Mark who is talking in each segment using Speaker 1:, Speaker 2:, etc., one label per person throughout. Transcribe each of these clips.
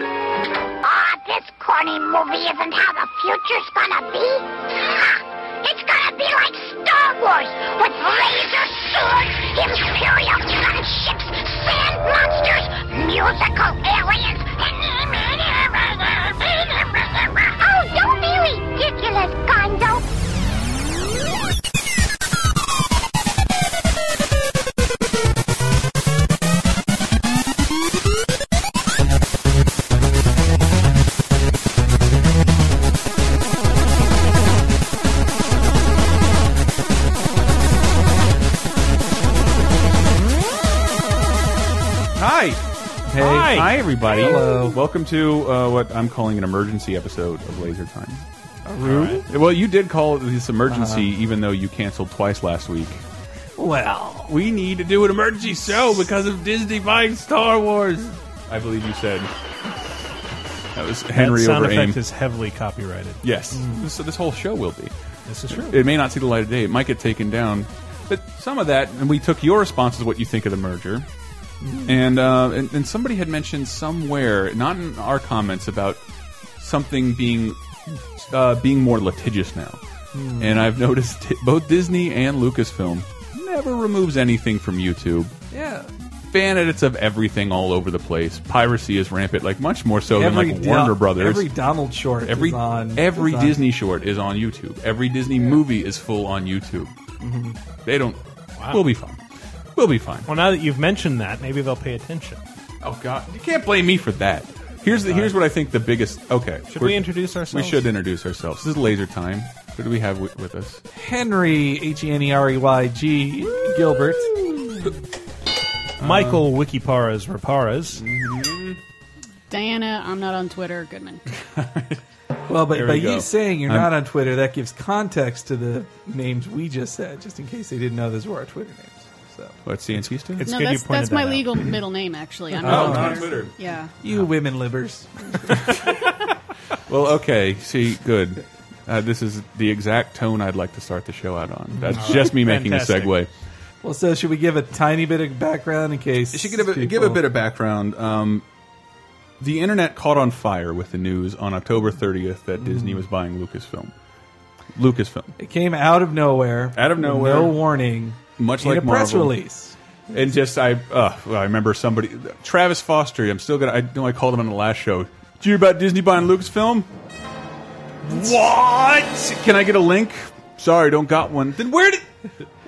Speaker 1: Ah, this corny movie isn't how the future's gonna be. Ha! It's gonna be like Star Wars, with laser swords, imperial gunships, sand monsters, musical aliens, and... Oh, don't be ridiculous, Gonzo.
Speaker 2: Hi. Hey.
Speaker 3: Hi.
Speaker 2: Hi, everybody.
Speaker 3: Hello.
Speaker 2: Welcome to uh, what I'm calling an emergency episode of Laser Time.
Speaker 3: Really?
Speaker 2: Well, you did call it this emergency,
Speaker 3: Uh-huh.
Speaker 2: even though you canceled twice last week.
Speaker 3: Well,
Speaker 2: We need to do an emergency show because of Disney buying Star Wars. I believe you said that was Henry
Speaker 3: that sound
Speaker 2: over
Speaker 3: effect
Speaker 2: aim.
Speaker 3: is Mm. heavily copyrighted.
Speaker 2: yes, this, this whole show will be.
Speaker 3: This is true.
Speaker 2: It may not see the light of day. It might get taken down. But some of that, and we took your responses, what you think of the merger.
Speaker 3: Hmm.
Speaker 2: And, uh, and and somebody had mentioned somewhere, not in our comments, about something being uh, being more litigious now.
Speaker 3: Hmm.
Speaker 2: And I've noticed it- both Disney and Lucasfilm never removes anything from YouTube.
Speaker 3: yeah.
Speaker 2: Fan edits of everything all over the place. Piracy is rampant, like much more so than like
Speaker 4: Do-
Speaker 2: Warner Brothers.
Speaker 4: Every Donald short.
Speaker 2: Every
Speaker 4: is on,
Speaker 2: every
Speaker 4: is on-
Speaker 2: Disney short is on YouTube. Every Disney movie is full on YouTube.
Speaker 4: Mm-hmm.
Speaker 2: They don't. We'll be fine. We'll be fine.
Speaker 3: Well, now that you've mentioned that, maybe they'll pay attention.
Speaker 2: Oh God, you can't blame me for that. Here's the, here's what I think the biggest. Okay,
Speaker 3: Should
Speaker 2: we're-
Speaker 3: we introduce ourselves?
Speaker 2: We should introduce ourselves. This is Laser Time. Who do we have with, with us?
Speaker 4: Henry H E N E R E Y G Gilbert.
Speaker 2: Um,
Speaker 3: Michael Wikiparas Raparas.
Speaker 5: Diana, I'm not on Twitter. Goodman.
Speaker 4: Well, but
Speaker 2: There
Speaker 4: by
Speaker 2: we go.
Speaker 4: you saying you're
Speaker 2: I'm-
Speaker 4: not on Twitter, that gives context to the names we just said, just in case they didn't know those were our Twitter names. So
Speaker 2: What's Cienciista?
Speaker 3: It's
Speaker 5: No,
Speaker 3: good
Speaker 5: that's
Speaker 3: you pointed
Speaker 5: that's my
Speaker 3: that out.
Speaker 5: legal middle name. Actually, I'm not
Speaker 2: Oh,
Speaker 5: on
Speaker 2: on
Speaker 5: Twitter.
Speaker 2: Twitter.
Speaker 5: Yeah.
Speaker 4: you women libbers.
Speaker 2: Well, okay. See, good. Uh, this is the exact tone I'd like to start the show out on. That's just me making a
Speaker 3: Mm-hmm. Fantastic.
Speaker 2: segue.
Speaker 4: Well, so should we give a tiny bit of background in case?
Speaker 2: She could give, give a bit of background. Um, the internet caught on fire with the news on October 30th that Disney was buying Lucasfilm. Lucasfilm,
Speaker 4: It came out of nowhere.
Speaker 2: Out of
Speaker 4: with
Speaker 2: nowhere.
Speaker 4: No warning.
Speaker 2: much
Speaker 4: in
Speaker 2: like
Speaker 4: a press
Speaker 2: Marvel.
Speaker 4: release.
Speaker 2: and just I, uh, well, I remember somebody, Travis Foster. I'm still gonna. I know I called him on the last show. Did you hear about Disney buying Lucasfilm? What? Can I get a link? Sorry, don't got one. Then where did?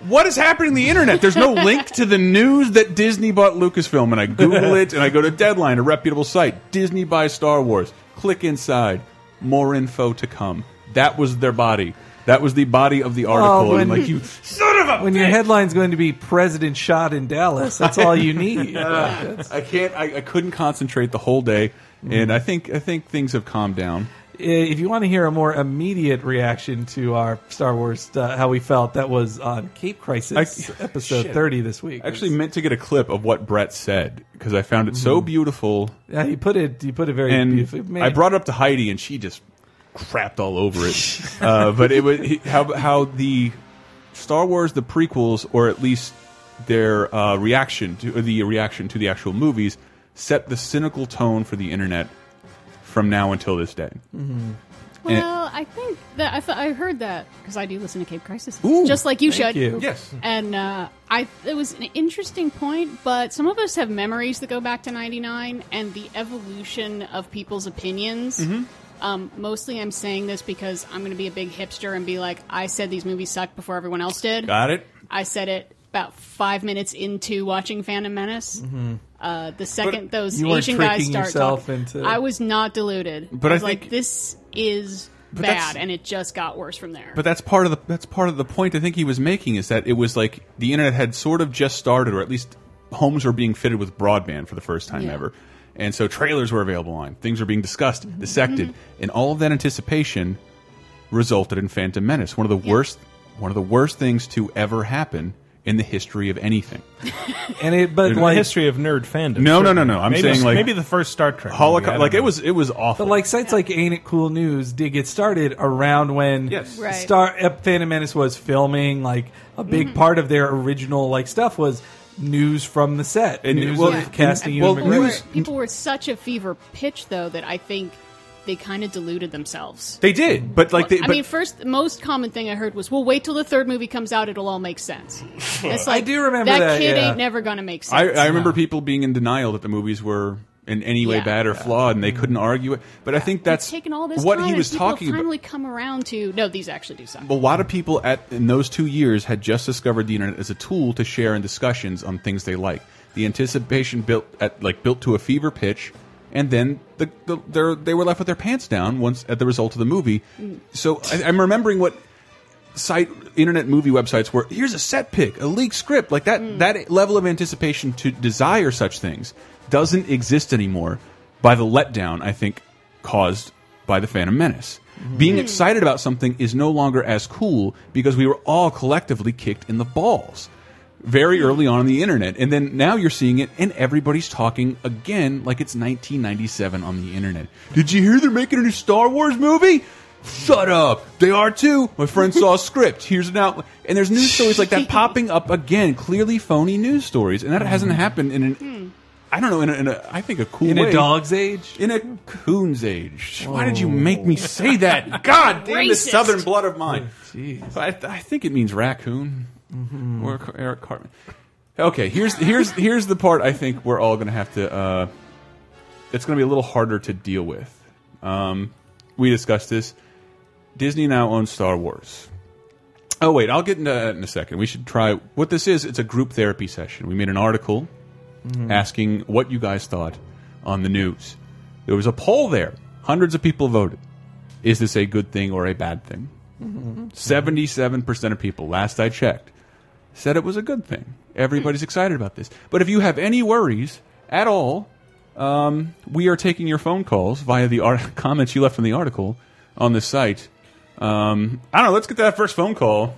Speaker 2: What is happening on the internet? There's no link to the news that Disney bought Lucasfilm, and I Google it, and I go to Deadline, a reputable site. Disney buys Star Wars. Click inside. More info to come. That was their body. That was the body of the article. and
Speaker 4: when-
Speaker 2: like you, son of a
Speaker 4: When your
Speaker 2: bitch!
Speaker 4: headline's going to be "President shot in Dallas," that's all you need. That's-
Speaker 2: I can't. I, I couldn't concentrate the whole day, and I think I think things have calmed down.
Speaker 4: Uh, if you want to hear a more immediate reaction to our Star Wars, uh, how we felt, that was on Cape Crisis
Speaker 2: I-
Speaker 4: episode
Speaker 2: Shit.
Speaker 4: thirty this week.
Speaker 2: I actually meant to get a clip of what Brett said because I found it so beautiful,
Speaker 4: yeah, you Uh, put it, you put it very
Speaker 2: and
Speaker 4: beautifully. Man,
Speaker 2: I brought it up to Heidi, and she just crapped all over it. uh, but it was he- how how the Star Wars the prequels, or at least their uh, reaction to or the reaction to the actual movies, set the cynical tone for the internet from now until this day. And-
Speaker 5: Well, I think that I, th- I heard that because I do listen to Cape Crisis,
Speaker 2: Ooh,
Speaker 5: just like you should.
Speaker 4: thank you.
Speaker 2: Yes,
Speaker 5: And uh, I, it was an interesting point, but some of us have memories that go back to '99 and the evolution of people's opinions.
Speaker 3: Mm-hmm.
Speaker 5: Um, mostly, I'm saying this because I'm going to be a big hipster and be like, I said these movies sucked before everyone else did.
Speaker 2: got it.
Speaker 5: I said it about five minutes into watching Phantom Menace. Uh, the second those
Speaker 4: you weren't
Speaker 5: Asian guys
Speaker 4: tricking
Speaker 5: start
Speaker 4: yourself
Speaker 5: talking,
Speaker 4: into-
Speaker 5: I was not deluded.
Speaker 2: But
Speaker 5: I
Speaker 2: I
Speaker 5: was like,
Speaker 2: think-
Speaker 5: this is
Speaker 2: that's-
Speaker 5: bad, and it just got worse from there.
Speaker 2: But that's part of the that's part of the point I think he was making is that it was like the internet had sort of just started, or at least homes were being fitted with broadband for the first time
Speaker 5: Yeah.
Speaker 2: ever, and so trailers were available on. Things were being discussed,
Speaker 5: Mm-hmm.
Speaker 2: dissected, and all of that anticipation resulted in Phantom Menace, one of the
Speaker 5: Yeah.
Speaker 2: worst one of the worst things to ever happen in the history of anything.
Speaker 4: and it, but
Speaker 2: There's a
Speaker 3: The
Speaker 4: like,
Speaker 3: history of nerd fandom.
Speaker 2: No, no, no,
Speaker 3: certainly.
Speaker 2: no, I'm
Speaker 3: maybe,
Speaker 2: saying, like,
Speaker 3: maybe the first Star Trek. movie, I
Speaker 2: Holocaust,
Speaker 3: don't
Speaker 2: like
Speaker 3: know.
Speaker 2: it was, it was awful.
Speaker 4: but like sites like Ain't It Cool News did get started around when uh,
Speaker 2: Yes.
Speaker 5: Right. Mm-hmm.
Speaker 4: Star Ep- Phantom Menace was filming. Like a big part of their original like stuff was news from the set.
Speaker 2: And-
Speaker 4: news
Speaker 2: well,
Speaker 5: Yeah.
Speaker 4: of casting
Speaker 2: well,
Speaker 4: Ewan
Speaker 5: People were,
Speaker 4: McGregor.
Speaker 5: people were at such a fever pitch, though, that I think they kind of deluded themselves.
Speaker 2: They did, but like they.
Speaker 5: I
Speaker 2: but-
Speaker 5: mean, first, the most common thing I heard was, "Well, wait till the third movie comes out; it'll all make sense." It's like,
Speaker 4: do remember that,
Speaker 5: kid
Speaker 4: yeah.
Speaker 5: ain't never gonna make
Speaker 2: I,
Speaker 5: sense.
Speaker 2: I remember people being in denial that the movies were in any way
Speaker 5: Yeah.
Speaker 2: bad or flawed, and they couldn't argue it. But I think that's
Speaker 5: it's taken all this
Speaker 2: what
Speaker 5: time
Speaker 2: he
Speaker 5: and
Speaker 2: was
Speaker 5: people have
Speaker 2: talking about.
Speaker 5: finally come around to no, these actually do suck.
Speaker 2: a lot of people at in those two years had just discovered the internet as a tool to share in discussions on things they like. The anticipation built at like built to a fever pitch, and then the, the their, they were left with their pants down once at the result of the movie. So I, I'm remembering what site internet movie websites were. Here's a set pick, a leaked script, like that. That level of anticipation to desire such things doesn't exist anymore. By the letdown, I think, caused by the Phantom Menace. Being excited about something is no longer as cool because we were all collectively kicked in the balls very early on in the internet, and then now you're seeing it, and everybody's talking again like it's 1997 on the internet. Did you hear they're making a new Star Wars movie? Shut up! They are too. My friend saw a script. Here's an outline, and there's news stories like that popping up again. Clearly phony news stories, and that hasn't happened in an, I don't know, in a, in a I think a cool
Speaker 4: in
Speaker 2: way.
Speaker 4: a dog's age.
Speaker 2: in a coon's age. Why did you make me say that? God damn this
Speaker 5: Racist.
Speaker 2: southern blood of mine.
Speaker 4: Jeez.
Speaker 2: I, I think it means raccoon or Car- Eric Cartman. Okay, here's here's here's the part I think we're all going to have to. Uh, it's going to be a little harder to deal with. Um, we discussed this. Disney now owns Star Wars. Oh wait, I'll get into that in a second. We should try what this is. It's a group therapy session. We made an article asking what you guys thought on the news. There was a poll there. Hundreds of people voted. Is this a good thing or a bad thing? 77% of people, last I checked, said it was a good thing. Everybody's excited about this. But if you have any worries at all, um, we are taking your phone calls via the art- comments you left in the article on the site. Um, I don't know. Let's get that first phone call.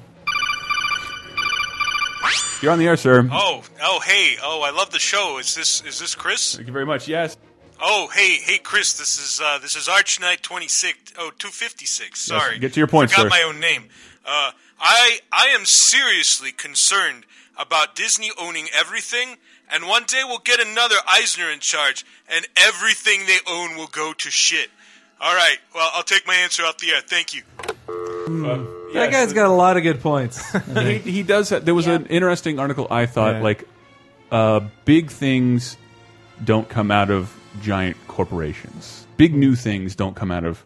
Speaker 2: You're on the air, sir.
Speaker 6: Oh, oh, hey, oh, I love the show. Is this is this Chris?
Speaker 2: Thank you very much. Yes.
Speaker 6: Oh, hey, hey, Chris, this is uh, this is Arch Knight twenty six. Oh, 256, Sorry,
Speaker 2: get to your point,
Speaker 6: Forgot
Speaker 2: sir.
Speaker 6: my own name. Uh, I I am seriously concerned about Disney owning everything, and one day we'll get another Eisner in charge, and everything they own will go to shit. All right, well, I'll take my answer off the air. Thank you.
Speaker 4: That guy's got a lot of good points.
Speaker 2: he, he does. There was
Speaker 5: Yeah.
Speaker 2: an interesting article I thought
Speaker 3: Yeah.
Speaker 2: like uh, big things don't come out of giant corporations. Big new things don't come out of.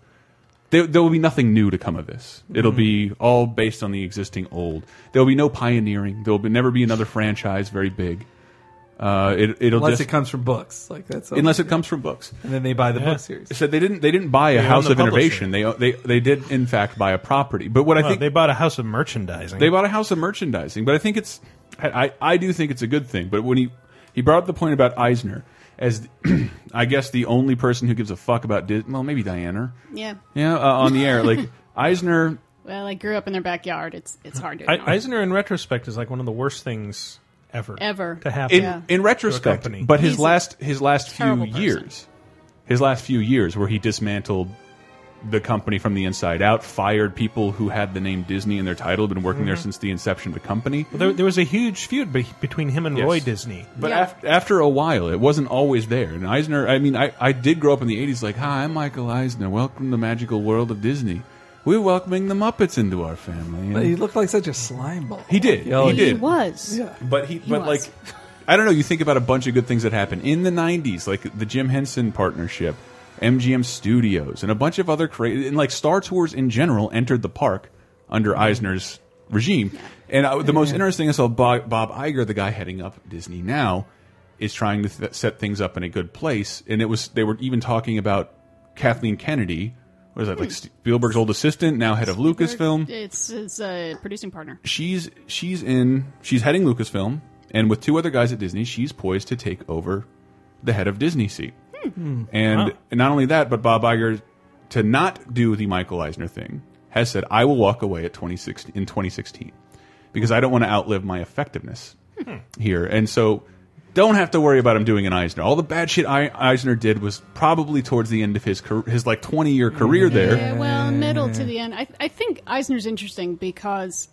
Speaker 2: There, there will be nothing new to come of this. It'll be all based on the existing old. There will be no pioneering. There will be, never be another franchise very big. Uh, it, it'll
Speaker 4: Unless
Speaker 2: just
Speaker 4: it comes from books, like that's
Speaker 2: unless it comes from books.
Speaker 4: and then they buy the
Speaker 3: Yeah.
Speaker 4: book series.
Speaker 2: So they didn't. They didn't buy a house
Speaker 3: the
Speaker 2: of innovation. They they they did in fact buy a property. But what I
Speaker 3: Well,
Speaker 2: think
Speaker 3: they bought a house of merchandising.
Speaker 2: they bought a house of merchandising, but I think it's I, I, I do think it's a good thing. But when he he brought up the point about Eisner as I guess the only person who gives a fuck about Disney, well maybe Diana,
Speaker 5: Yeah.
Speaker 2: yeah, uh, on the air like Eisner.
Speaker 5: Well, I grew up in their backyard. It's it's hard to
Speaker 3: I,
Speaker 5: ignore.
Speaker 3: Eisner, in retrospect, is like one of the worst things ever
Speaker 5: Ever.
Speaker 3: to happen.
Speaker 2: In,
Speaker 5: Yeah.
Speaker 2: in retrospect,
Speaker 3: company.
Speaker 2: but his
Speaker 5: He's a
Speaker 2: last his last few
Speaker 5: terrible person.
Speaker 2: years, his last few years where he dismantled the company from the inside out, fired people who had the name Disney in their title, been working
Speaker 5: Mm-hmm.
Speaker 2: there since the inception of the company.
Speaker 3: There, there was a huge feud be- between him and
Speaker 2: Yes.
Speaker 3: Roy Disney.
Speaker 2: But
Speaker 5: Yeah.
Speaker 2: af after a while, it wasn't always there. And Eisner, I mean, I, I did grow up in the 80s like, Hi, I'm Michael Eisner. Welcome to the magical world of Disney. We're welcoming the Muppets into our family.
Speaker 4: But
Speaker 2: And
Speaker 4: he looked like such a slime ball.
Speaker 2: he did.
Speaker 4: Yeah,
Speaker 2: He
Speaker 4: like- oh,
Speaker 5: he
Speaker 2: did.
Speaker 5: was.
Speaker 4: Yeah.
Speaker 2: But he, but
Speaker 5: was.
Speaker 2: like, I don't know. You think about a bunch of good things that happened in the '90s, like the Jim Henson partnership, MGM Studios, and a bunch of other crazy, and like Star Tours in general entered the park under Eisner's regime. And I, the most interesting is how Bob, Bob Iger, the guy heading up Disney now, is trying to th set things up in a good place. And it was they were even talking about Kathleen Kennedy. What is that? Like Spielberg's old assistant, now head of Lucasfilm
Speaker 5: It's his uh, producing partner.
Speaker 2: she's she's in she's heading Lucasfilm, and with two other guys at Disney, she's poised to take over the head of Disney seat. And not only that, but Bob Iger to not do the Michael Eisner thing has said, "I will walk away at 2016 in 2016 because I don't want to outlive my effectiveness here." And so. Don't have to worry about him doing an Eisner. All the bad shit I, Eisner did was probably towards the end of his car- his like twenty year career there.
Speaker 5: Yeah, well, middle to the end. I, I think Eisner's interesting because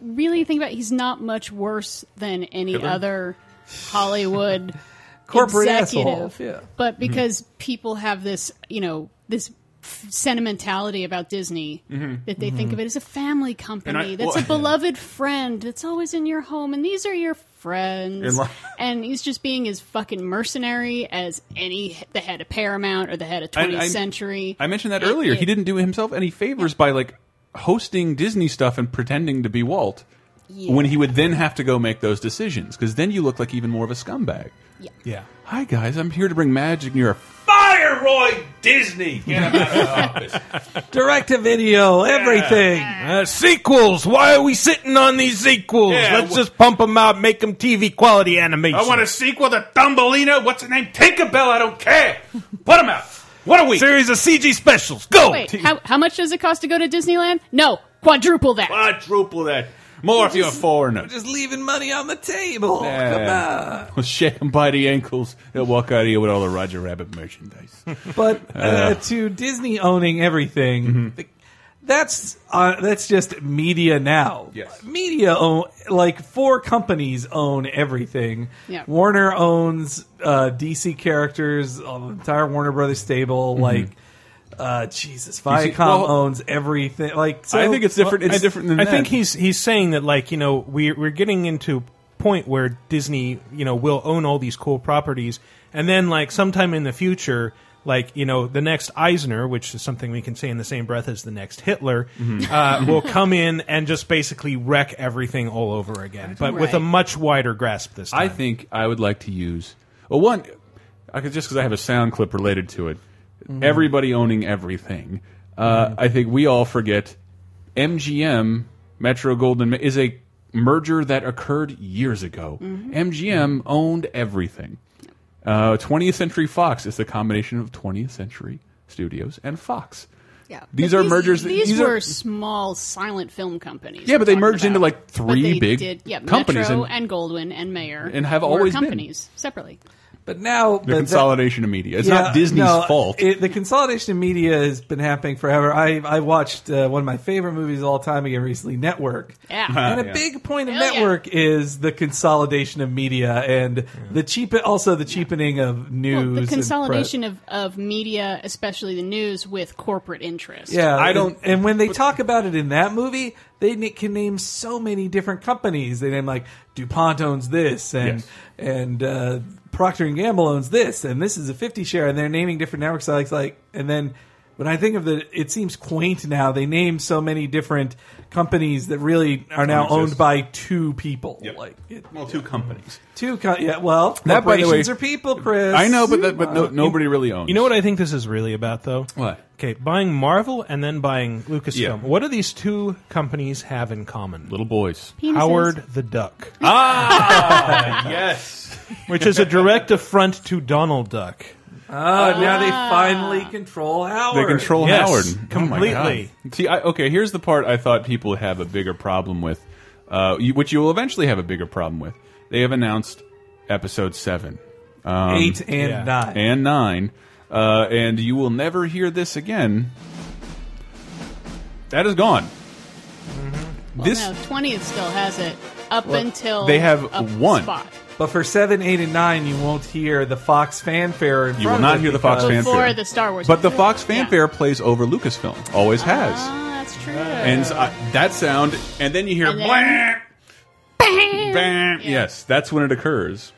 Speaker 5: really think about it, he's not much worse than any other Hollywood
Speaker 4: Corporate
Speaker 5: executive,
Speaker 4: asshole, yeah.
Speaker 2: Mm-hmm.
Speaker 5: but because people have this, you know, this f- sentimentality about Disney that they think of it as a family company
Speaker 2: Mm-hmm. And I-
Speaker 5: that's
Speaker 2: well-
Speaker 5: a beloved friend that's always in your home, and these are your friends,
Speaker 2: And li-
Speaker 5: and he's just being as fucking mercenary as any the head of Paramount or the head of
Speaker 2: I- I-
Speaker 5: 20th Century.
Speaker 2: I mentioned that
Speaker 5: It-
Speaker 2: earlier. He
Speaker 5: it-
Speaker 2: didn't do himself any favors by like hosting Disney stuff and pretending to be Walt. When he would then have to go make those decisions, because then you look like even more of a scumbag.
Speaker 3: Yeah.
Speaker 2: Hi guys, I'm here to bring magic, and you're a
Speaker 7: Fire Roy Disney! Get him out of the office.
Speaker 4: Direct to video, everything.
Speaker 3: Uh, sequels. Why are we sitting on these sequels?
Speaker 7: Yeah,
Speaker 3: Let's
Speaker 7: wh-
Speaker 3: just pump them out, make them TV quality animation.
Speaker 7: I want a sequel to Thumbelina. What's her name? Tinkerbell. I don't care. Put him out. What a week.
Speaker 3: series of CG specials. Go.
Speaker 5: Wait, how, how much does it cost to go to Disneyland? No, quadruple that.
Speaker 7: Quadruple that.
Speaker 2: more if you're a foreigner.
Speaker 4: Just leaving money on the table.
Speaker 2: Yeah. We'll shake him by the ankles. He'll walk out of here with all the Roger Rabbit merchandise.
Speaker 4: But uh, to Disney owning everything,
Speaker 2: Mm-hmm.
Speaker 4: th- that's uh, that's just media now.
Speaker 2: Yes.
Speaker 4: media own like four companies own everything.
Speaker 5: Yeah.
Speaker 4: Warner owns uh, DC characters, uh, the entire Warner Brothers stable. Like uh, Jesus, Viacom
Speaker 2: Mm-hmm. well-
Speaker 4: owns everything. Like so,
Speaker 2: I think it's different. It's
Speaker 3: I-
Speaker 2: different than
Speaker 3: I
Speaker 2: that.
Speaker 3: think he's he's saying that like you know we we're getting into a point where Disney you know will own all these cool properties, and then like sometime in the future. Like you know, the next Eisner, which is something we can say in the same breath as the next Hitler,
Speaker 7: Mm-hmm.
Speaker 3: uh, will come in and just basically wreck everything all over again, but with a
Speaker 5: Right.
Speaker 3: much wider grasp this time.
Speaker 2: I think I would like to use well one. I could just because I have a sound clip related to it. Everybody owning everything. Uh, I think we all forget MGM Metro Golden Ma- is a merger that occurred years ago. MGM owned everything. Uh, 20th Century Fox is the combination of 20th Century Studios and Fox.
Speaker 5: Yeah.
Speaker 2: These
Speaker 5: But
Speaker 2: are mergers that-
Speaker 5: These,
Speaker 2: these
Speaker 5: were
Speaker 2: are-
Speaker 5: small silent film companies.
Speaker 2: Yeah, but
Speaker 5: we're
Speaker 2: they
Speaker 5: talking
Speaker 2: merged into,
Speaker 5: about.
Speaker 2: like,
Speaker 5: But
Speaker 2: three
Speaker 5: they
Speaker 2: big
Speaker 5: did, yeah,
Speaker 2: companies
Speaker 5: Metro
Speaker 2: and-
Speaker 5: and, Goldwyn and Mayer
Speaker 2: And have
Speaker 5: were
Speaker 2: always been.
Speaker 5: companies separately.
Speaker 4: but now
Speaker 2: The
Speaker 4: but that-
Speaker 2: consolidation of media. It's not
Speaker 4: Yeah,
Speaker 2: Disney's
Speaker 4: no,
Speaker 2: fault.
Speaker 4: it- the consolidation of media has been happening forever. I I watched uh, one of my favorite movies of all time again recently, Network.
Speaker 5: Yeah.
Speaker 4: And a
Speaker 2: yeah.
Speaker 4: big point of
Speaker 5: Hell yeah.
Speaker 4: network is the consolidation of media and the cheap, also the cheapening of news.
Speaker 5: Well, the
Speaker 4: and
Speaker 5: consolidation of, of media, especially the news, with corporate interest.
Speaker 4: press. Yeah,
Speaker 2: I
Speaker 4: and-
Speaker 2: don't-
Speaker 4: And, when they talk about it in that movie, they na- can name so many different companies. They name like Dupont owns this, and
Speaker 2: Yes.
Speaker 4: and uh, Procter and Gamble owns this, and this is a fifty share, and they're naming different networks. So Like, like, and then when I think of the, it seems quaint now. They name so many different companies that really are now
Speaker 2: Don't
Speaker 4: owned
Speaker 2: exist.
Speaker 4: by two people. Like, it,
Speaker 2: well, two companies.
Speaker 4: Two, co- yeah. Well,
Speaker 2: That, by the
Speaker 4: corporations
Speaker 2: way-
Speaker 4: are people, Chris.
Speaker 2: I know, but that, but no, nobody really owns.
Speaker 3: You know what I think this is really about, though?
Speaker 2: What?
Speaker 3: Okay, buying Marvel and then buying Lucasfilm.
Speaker 2: Yeah.
Speaker 3: What do these two companies have in common?
Speaker 2: Little boys.
Speaker 5: Penises.
Speaker 3: Howard the Duck,
Speaker 2: Yes.
Speaker 3: which is a direct affront to Donald Duck.
Speaker 4: Oh, now they finally control Howard.
Speaker 2: uh, They control
Speaker 3: Yes,
Speaker 2: Howard Oh my
Speaker 3: completely.
Speaker 2: God. See, I, okay, here's the part I thought people would have a bigger problem with, uh, you, which you will eventually have a bigger problem with. They have announced episode seven um,
Speaker 4: eight and
Speaker 3: yeah.
Speaker 4: nine.
Speaker 2: and nine, uh, and you will never hear this again. That is gone. This
Speaker 5: Mm-hmm. No, 20th still has it up until
Speaker 2: they have
Speaker 5: up
Speaker 2: one.
Speaker 5: spot.
Speaker 4: but for seven, eight, and nine, you won't hear the Fox fanfare. In
Speaker 2: You
Speaker 4: front
Speaker 2: will
Speaker 4: of
Speaker 2: not
Speaker 4: it
Speaker 2: hear the Fox
Speaker 4: because-
Speaker 2: fanfare.
Speaker 5: Before the Star Wars
Speaker 2: but the
Speaker 5: fanfare.
Speaker 2: Fox fanfare plays over Lucasfilm, always has,
Speaker 5: Ah, that's true.
Speaker 2: and uh, that sound, and then you hear
Speaker 5: And then-
Speaker 2: "Blah!"
Speaker 5: Bam!
Speaker 2: Bam.
Speaker 5: Yeah.
Speaker 2: Yes, that's when it occurs.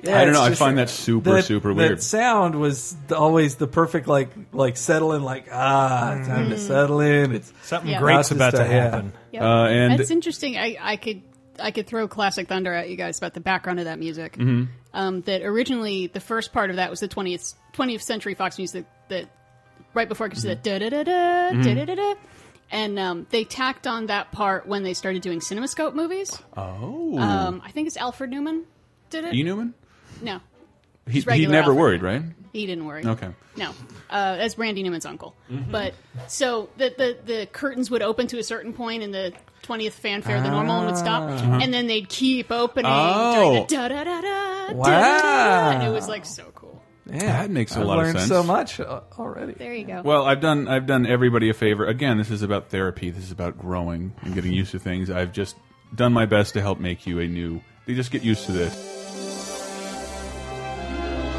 Speaker 4: Yeah,
Speaker 2: I don't know.
Speaker 4: it's
Speaker 2: I
Speaker 4: just-
Speaker 2: find that super,
Speaker 4: that-
Speaker 2: super
Speaker 4: that
Speaker 2: weird.
Speaker 4: sound was th- always the perfect like like settle in, like ah, time to settle in. It's
Speaker 3: Something
Speaker 5: Yeah.
Speaker 3: great's
Speaker 4: Lots of
Speaker 3: about to
Speaker 4: stuff, yeah.
Speaker 3: happen.
Speaker 5: Yep.
Speaker 2: Uh, and-
Speaker 5: that's interesting. I, I could I could throw classic thunder at you guys about the background of that music.
Speaker 2: Mm-hmm.
Speaker 5: Um, that originally the first part of that was the twentieth twentieth century Fox music that right before it gets
Speaker 2: Mm-hmm.
Speaker 5: to the da da da da da da da. And um, they tacked on that part when they started doing CinemaScope movies.
Speaker 2: Oh,
Speaker 5: Um, I think it's Alfred Newman did it.
Speaker 2: E. Newman.
Speaker 5: no,
Speaker 2: He, he
Speaker 5: regular
Speaker 2: never
Speaker 5: Alfred.
Speaker 2: worried, right?
Speaker 5: he didn't worry.
Speaker 2: Okay.
Speaker 5: No, uh, that's Randy Newman's uncle.
Speaker 2: Mm-hmm.
Speaker 5: But so the, the the curtains would open to a certain point, and the twentieth fanfare, the normal one would stop, and then they'd keep opening.
Speaker 2: Ah. Uh-huh. Oh.
Speaker 5: during the da da da da.
Speaker 4: Wow.
Speaker 5: And it was like so cool.
Speaker 4: yeah,
Speaker 2: That makes a
Speaker 4: I've
Speaker 2: lot of
Speaker 4: learned
Speaker 2: sense.
Speaker 4: So much uh, already.
Speaker 5: There you go.
Speaker 2: Well, I've done I've done everybody a favor. Again, this is about therapy. This is about growing and getting used to things. I've just done my best to help make you a new. You just get used to this.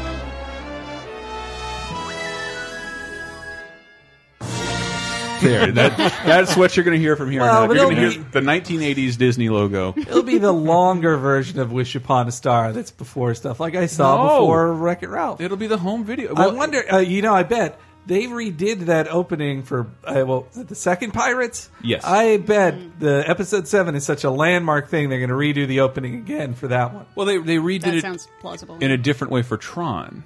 Speaker 2: there. That, that's what you're going to hear from here.
Speaker 4: Well,
Speaker 2: on out.
Speaker 4: but
Speaker 2: You're going to
Speaker 4: it'll
Speaker 2: hear the 1980s Disney logo.
Speaker 4: It'll be the longer version of Wish Upon a Star that's before stuff like I saw
Speaker 2: No.
Speaker 4: before Wreck It Ralph.
Speaker 2: It'll be the home video.
Speaker 4: I
Speaker 2: Well,
Speaker 4: wonder, uh, you know, I bet they redid that opening for, uh, well, was it the second Pirates?
Speaker 2: Yes.
Speaker 4: I bet the episode seven is such a landmark thing, they're going to redo the opening again for that one.
Speaker 2: Well, they they redid
Speaker 5: That
Speaker 2: it
Speaker 5: sounds plausible.
Speaker 2: in a different way for Tron.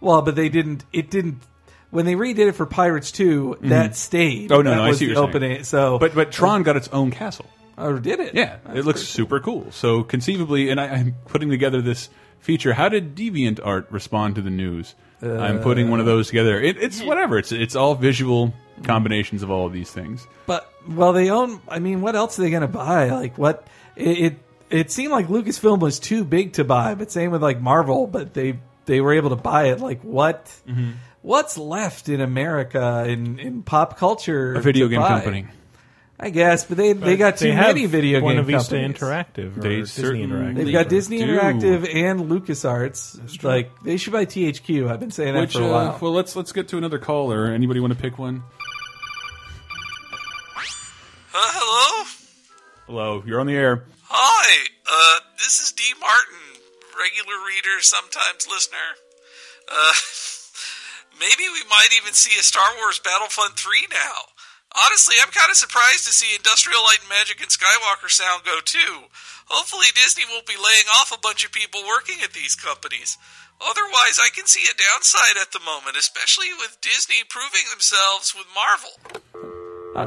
Speaker 4: Well, but they didn't, it didn't. When they redid it for Pirates 2, that stayed.
Speaker 2: Oh, no,
Speaker 4: that
Speaker 2: no, I
Speaker 4: was
Speaker 2: see
Speaker 4: the
Speaker 2: what you're saying.
Speaker 4: opening. So,
Speaker 2: But
Speaker 5: Oh.
Speaker 2: but Tron got its own castle.
Speaker 4: oh, did it?
Speaker 2: Yeah, it looks super cool. So conceivably, and I, I'm putting together this feature. How did Deviant Art respond to the news? I'm putting one of those together. It, it's whatever. It's it's all visual combinations of all of these things.
Speaker 4: But well, they own. I mean, what else are they going to buy? Like what? It, it it seemed like Lucasfilm was too big to buy. But same with like Marvel, but they they were able to buy it. Like what?
Speaker 3: Mm-hmm.
Speaker 4: What's left in America in in pop culture?
Speaker 2: A video
Speaker 4: to
Speaker 2: game
Speaker 4: buy?
Speaker 2: company.
Speaker 4: I guess. But they they got too
Speaker 3: They have
Speaker 4: many video
Speaker 3: Buena
Speaker 4: game
Speaker 3: Vista
Speaker 4: companies.
Speaker 3: Interactive. Or
Speaker 2: They
Speaker 3: Disney
Speaker 2: certainly-
Speaker 4: They've
Speaker 3: Interactive.
Speaker 4: got Disney
Speaker 2: do.
Speaker 4: Interactive and LucasArts. Like they should buy THQ. I've been saying that
Speaker 2: Which
Speaker 4: for a while.
Speaker 2: uh, well, let's let's get to another caller. Anybody want to pick one?
Speaker 6: Uh, hello?
Speaker 2: Hello, you're on the air.
Speaker 6: Hi, uh, this is D. Martin, regular reader, sometimes listener. Uh, maybe we might even see a Star Wars Battlefront 3 now. Honestly, I'm kind of surprised to see Industrial Light and Magic and Skywalker Sound go too. Hopefully, Disney won't be laying off a bunch of people working at these companies. Otherwise, I can see a downside at the moment, especially with Disney proving themselves with Marvel.
Speaker 4: Not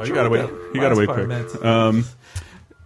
Speaker 2: Oh, you
Speaker 4: sure
Speaker 2: gotta
Speaker 4: what
Speaker 2: wait.
Speaker 4: that
Speaker 2: You gotta
Speaker 4: last
Speaker 2: wait
Speaker 4: part
Speaker 2: quick.
Speaker 4: meant.
Speaker 2: Um,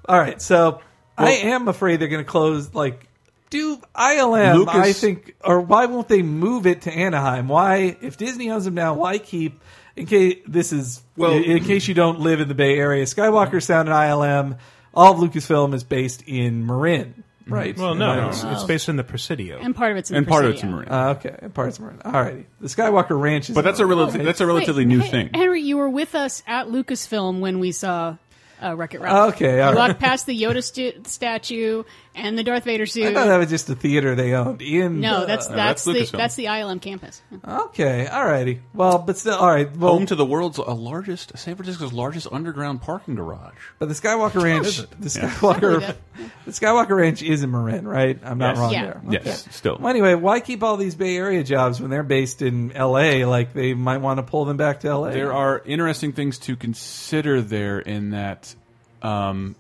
Speaker 4: All right, so I am afraid they're going to close. Like, do ILM?
Speaker 2: Lucas-
Speaker 4: I think, or why won't they move it to Anaheim? Why, if Disney owns them now, why keep? In case this is well,
Speaker 2: Well-
Speaker 4: in, in case you don't live in the Bay Area, Skywalker Sound and ILM, all of Lucasfilm is based in Marin,
Speaker 2: Mm-hmm.
Speaker 4: right?
Speaker 3: Well, no,
Speaker 4: Am I-
Speaker 3: it's, it's based in the Presidio.
Speaker 5: and part of it's in
Speaker 2: and
Speaker 5: the
Speaker 2: part of it's
Speaker 5: Presidio.
Speaker 2: marine.
Speaker 4: Uh, okay, and parts of Marin. All righty, the Skywalker Ranch is.
Speaker 2: but
Speaker 5: Oh,
Speaker 2: that's a relative. That's a relatively
Speaker 5: Wait,
Speaker 2: new
Speaker 5: Hen-
Speaker 2: thing.
Speaker 5: Henry, you were with us at Lucasfilm when we saw uh, Wreck It Ralph.
Speaker 4: okay. All
Speaker 5: You
Speaker 4: right.
Speaker 5: walked past the Yoda stu- statue and the Darth Vader suit.
Speaker 4: I thought that was just a theater they owned in.
Speaker 5: no, that's
Speaker 4: uh,
Speaker 5: that's,
Speaker 2: that's Lucasfilm.
Speaker 5: the that's the ILM campus.
Speaker 4: okay. All righty. Well, but still, all right. Well,
Speaker 2: Home to the world's uh, largest, San Francisco's largest underground parking garage.
Speaker 4: But the Skywalker Ranch, the Skywalker,
Speaker 5: Something like
Speaker 4: the Skywalker Ranch is in Marin, right? I'm not
Speaker 2: Yes.
Speaker 4: wrong
Speaker 5: Yeah.
Speaker 4: there.
Speaker 2: Yes, still.
Speaker 4: Well, anyway, why keep all these Bay Area jobs when they're based in L.A.? Like they might want to pull them back to L.A.
Speaker 2: There are interesting things to consider there in that um,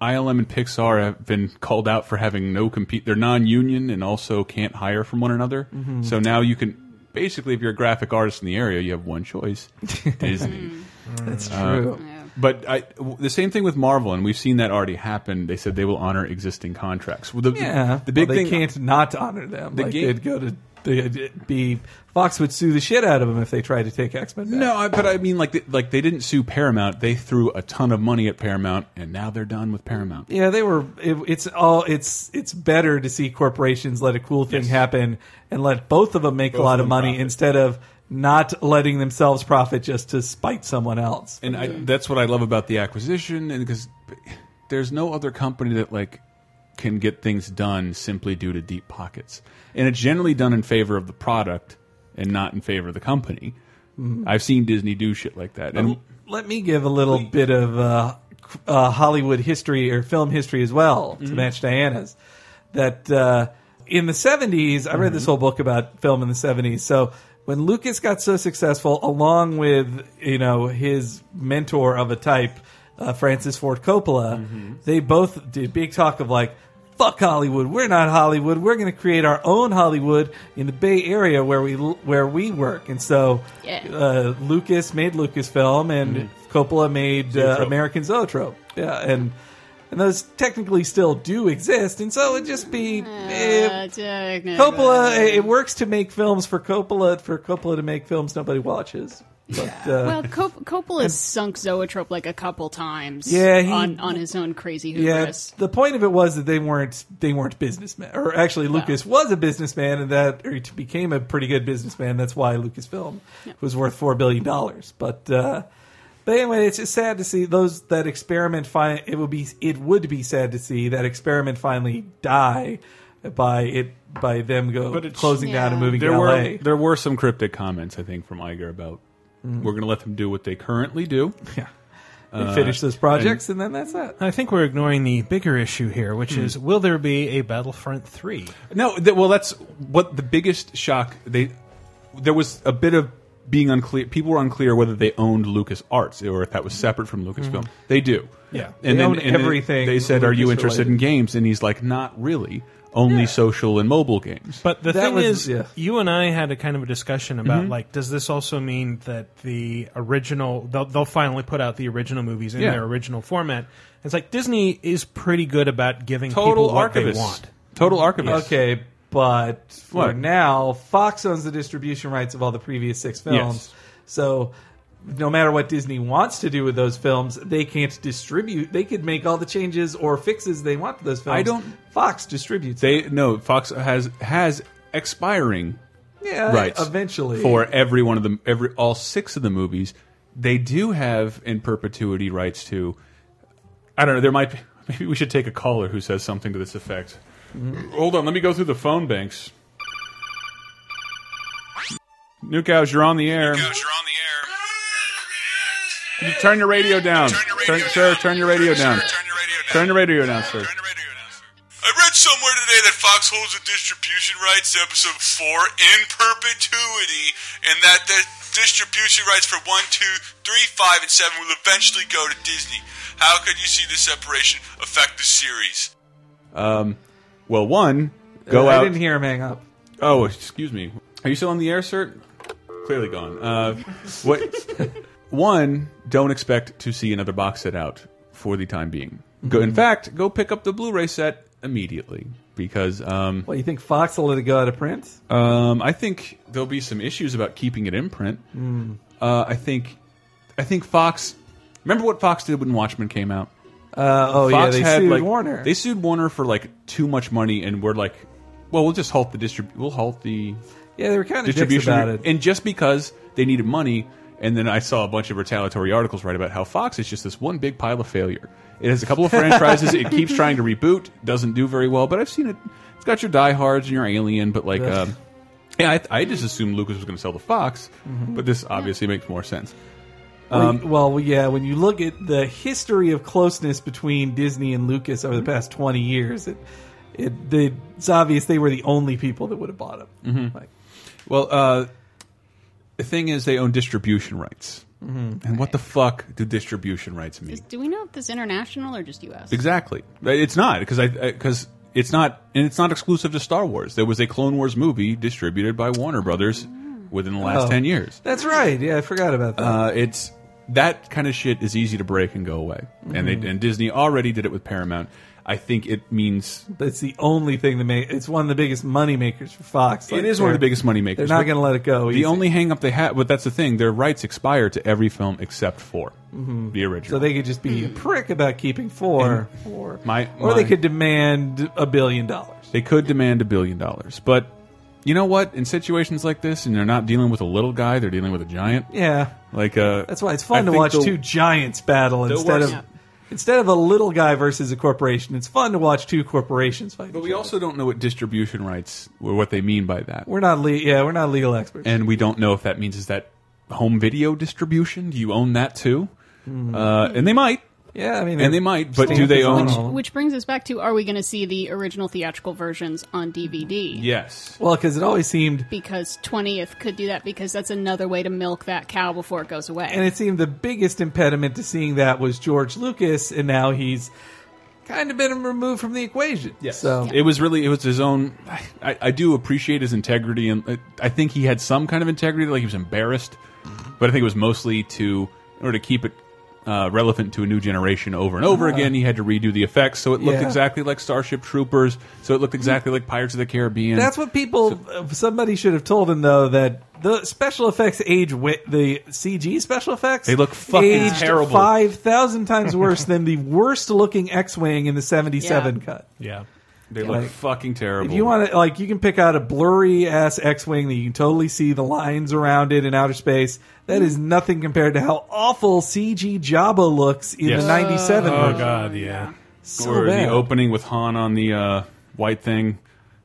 Speaker 2: ILM and Pixar have been called out for having no compete. They're non-union and also can't hire from one another.
Speaker 4: Mm-hmm.
Speaker 2: So now you can basically, if you're a graphic artist in the area, you have one choice: Disney.
Speaker 4: That's true.
Speaker 2: But I, w- the same thing with Marvel, and we've seen that already happen. They said they will honor existing contracts. Well, the,
Speaker 4: yeah,
Speaker 2: the big
Speaker 4: well,
Speaker 2: thing
Speaker 4: they can't not honor them. like
Speaker 2: game-
Speaker 4: they'd go to they'd be Fox would sue the shit out of them if they tried to take X Men.
Speaker 2: No, I, but I mean, like, they, like they didn't sue Paramount. They threw a ton of money at Paramount, and now they're done with Paramount.
Speaker 4: Yeah, they were. It, it's all. It's it's better to see corporations let a cool thing happen and let both of them make a
Speaker 2: Both
Speaker 4: lot
Speaker 2: of
Speaker 4: of
Speaker 2: them
Speaker 4: money
Speaker 2: profit.
Speaker 4: instead of not letting themselves profit just to spite someone else.
Speaker 2: And I, that's what I love about the acquisition, and because there's no other company that like can get things done simply due to deep pockets, and it's generally done in favor of the product and not in favor of the company. I've seen Disney do shit like that, and
Speaker 4: Let me give a little bit of uh, uh, Hollywood history or film history as well to match Diana's. That uh, in the 70s, I read this whole book about film in the 70s. So when Lucas got so successful, along with you know his mentor of a type, uh, Francis Ford Coppola, they both did big talk of like. Fuck Hollywood. We're not Hollywood. We're going to create our own Hollywood in the Bay Area where we where we work. And so
Speaker 5: Yeah.
Speaker 4: uh, Lucas made Lucasfilm, and Coppola made uh, American Zoetrope. Yeah, and and those technically still do exist, and so it'd just be eh,
Speaker 5: Uh, technically.
Speaker 4: Coppola. It, it works to make films for Coppola for Coppola to make films nobody watches. But, uh,
Speaker 5: Well, Cop- Coppola's sunk Zoetrope like a couple times.
Speaker 4: Yeah, he-
Speaker 5: on on his own crazy
Speaker 4: yeah,
Speaker 5: hubris.
Speaker 4: the point of it was that they weren't they weren't businessmen, or actually Lucas was a businessman, and that or he became a pretty good businessman. That's why Lucasfilm was worth four billion dollars. But uh, but anyway, it's just sad to see those that experiment. Fi- it would be it would be sad to see that experiment finally die by it by them go
Speaker 2: But it's-
Speaker 4: closing down and
Speaker 5: Yeah.
Speaker 4: moving
Speaker 2: there
Speaker 4: to
Speaker 2: were
Speaker 4: LA.
Speaker 2: there were some cryptic comments I think from Iger about We're going to let them do what they currently do.
Speaker 4: Yeah. They finish
Speaker 2: Uh,
Speaker 4: those projects and, then that's it.
Speaker 3: I think we're ignoring the bigger issue here, which
Speaker 4: Hmm.
Speaker 3: is will there be a Battlefront 3?
Speaker 2: No, th well, that's what the biggest shock. They there was a bit of being unclear. People were unclear whether they owned Lucas Arts or if that was separate from Lucasfilm. They do.
Speaker 4: Mm-hmm. Yeah.
Speaker 2: and
Speaker 4: They
Speaker 2: then
Speaker 4: own
Speaker 2: and then
Speaker 4: everything
Speaker 2: They said, "Are you
Speaker 4: Lucas
Speaker 2: interested in
Speaker 4: related.
Speaker 2: games?" And he's like, "Not really. Only social and mobile games."
Speaker 3: But the
Speaker 4: That
Speaker 3: thing
Speaker 4: was-
Speaker 3: is,
Speaker 4: yeah.
Speaker 3: you and I had a kind of a discussion about
Speaker 2: Mm-hmm.
Speaker 3: like, does this also mean that the original they'll, they'll finally put out the original movies in
Speaker 2: Yeah.
Speaker 3: their original format? It's like Disney is pretty good about giving
Speaker 2: total
Speaker 3: people what they
Speaker 2: archivist.
Speaker 3: want.
Speaker 2: Total archivist.
Speaker 4: Okay, but for
Speaker 2: What?
Speaker 4: now, Fox owns the distribution rights of all the previous six films.
Speaker 2: Yes.
Speaker 4: So no matter what Disney wants to do with those films, they can't distribute. They could make all the changes or fixes they want to those films.
Speaker 2: I don't-
Speaker 4: Fox distributes.
Speaker 2: They no. Fox has has expiring
Speaker 4: yeah,
Speaker 2: rights
Speaker 4: Uh, eventually
Speaker 2: for every one of them every all six of the movies they do have in perpetuity rights to i don't know there might be maybe we should take a caller who says something to this effect
Speaker 6: Mm-hmm.
Speaker 2: hold on let me go through the phone banks Nukos, you're on the air.
Speaker 6: Guys, you're on the air.
Speaker 2: You turn your radio down.
Speaker 6: Turn your
Speaker 2: Turn,
Speaker 6: radio
Speaker 2: sir,
Speaker 6: down.
Speaker 2: turn your radio
Speaker 6: Sir,
Speaker 2: down.
Speaker 6: Turn your radio down.
Speaker 2: Turn your radio down, sir.
Speaker 6: Turn your radio down, sir. I read somewhere today that Fox holds the distribution rights to episode 4 in perpetuity, and that the distribution rights for 1, 2, 3, 5, and 7 will eventually go to Disney. How could you see this separation affect the series?
Speaker 2: Well, one,
Speaker 4: Uh,
Speaker 2: go
Speaker 4: I
Speaker 2: out.
Speaker 4: didn't hear him hang up.
Speaker 2: Oh, excuse me. Are you still on the air, sir? Clearly gone. Uh, what? One, don't expect to see another box set out for the time being. Go,
Speaker 4: Mm-hmm.
Speaker 2: in fact, go pick up the Blu-ray set immediately because um,
Speaker 4: Well, you think Fox will let it go out of print?
Speaker 2: um, I think there'll be some issues about keeping it in print.
Speaker 4: Mm.
Speaker 2: Uh, I think, I think Fox. Remember what Fox did when Watchmen came out?
Speaker 4: Uh, oh
Speaker 2: Fox
Speaker 4: yeah, they
Speaker 2: had
Speaker 4: sued
Speaker 2: like
Speaker 4: Warner.
Speaker 2: They sued Warner for like too much money, and we're like, well, we'll just halt the distrib. We'll halt the
Speaker 4: yeah, they were kind of dicks
Speaker 2: distribution
Speaker 4: about it.
Speaker 2: and just because they needed money and then i saw a bunch of retaliatory articles right about how fox is just this one big pile of failure it has a couple of franchises it keeps trying to reboot doesn't do very well but i've seen it it's got your diehards and your alien but like
Speaker 4: Ugh.
Speaker 2: um, yeah I, I just assumed lucas was going to sell to fox
Speaker 4: Mm-hmm.
Speaker 2: but this obviously makes more sense Um,
Speaker 4: well, yeah, when you look at the history of closeness between Disney and Lucas over the past 20 years, it, it, they, it's obvious they were the only people that would have bought them.
Speaker 2: Mm-hmm.
Speaker 4: Like,
Speaker 2: well uh, the thing is they own distribution rights
Speaker 4: Mm-hmm.
Speaker 2: and what the fuck do distribution rights mean
Speaker 5: Is- do we know if this is international or just U.S.?
Speaker 2: Exactly. It's not because I because it's not and it's not exclusive to Star Wars. There was a Clone Wars movie distributed by Warner Brothers within the last
Speaker 4: Oh.
Speaker 2: ten years.
Speaker 4: that's right. Yeah, I forgot about that.
Speaker 2: Uh, it's that kind of shit is easy to break and go away. And
Speaker 4: Mm-hmm.
Speaker 2: they and Disney already did it with Paramount. I think it means
Speaker 4: but it's the only thing that made it's one of the biggest money makers for Fox. Like,
Speaker 2: it is one of the
Speaker 4: they're-
Speaker 2: biggest money
Speaker 4: They're
Speaker 2: makers.
Speaker 4: not
Speaker 2: but
Speaker 4: going to let it go.
Speaker 2: the
Speaker 4: easy.
Speaker 2: only hang up they have, but that's the thing. Their rights expire to every film except for the original.
Speaker 4: Mm-hmm. so they could just be a prick about keeping four, or
Speaker 2: My-
Speaker 4: or they
Speaker 2: my-
Speaker 4: could demand a billion dollars.
Speaker 2: They could demand a billion dollars, but you know what? In situations like this, and they're not dealing with a little guy, they're dealing with a giant.
Speaker 4: Yeah,
Speaker 2: Like uh,
Speaker 4: That's why it's
Speaker 2: I
Speaker 4: fun to
Speaker 2: think
Speaker 4: watch
Speaker 2: the-
Speaker 4: two giants battle instead
Speaker 2: worst-
Speaker 4: of instead of a little guy versus a corporation. It's fun to watch two corporations fight.
Speaker 2: But
Speaker 4: each
Speaker 2: we
Speaker 4: other.
Speaker 2: also don't know what distribution rights or what they mean by that,
Speaker 4: we're not le- yeah we're not legal experts.
Speaker 2: and we don't know if that means is that home video distribution? Do you own that too?
Speaker 4: Mm-hmm.
Speaker 2: Uh, and they might,
Speaker 4: yeah, I mean
Speaker 2: and they
Speaker 4: they're-
Speaker 2: might, but
Speaker 4: Stand
Speaker 2: do they
Speaker 4: for
Speaker 2: own?
Speaker 4: phenomenal.
Speaker 5: Which brings us back to: Are we going to see the original theatrical versions on DVD?
Speaker 2: Yes.
Speaker 4: well because it always seemed
Speaker 5: Because twentieth could do that because that's another way to milk that cow before it goes away.
Speaker 4: and it seemed the biggest impediment to seeing that was George Lucas, and now he's kind of been removed from the equation.
Speaker 2: Yes.
Speaker 4: so
Speaker 2: It was really it was his own. I, I do appreciate his integrity, and I- I think he had some kind of integrity. Like he was embarrassed,
Speaker 4: Mm-hmm.
Speaker 2: but I think it was mostly to in order to keep it uh, relevant to a new generation over and over again. He had to redo the effects, so it looked
Speaker 4: Yeah. Mm-hmm.
Speaker 2: exactly like Starship Troopers. So it looked exactly like Pirates of the Caribbean.
Speaker 4: That's what people. uh, somebody should have told him though that the special effects age. Wi- the CG special effects
Speaker 2: They look fucking
Speaker 4: aged
Speaker 2: terrible.
Speaker 4: Five thousand times worse than the worst looking X-wing in the '77
Speaker 5: Yeah.
Speaker 4: cut.
Speaker 3: Yeah.
Speaker 2: they look
Speaker 4: like,
Speaker 2: fucking terrible.
Speaker 4: If you want to, like, you can pick out a blurry ass X-wing that you can totally see the lines around it in outer space. That is nothing compared to how awful CG Jabba looks in
Speaker 2: Yes.
Speaker 4: the '97
Speaker 3: Oh
Speaker 4: version.
Speaker 3: god, yeah.
Speaker 4: So
Speaker 2: or
Speaker 4: bad.
Speaker 2: the opening with Han on the uh, white thing,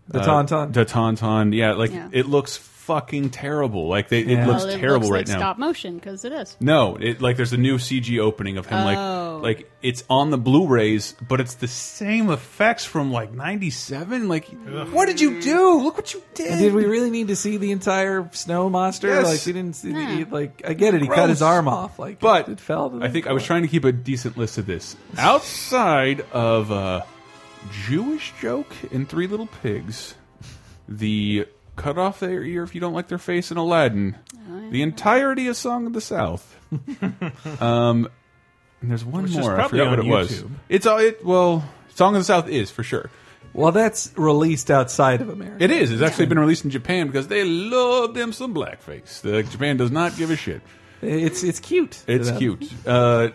Speaker 4: The
Speaker 2: uh,
Speaker 4: tauntaun.
Speaker 2: the tauntaun. Yeah, like
Speaker 5: Yeah.
Speaker 2: it looks fucking terrible. Like they, it
Speaker 4: Yeah.
Speaker 2: looks
Speaker 5: Well, it
Speaker 2: terrible
Speaker 5: looks
Speaker 2: right
Speaker 5: like
Speaker 2: now.
Speaker 5: Stop motion because it is.
Speaker 2: No, it like there's a new CG opening of him
Speaker 5: Oh.
Speaker 2: like like it's on the Blu-rays, but it's the same effects from like 97 like what did you do? Look what you did.
Speaker 4: Did we really need to see the entire snow monster?
Speaker 2: Yes.
Speaker 4: Like we didn't see. The,
Speaker 5: Nah.
Speaker 4: Like I get it. He cut his
Speaker 2: Gross.
Speaker 4: arm off. Like,
Speaker 2: but
Speaker 4: it fell. to the
Speaker 2: I think I was trying to keep a decent list of this. Outside of uh, Jewish joke in Three Little Pigs, the cut off their ear if you don't like their face in Aladdin,
Speaker 4: Oh,
Speaker 2: the entirety of Song of the South. um, and there's one
Speaker 3: Which is
Speaker 2: more. I
Speaker 3: probably
Speaker 2: forgot what
Speaker 3: on
Speaker 2: it was.
Speaker 3: YouTube.
Speaker 2: It's all it. Well, Song of the South is for sure.
Speaker 4: Well, that's released outside of America.
Speaker 2: It is. It's actually been released in Japan because they love them some blackface. The, Japan does not give a shit.
Speaker 4: It's it's cute. to
Speaker 2: It's
Speaker 4: them.
Speaker 2: cute. Uh,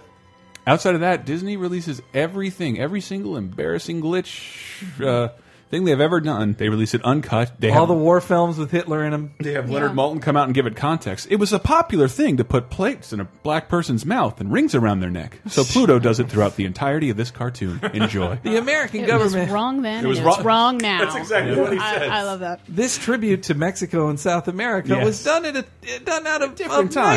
Speaker 2: outside of that, Disney releases everything, every single embarrassing glitch uh, thing they've ever done. They release it uncut. They
Speaker 4: All
Speaker 2: have
Speaker 4: the war films with Hitler in them.
Speaker 2: they have Leonard
Speaker 5: Yeah.
Speaker 2: Maltin come out and give it context. It was a popular thing to put plates in a black person's mouth and rings around their neck. So Pluto does it throughout the entirety of this cartoon. Enjoy.
Speaker 4: The American
Speaker 5: It was
Speaker 4: government.
Speaker 5: wrong then.
Speaker 2: was
Speaker 5: and it's
Speaker 2: wrong-
Speaker 5: wrong now.
Speaker 7: That's exactly what he
Speaker 5: I,
Speaker 7: says.
Speaker 5: I love that.
Speaker 4: This tribute to Mexico and South America
Speaker 2: Yes.
Speaker 4: was done at a, done out of,
Speaker 2: different
Speaker 4: of
Speaker 2: time.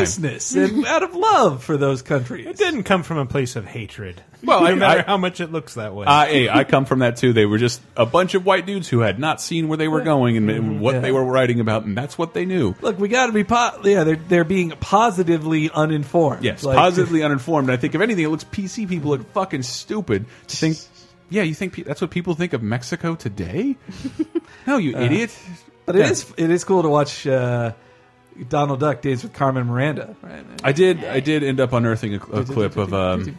Speaker 4: niceness and out of love for those countries.
Speaker 3: It didn't come from a place of hatred.
Speaker 2: Well,
Speaker 3: no
Speaker 2: I-
Speaker 3: matter
Speaker 2: I- Uh,
Speaker 3: how much it looks that way.
Speaker 2: I, Ah, hey, I come from that too. They were just a bunch of white dudes who had not seen where they were going and, and what
Speaker 4: Mm-hmm. Yeah.
Speaker 2: they were writing about, and that's what they knew.
Speaker 4: Look, we got to be po- yeah. They're they're being positively uninformed.
Speaker 2: Yes,
Speaker 4: Like,
Speaker 2: positively uninformed. And I think if anything, it looks PC people look fucking stupid to think. Yeah, you think pe that's what people think of Mexico today? no, you idiot.
Speaker 4: But it
Speaker 2: Yeah.
Speaker 4: is it is cool to watch uh, Donald Duck Days with Carmen Miranda. Right.
Speaker 2: I did. I did end up unearthing a, a clip of. Um,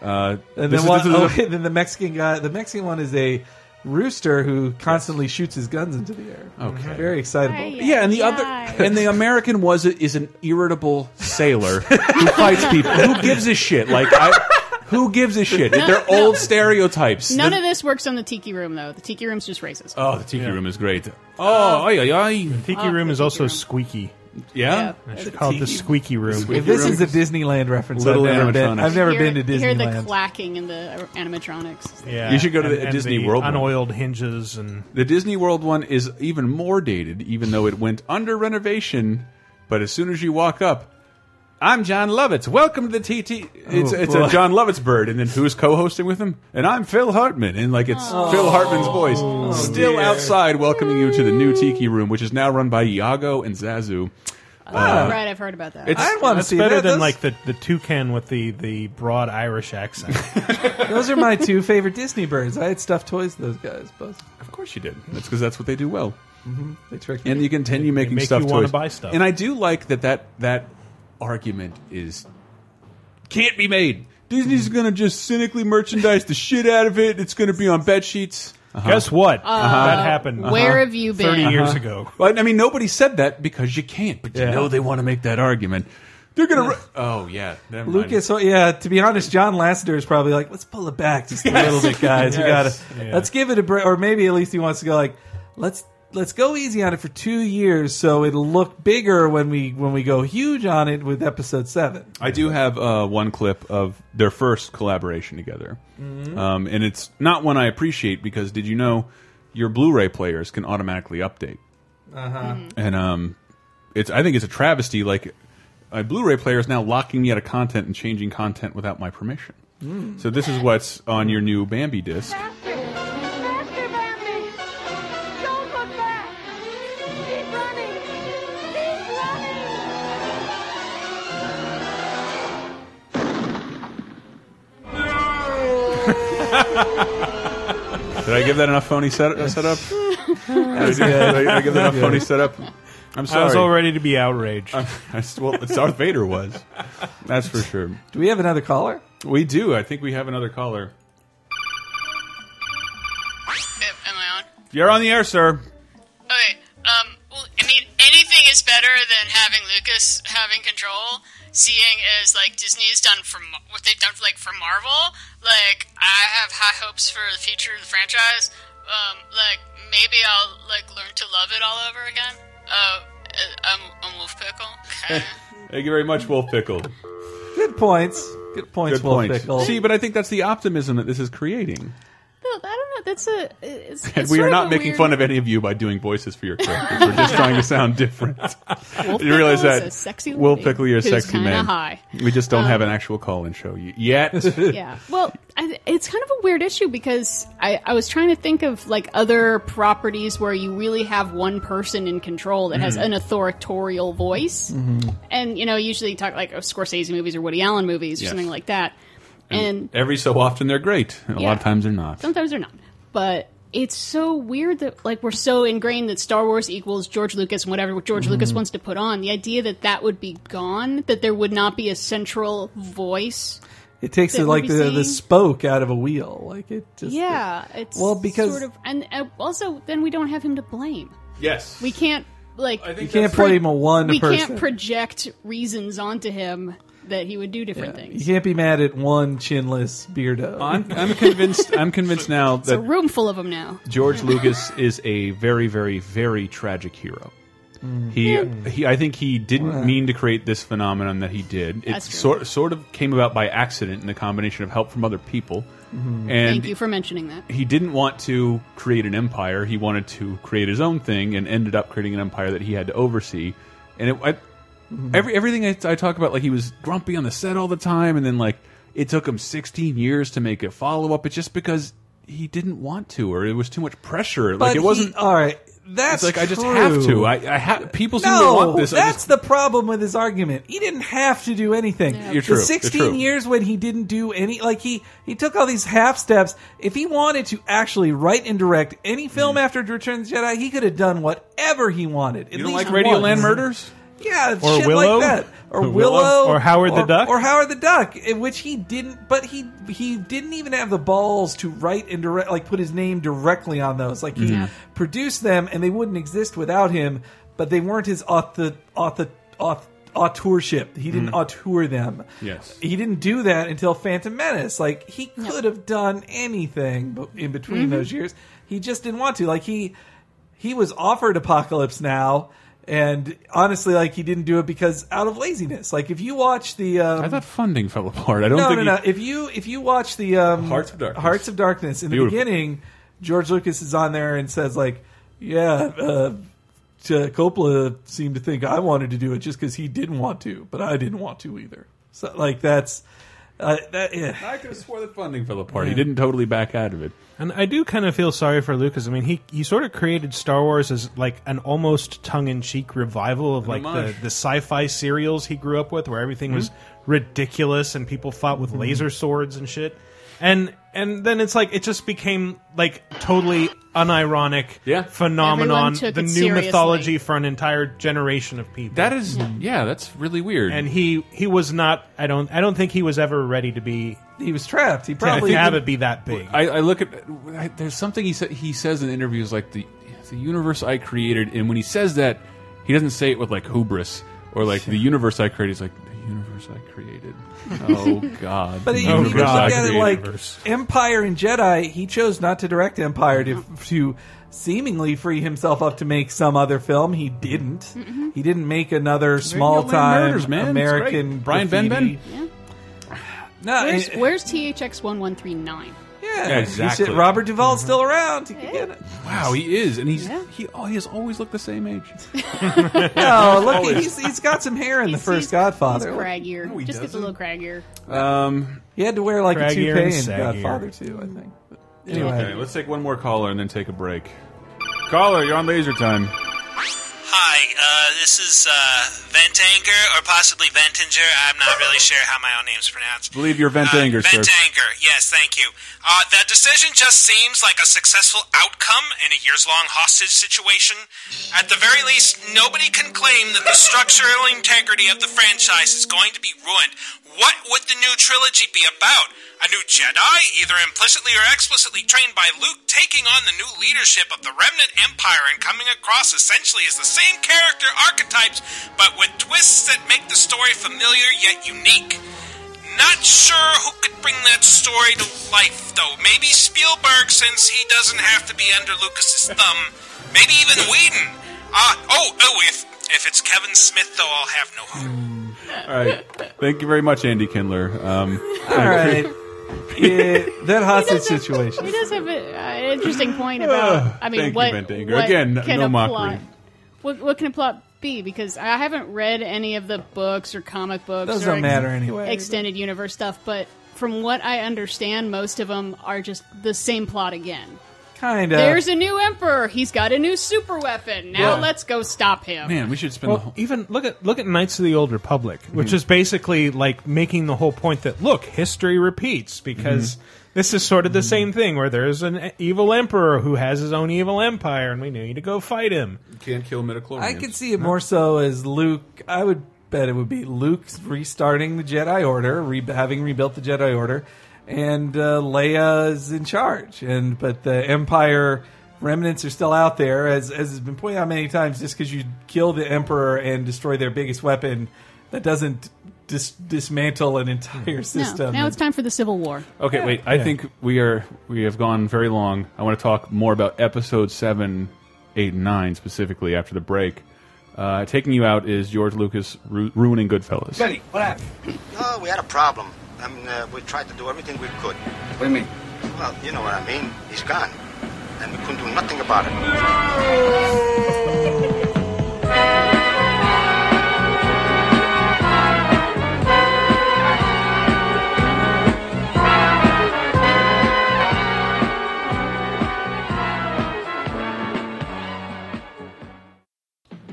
Speaker 2: uh, this
Speaker 4: And then
Speaker 2: is-
Speaker 4: one,
Speaker 2: this is
Speaker 4: oh,
Speaker 2: a-
Speaker 4: and then the Mexican guy. The Mexican one is a rooster who constantly shoots his guns into the air. Mm-hmm.
Speaker 2: Okay.
Speaker 4: Very excitable.
Speaker 2: yeah, and the other
Speaker 5: Oh, Yeah.
Speaker 2: and the American was a, is an irritable sailor who fights people. Who gives a shit? Like I, who gives a shit? They're old stereotypes.
Speaker 5: None
Speaker 2: The-
Speaker 5: of this works on the tiki room though. The tiki room's just racist.
Speaker 2: oh, the tiki room is great. Oh, ay, ay, ay.
Speaker 3: Tiki
Speaker 5: Oh,
Speaker 3: Room is
Speaker 5: Tiki
Speaker 3: also
Speaker 5: Room.
Speaker 3: squeaky.
Speaker 2: yeah.
Speaker 3: I should call it the Squeaky Room.
Speaker 4: If this is a Disneyland reference,
Speaker 2: Little
Speaker 4: I've never been.
Speaker 2: animatronics.
Speaker 4: I've never
Speaker 5: You
Speaker 4: been
Speaker 5: hear-
Speaker 4: to
Speaker 5: you hear the
Speaker 4: Disneyland.
Speaker 5: clacking in the animatronics.
Speaker 3: Yeah,
Speaker 2: You should go to the
Speaker 3: and- and
Speaker 2: Disney World one.
Speaker 3: Unoiled hinges and
Speaker 2: The Disney World one is even more dated, even though it went under renovation. But as soon as you walk up, I'm John Lovitz. Welcome to the TT. It's,
Speaker 4: Oh,
Speaker 2: it's
Speaker 4: boy.
Speaker 2: a John Lovitz bird, and then who's co-hosting with him? And I'm Phil Hartman, and like it's
Speaker 4: Oh.
Speaker 2: Phil Hartman's voice still outside, welcoming you to the new Tiki Room, which is now run by Iago and Zazu.
Speaker 5: Oh, right, I've heard about that.
Speaker 2: It's
Speaker 4: I want to
Speaker 3: that's
Speaker 4: see
Speaker 3: better
Speaker 4: that.
Speaker 3: than
Speaker 4: Those-
Speaker 3: like the, the toucan with the, the broad Irish accent.
Speaker 4: Those are my two favorite Disney birds. I had stuffed toys. to Those guys, both.
Speaker 2: of course you did. That's because that's what they do well.
Speaker 4: They tricked me.
Speaker 2: and you continue making
Speaker 3: make
Speaker 2: stuff
Speaker 3: you wanna
Speaker 2: toys.
Speaker 3: buy stuff.
Speaker 2: And I do like that that that argument is can't be made. Disney's
Speaker 3: Hmm.
Speaker 2: going to just cynically merchandise the shit out of it. It's going to be on bed sheets.
Speaker 3: Guess what? That happened
Speaker 5: Uh-huh.
Speaker 2: Uh-huh.
Speaker 5: Where have you been?
Speaker 3: 30 years ago.
Speaker 2: But I mean, nobody said that because you can't. But you
Speaker 4: Yeah.
Speaker 2: know they want to make that argument. They're going to. Oh yeah, never mind.
Speaker 4: Lucas, oh, yeah. To be honest, John Lasseter is probably like, let's pull it back just a little bit, guys. You
Speaker 3: Yes.
Speaker 4: gotta
Speaker 3: Yeah.
Speaker 4: let's give it a break, or maybe at least he wants to go like, let's let's go easy on it for two years, so it'll look bigger when we when we go huge on it with episode seven.
Speaker 2: I do have uh, one clip of their first collaboration together,
Speaker 3: Mm-hmm.
Speaker 2: um, and it's not one I appreciate because did you know your Blu-ray players can automatically update?
Speaker 3: Uh-huh.
Speaker 2: And um, it's I think it's a travesty. Like a Blu-ray player is now locking me out of content and changing content without my permission.
Speaker 3: Mm.
Speaker 2: So this is what's on your new Bambi disc.
Speaker 8: Faster! Faster, Bambi! Don't look back! Keep running! Keep running!
Speaker 2: Did I give that enough phony set setup? Did I, do- did I give that enough phony setup? I'm sorry.
Speaker 3: I was all ready to be outraged.
Speaker 2: I s- well, Darth Vader was. That's for sure.
Speaker 4: Do we have another caller?
Speaker 2: We do. I think we have another caller.
Speaker 9: Am I on?
Speaker 2: You're on the air, sir.
Speaker 9: Okay. Um. Well, I mean, anything is better than having Lucas having control. Seeing as like Disney's done for Ma- what they've done for like for Marvel, like I have high hopes for the future of the franchise. Um. Like maybe I'll like learn to love it all over again. Uh. I'm, I'm Wolf Pickle. Okay.
Speaker 2: Thank you very much, Wolf Pickle.
Speaker 4: Good points. Good points.
Speaker 2: Good
Speaker 4: Wolf
Speaker 2: point.
Speaker 4: Pickle.
Speaker 2: See, but I think that's the optimism that this is creating.
Speaker 5: No, I don't know. that's a. It's,
Speaker 2: And
Speaker 5: it's
Speaker 2: we
Speaker 5: sort
Speaker 2: are not
Speaker 5: a
Speaker 2: making
Speaker 5: weird-
Speaker 2: fun of any of you by doing voices for your characters. We're just trying to sound different.
Speaker 5: Wolf
Speaker 2: you realize
Speaker 5: Pickle is
Speaker 2: that
Speaker 5: a sexy
Speaker 2: Will
Speaker 5: lady
Speaker 2: Pickle, you're a
Speaker 5: who's
Speaker 2: sexy
Speaker 5: kinda
Speaker 2: man.
Speaker 5: high. Um,
Speaker 2: We just don't have an actual call-in show y- yet.
Speaker 5: yeah. Well, I, it's kind of a weird issue because I, I was trying to think of like other properties where you really have one person in control that has an authoritarian voice, and you know, usually you talk like oh, Scorsese movies or Woody Allen movies or
Speaker 2: Yes.
Speaker 5: something like that, and
Speaker 2: Every so often they're great. and A
Speaker 5: Yeah.
Speaker 2: lot of times they're not.
Speaker 5: sometimes they're not, but. It's so weird that like we're so ingrained that Star Wars equals George Lucas and whatever George Lucas wants to put on. The idea that that would be gone, that there would not be a central voice.
Speaker 4: It takes
Speaker 5: That
Speaker 4: the, like
Speaker 5: we'll
Speaker 4: the,
Speaker 5: be
Speaker 4: the
Speaker 5: seeing.
Speaker 4: spoke out of a wheel. Like it just
Speaker 5: Yeah, it's
Speaker 4: Well, because-
Speaker 5: sort of, and uh, also then we don't have him to blame.
Speaker 2: Yes.
Speaker 5: We can't like
Speaker 4: You can't blame a one
Speaker 5: we
Speaker 4: person.
Speaker 5: can't project reasons onto him that he would do different
Speaker 4: You
Speaker 5: things.
Speaker 4: can't be mad at one chinless beardo.
Speaker 2: I'm, I'm convinced. I'm convinced now
Speaker 5: It's a
Speaker 2: that
Speaker 5: room full of them now.
Speaker 2: George Lucas is a very, very, very tragic hero. He,
Speaker 5: Hmm.
Speaker 2: he, I think he didn't mean to create this phenomenon that he did. It
Speaker 5: That's true.
Speaker 2: sort, sort of came about by accident in the combination of help from other people, and
Speaker 5: Hmm. Thank you for mentioning that.
Speaker 2: he didn't want to create an empire. He wanted to create his own thing, and ended up creating an empire that he had to oversee. And it, I,
Speaker 4: Mm-hmm.
Speaker 2: every everything I, I talk about, like he was grumpy on the set all the time, and then like it took him 16 years to make a follow up. It's just because he didn't want to, or it was too much pressure.
Speaker 4: but
Speaker 2: like it wasn't.
Speaker 4: he- all right. That's
Speaker 2: it's like I just
Speaker 4: true.
Speaker 2: have to. I, I ha people seem to
Speaker 4: no,
Speaker 2: want this. I
Speaker 4: that's
Speaker 2: just-
Speaker 4: the problem with his argument. He didn't have to do anything.
Speaker 2: You're true. You're
Speaker 4: The 16
Speaker 2: true.
Speaker 4: years when he didn't do any, like he he took all these half steps. If he wanted to actually write and direct any film after Return of the Jedi, he could have done whatever he wanted. At
Speaker 2: you don't
Speaker 4: least
Speaker 2: like Radio
Speaker 4: once.
Speaker 2: Land Murders?
Speaker 4: Yeah,
Speaker 3: Or
Speaker 4: shit
Speaker 3: Willow?
Speaker 4: like that, or
Speaker 3: Or
Speaker 4: Willow,
Speaker 3: Willow? Or Howard the Duck?
Speaker 4: or Howard the Duck, in which he didn't. But he he didn't even have the balls to write and direct, like put his name directly on those. Like he produced them, and they wouldn't exist without him. But they weren't his author author auth authorship. He
Speaker 3: Mm.
Speaker 4: didn't auteur them.
Speaker 2: Yes.
Speaker 4: he didn't do that until Phantom Menace. Like he could have done anything but in between those years. He just didn't want to. Like he he was offered Apocalypse Now, and honestly, like he didn't do it because out of laziness. Like if you watch the, um,
Speaker 2: I thought funding fell apart. I don't
Speaker 4: no,
Speaker 2: think.
Speaker 4: no, no.
Speaker 2: he-
Speaker 4: If you if you watch the um,
Speaker 2: Hearts of Darkness.
Speaker 4: Hearts of Darkness in
Speaker 2: Beautiful.
Speaker 4: the beginning, George Lucas is on there and says like, yeah. Uh, to Coppola seemed to think I wanted to do it just because he didn't want to, but I didn't want to either. So like that's uh, that. Yeah.
Speaker 2: I could have swore that funding fell apart. He didn't totally back out of it.
Speaker 3: And I do kind of feel sorry for Lucas. I mean, he he sort of created Star Wars as like an almost tongue in cheek revival of like the,
Speaker 2: homage. Mm-hmm.
Speaker 3: the sci fi serials he grew up with, where everything was ridiculous and people fought with laser swords and shit. And and then it's like it just became like totally unironic
Speaker 2: Yeah.
Speaker 3: phenomenon,
Speaker 5: Everyone took
Speaker 3: the
Speaker 5: it
Speaker 3: new
Speaker 5: seriously.
Speaker 3: mythology for an entire generation of people.
Speaker 2: That is, yeah, that's really weird.
Speaker 3: and he he was not. I don't I don't think he was ever ready to be
Speaker 4: He was trapped. He
Speaker 3: to
Speaker 4: probably
Speaker 3: have
Speaker 4: didn't-
Speaker 3: it be that big.
Speaker 2: I, I look at I, there's something he sa he says in interviews like the the universe I created, and when he says that, he doesn't say it with like hubris or like the universe I created. He's like the universe I created. Oh God!
Speaker 4: But
Speaker 2: the
Speaker 4: if you
Speaker 2: universe
Speaker 4: look
Speaker 2: I
Speaker 4: at it
Speaker 2: created.
Speaker 4: like Empire and Jedi, he chose not to direct Empire to, to seemingly free himself up to make some other film. He didn't.
Speaker 5: Mm-hmm.
Speaker 4: He didn't make another small time
Speaker 2: Murders, man. It's
Speaker 4: American
Speaker 2: great. Brian
Speaker 4: graffiti.
Speaker 2: Benben?
Speaker 5: Yeah.
Speaker 4: No,
Speaker 5: Where's
Speaker 4: it-
Speaker 5: where's THX one one three nine?
Speaker 4: yeah,
Speaker 2: Yeah,
Speaker 4: You
Speaker 2: exactly. Mm-hmm.
Speaker 4: said Robert Duvall's still around. He can get it.
Speaker 2: wow, he is, and he's
Speaker 5: Yeah.
Speaker 2: he oh, he has always looked the same age.
Speaker 4: No, look, he's, he's got some hair in the
Speaker 5: He's-
Speaker 4: first
Speaker 5: he's-
Speaker 4: Godfather.
Speaker 5: He's craggier.
Speaker 2: he
Speaker 5: Just gets a little craggier.
Speaker 2: Um,
Speaker 4: he had to wear like a
Speaker 3: Craggier
Speaker 4: toupee
Speaker 3: and
Speaker 4: in
Speaker 3: saggier.
Speaker 4: Godfather too, I think. But anyway,
Speaker 2: okay, let's take one more caller and then take a break. Caller, you're on laser time.
Speaker 6: Hi, uh, this is uh, Ventanger, or possibly Ventinger. I'm not really sure how my own name's pronounced.
Speaker 2: Believe you're Ventanger,
Speaker 6: uh,
Speaker 2: sir.
Speaker 6: Ventanger, yes, thank you. Uh, that decision just seems like a successful outcome in a years long hostage situation. At the very least, nobody can claim that the structural integrity of the franchise is going to be ruined. What would the new trilogy be about? A new Jedi, either implicitly or explicitly trained by Luke, taking on the new leadership of the Remnant Empire and coming across essentially as the same character archetypes, but with twists that make the story familiar yet unique. Not sure who could bring that story to life, though. Maybe Spielberg, since he doesn't have to be under Lucas's thumb. Maybe even Whedon. Uh, oh, oh, if if it's Kevin Smith, though, I'll have no hope.
Speaker 2: All right, thank you very much, Andy Kindler. Um,
Speaker 4: all right. it, that hostage
Speaker 5: doesn't-
Speaker 4: situation.
Speaker 5: He does have a- an interesting point about. I
Speaker 2: Thank
Speaker 5: mean,
Speaker 2: you,
Speaker 5: what,
Speaker 2: Van Dinger.
Speaker 5: what
Speaker 2: Again,
Speaker 5: can
Speaker 2: no
Speaker 5: a
Speaker 2: mockery.
Speaker 5: Plot, what, what can a plot be? Because I haven't read any of the books or comic books.
Speaker 4: Those
Speaker 5: or
Speaker 4: don't
Speaker 5: ex-
Speaker 4: matter anyway.
Speaker 5: Extended universe stuff, but from what I understand, most of them are just the same plot again.
Speaker 4: Kind of.
Speaker 5: There's a new emperor. He's got a new super weapon.
Speaker 4: Yeah.
Speaker 5: Now let's go stop him.
Speaker 2: Man, we should spend the
Speaker 3: Well, e-
Speaker 2: whole.
Speaker 3: even look at look at Knights of the Old Republic, which is basically like making the whole point that look, history repeats because this is sort of the same thing where there's an e- evil emperor who has his own evil empire, and we need to go fight him.
Speaker 2: Can't kill midichlorians.
Speaker 4: I could see it more so as Luke. I would bet it would be Luke restarting the Jedi Order, re- having rebuilt the Jedi Order, and uh, Leia is in charge. And but the Empire remnants are still out there, as as has been pointed out many times. Just because you kill the Emperor and destroy their biggest weapon, that doesn't dis- dismantle an entire
Speaker 5: No,
Speaker 4: system.
Speaker 5: now it's time for the civil war.
Speaker 2: Okay, wait. I think we are we have gone very long. I want to talk more about episode seven, eight, and nine specifically after the break. Uh, taking you out is George Lucas ru ruining Goodfellas.
Speaker 10: what happened?
Speaker 11: No, we had a problem. I mean, uh, we tried to do everything we could.
Speaker 10: What do you mean?
Speaker 11: Well, you know what I mean. He's gone. And we couldn't do nothing about it.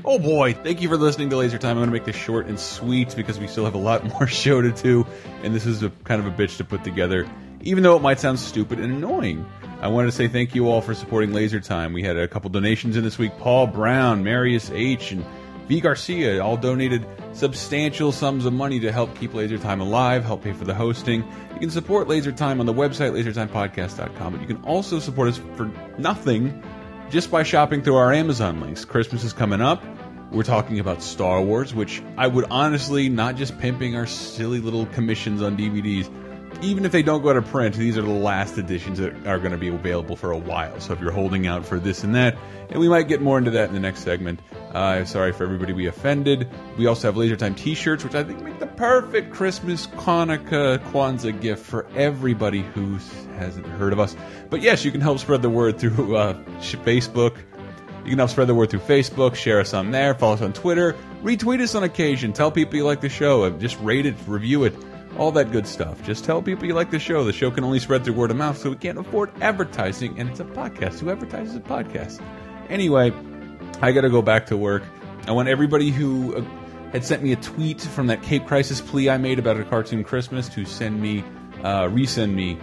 Speaker 2: Oh boy! Thank you for listening to Laser Time. I'm going to make this short and sweet because we still have a lot more show to do, and this is a kind of a bitch to put together. Even though it might sound stupid and annoying, I wanted to say thank you all for supporting Laser Time. We had a couple donations in this week. Paul Brown, Marius H, and V Garcia all donated substantial sums of money to help keep Laser Time alive, help pay for the hosting. You can support Laser Time on the website lasertimepodcast.com, but you can also support us for nothing just by shopping through our Amazon links. Christmas is coming up. We're talking about Star Wars, which I would honestly, not just pimping our silly little commissions on DVDs, even if they don't go out of print, these are the last editions that are going to be available for a while. So if you're holding out for this and that, and we might get more into that in the next segment. Uh, sorry for everybody we offended. We also have Laser Time t shirts, which I think make the perfect Christmas, Hanukkah, Kwanzaa gift for everybody who hasn't heard of us. But yes, you can help spread the word through uh, sh- Facebook. You can help spread the word through Facebook, share us on there, follow us on Twitter, retweet us on occasion, tell people you like the show, and just rate it, review it, all that good stuff. Just tell people you like the show. The show can only spread through word of mouth, so we can't afford advertising, and it's a podcast. Who advertises a podcast? Anyway, I got to go back to work. I want everybody who uh, had sent me a tweet from that Cape Crisis plea I made about a cartoon Christmas to send me, uh, resend me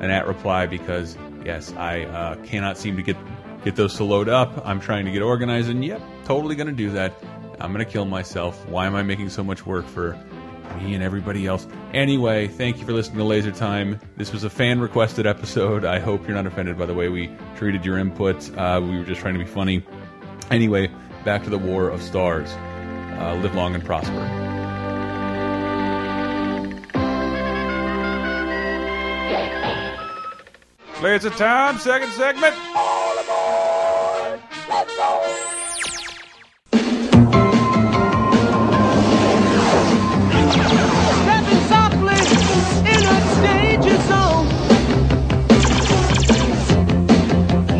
Speaker 2: an at reply because yes, I uh, cannot seem to get get those soloed up. I'm trying to get organized, and yep, totally gonna do that. I'm gonna kill myself. Why am I making so much work for me and everybody else? Anyway, thank you for listening to Laser Time. This was a fan requested episode. I hope you're not offended by the way we treated your input. Uh, we were just trying to be funny. Anyway, back to the War of Stars. Uh, live long and prosper.
Speaker 7: Laser time, second segment.
Speaker 8: Stepping softly in a danger zone.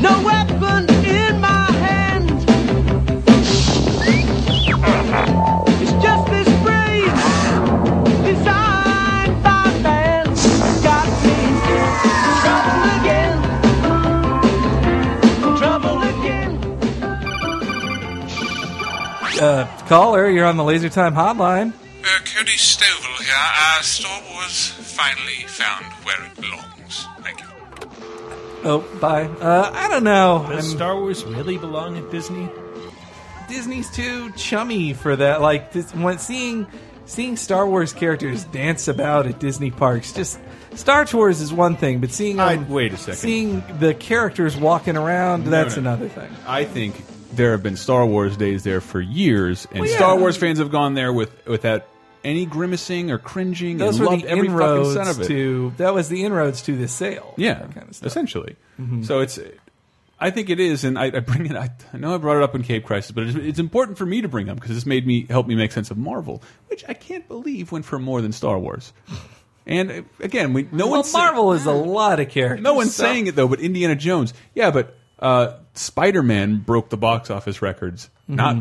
Speaker 8: No weapon in my hand. It's just this phrase designed by man. Got me in trouble again. Trouble again.
Speaker 4: uh, caller, you're on the Laser Time hotline.
Speaker 6: Uh, Cody Stovall here. Uh, Star Wars finally found where it belongs. Thank you.
Speaker 4: Oh, bye. Uh, I don't know. I'm-
Speaker 3: Does Star Wars really belong at Disney?
Speaker 4: Disney's too chummy for that. Like this, when seeing seeing Star Wars characters dance about at Disney parks, just Star Wars is one thing, but seeing
Speaker 2: I-
Speaker 4: them-
Speaker 2: wait a second.
Speaker 4: seeing the characters walking around, that's
Speaker 2: no.
Speaker 4: another thing.
Speaker 2: I think there have been Star Wars days there for years,
Speaker 4: Oh,
Speaker 2: and Star Wars fans have gone there with without any grimacing or cringing.
Speaker 4: Those
Speaker 2: and
Speaker 4: were
Speaker 2: loved
Speaker 4: the
Speaker 2: every fucking
Speaker 4: inroads
Speaker 2: cent of it.
Speaker 4: to that was the inroads to this sale.
Speaker 2: yeah,
Speaker 4: that kind of stuff. Mm-hmm.
Speaker 2: essentially. So it's. I think it is, and I, I bring it. I, I know I brought it up in Cape Crisis, but it's, it's important for me to bring up because this made me help me make sense of Marvel, which I can't believe went for more than Star Wars. And uh, again, we no
Speaker 4: well,
Speaker 2: one's
Speaker 4: Marvel is a lot of characters.
Speaker 2: no one's
Speaker 4: so-
Speaker 2: saying it though, but Indiana Jones. Yeah, but uh, Spider Man broke the box office records.
Speaker 4: Mm-hmm.
Speaker 2: Not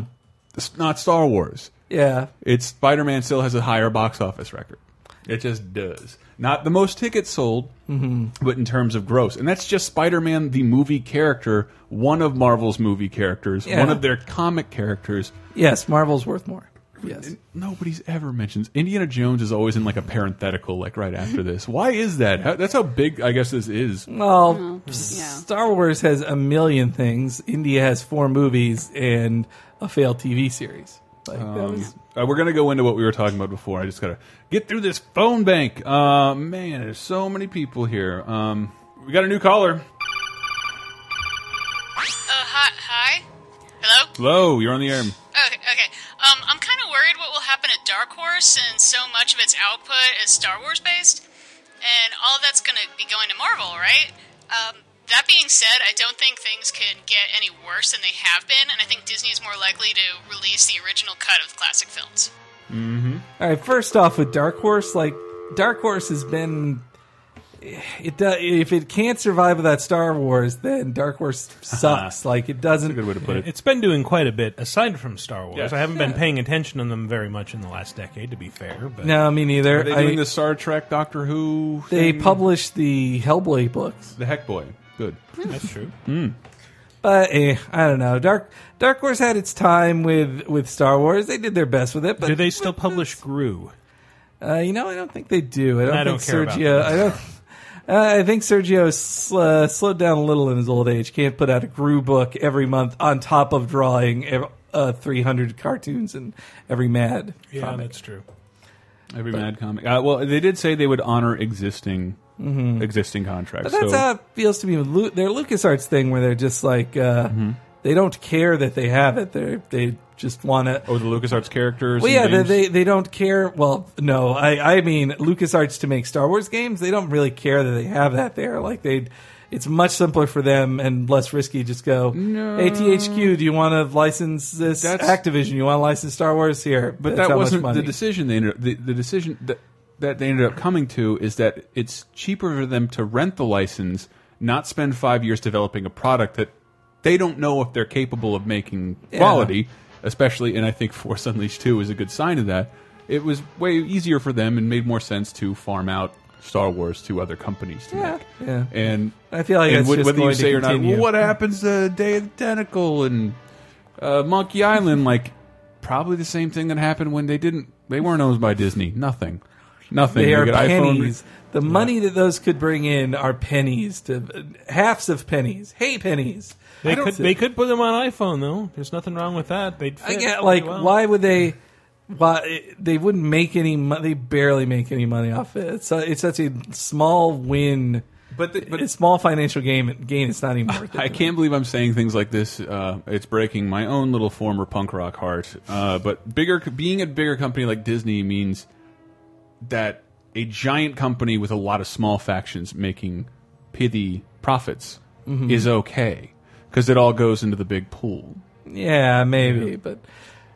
Speaker 2: not Star Wars.
Speaker 4: Yeah,
Speaker 2: It's Spider Man still has a higher box office record. It just does. Not the most tickets sold, but in terms of gross. And that's just Spider Man, the movie character, one of Marvel's movie characters,
Speaker 4: Yeah.
Speaker 2: one of their comic characters.
Speaker 4: yes, Marvel's worth more. Yes,
Speaker 2: Nobody's ever mentions Indiana Jones is always in like a parenthetical, like right after this. Why is that? How, that's how big I guess this is.
Speaker 4: well,
Speaker 5: yeah.
Speaker 4: Star Wars has a million things. India has four movies and a failed TV series. Like, that was,
Speaker 2: Uh, we're gonna go into what we were talking about before. I just gotta get through this phone bank. Uh, man, there's so many people here. Um, we got a new caller.
Speaker 9: Uh, hi, hi. Hello.
Speaker 2: Hello, you're on the air.
Speaker 9: Okay. okay. Um, I'm kind of worried what will happen at Dark Horse, since so much of its output is Star Wars based, and all that's going to be going to Marvel, right? Um, that being said, I don't think things can get any worse than they have been, and I think Disney is more likely to release the original cut of classic films.
Speaker 4: all right, first off with Dark Horse, like Dark Horse has been. It do- if it can't survive without Star Wars, then Dark Horse sucks. like it doesn't.
Speaker 2: Good way to put it.
Speaker 3: It's been doing quite a bit aside from Star Wars.
Speaker 2: Yes.
Speaker 3: I haven't been paying attention to them very much in the last decade, to be fair. But
Speaker 4: No, me neither.
Speaker 2: Are they
Speaker 4: I-
Speaker 2: doing the Star Trek Doctor Who?
Speaker 4: they
Speaker 2: thing?
Speaker 4: published the Hellblade books.
Speaker 2: the Heck Boy. Good.
Speaker 3: that's true.
Speaker 4: But eh, I don't know. Dark Dark Horse had its time with with Star Wars. They did their best with it. But
Speaker 3: Do they still publish Gru?
Speaker 4: Uh, you know, I don't think they do. I don't,
Speaker 3: I don't
Speaker 4: think
Speaker 3: care about
Speaker 4: Sergio. I don't. Uh, I think Sergio sl- uh, slowed down a little in his old age. Can't put out a Gru book every month on top of drawing ev- uh, 300 cartoons and every Mad
Speaker 3: Yeah,
Speaker 4: comic.
Speaker 3: that's true.
Speaker 4: Mm-hmm.
Speaker 2: Every Mad Comic. Uh, well, they did say they would honor existing existing contracts.
Speaker 4: Mm-hmm. But that's uh,
Speaker 2: so
Speaker 4: how it feels to me with Lu- their LucasArts thing, where they're just like uh,
Speaker 3: Mm-hmm.
Speaker 4: they don't care that they have it. They they just want to.
Speaker 2: oh, the LucasArts characters.
Speaker 4: Well, yeah,
Speaker 2: and
Speaker 4: they,
Speaker 2: games?
Speaker 4: they they don't care. Well, no, I I mean LucasArts to make Star Wars games, they don't really care that they have that there. Like they, it's much simpler for them and less risky. Just go, hey THQ, do you want to license this
Speaker 2: That's-
Speaker 4: Activision? You want to license Star Wars here?
Speaker 2: but
Speaker 4: That's
Speaker 2: that
Speaker 4: how
Speaker 2: wasn't
Speaker 4: much
Speaker 2: the
Speaker 4: money.
Speaker 2: decision. They ended up, the, the decision that that they ended up coming to is that it's cheaper for them to rent the license, not spend five years developing a product that they don't know if they're capable of making quality. Especially, and I think Force Unleashed Two is a good sign of that. It was way easier for them and made more sense to farm out Star Wars to other companies to
Speaker 4: Yeah,
Speaker 2: make.
Speaker 4: yeah.
Speaker 2: And
Speaker 4: I feel like
Speaker 2: and
Speaker 4: that's
Speaker 2: wh-
Speaker 4: just
Speaker 2: whether
Speaker 4: going
Speaker 2: you
Speaker 4: to
Speaker 2: say or not,
Speaker 4: continue.
Speaker 2: what happens to Day of the Tentacle and uh, Monkey Island? Like probably the same thing that happened when they didn't. They weren't owned by Disney. Nothing. Nothing.
Speaker 4: They
Speaker 2: You
Speaker 4: are
Speaker 2: get iPhone-
Speaker 4: pennies. The money that those could bring in are pennies to halves of pennies. Hey, pennies.
Speaker 3: They
Speaker 4: I don't
Speaker 3: could
Speaker 4: see-
Speaker 3: they could put them on iPhone though. There's nothing wrong with that. They'd
Speaker 4: I
Speaker 3: fit
Speaker 4: get like
Speaker 3: pretty well.
Speaker 4: why would they? Why they wouldn't make any money? They barely make any money off it. It's, a, it's such a small win,
Speaker 2: But the- but-
Speaker 4: a small financial gain. Gain. It's not even worth it.
Speaker 2: I can't believe I'm saying things like this. Uh, it's breaking my own little former punk rock heart. Uh, but bigger, being a bigger company like Disney means that a giant company with a lot of small factions making pithy profits is okay because it all goes into the big pool.
Speaker 4: Yeah, maybe, but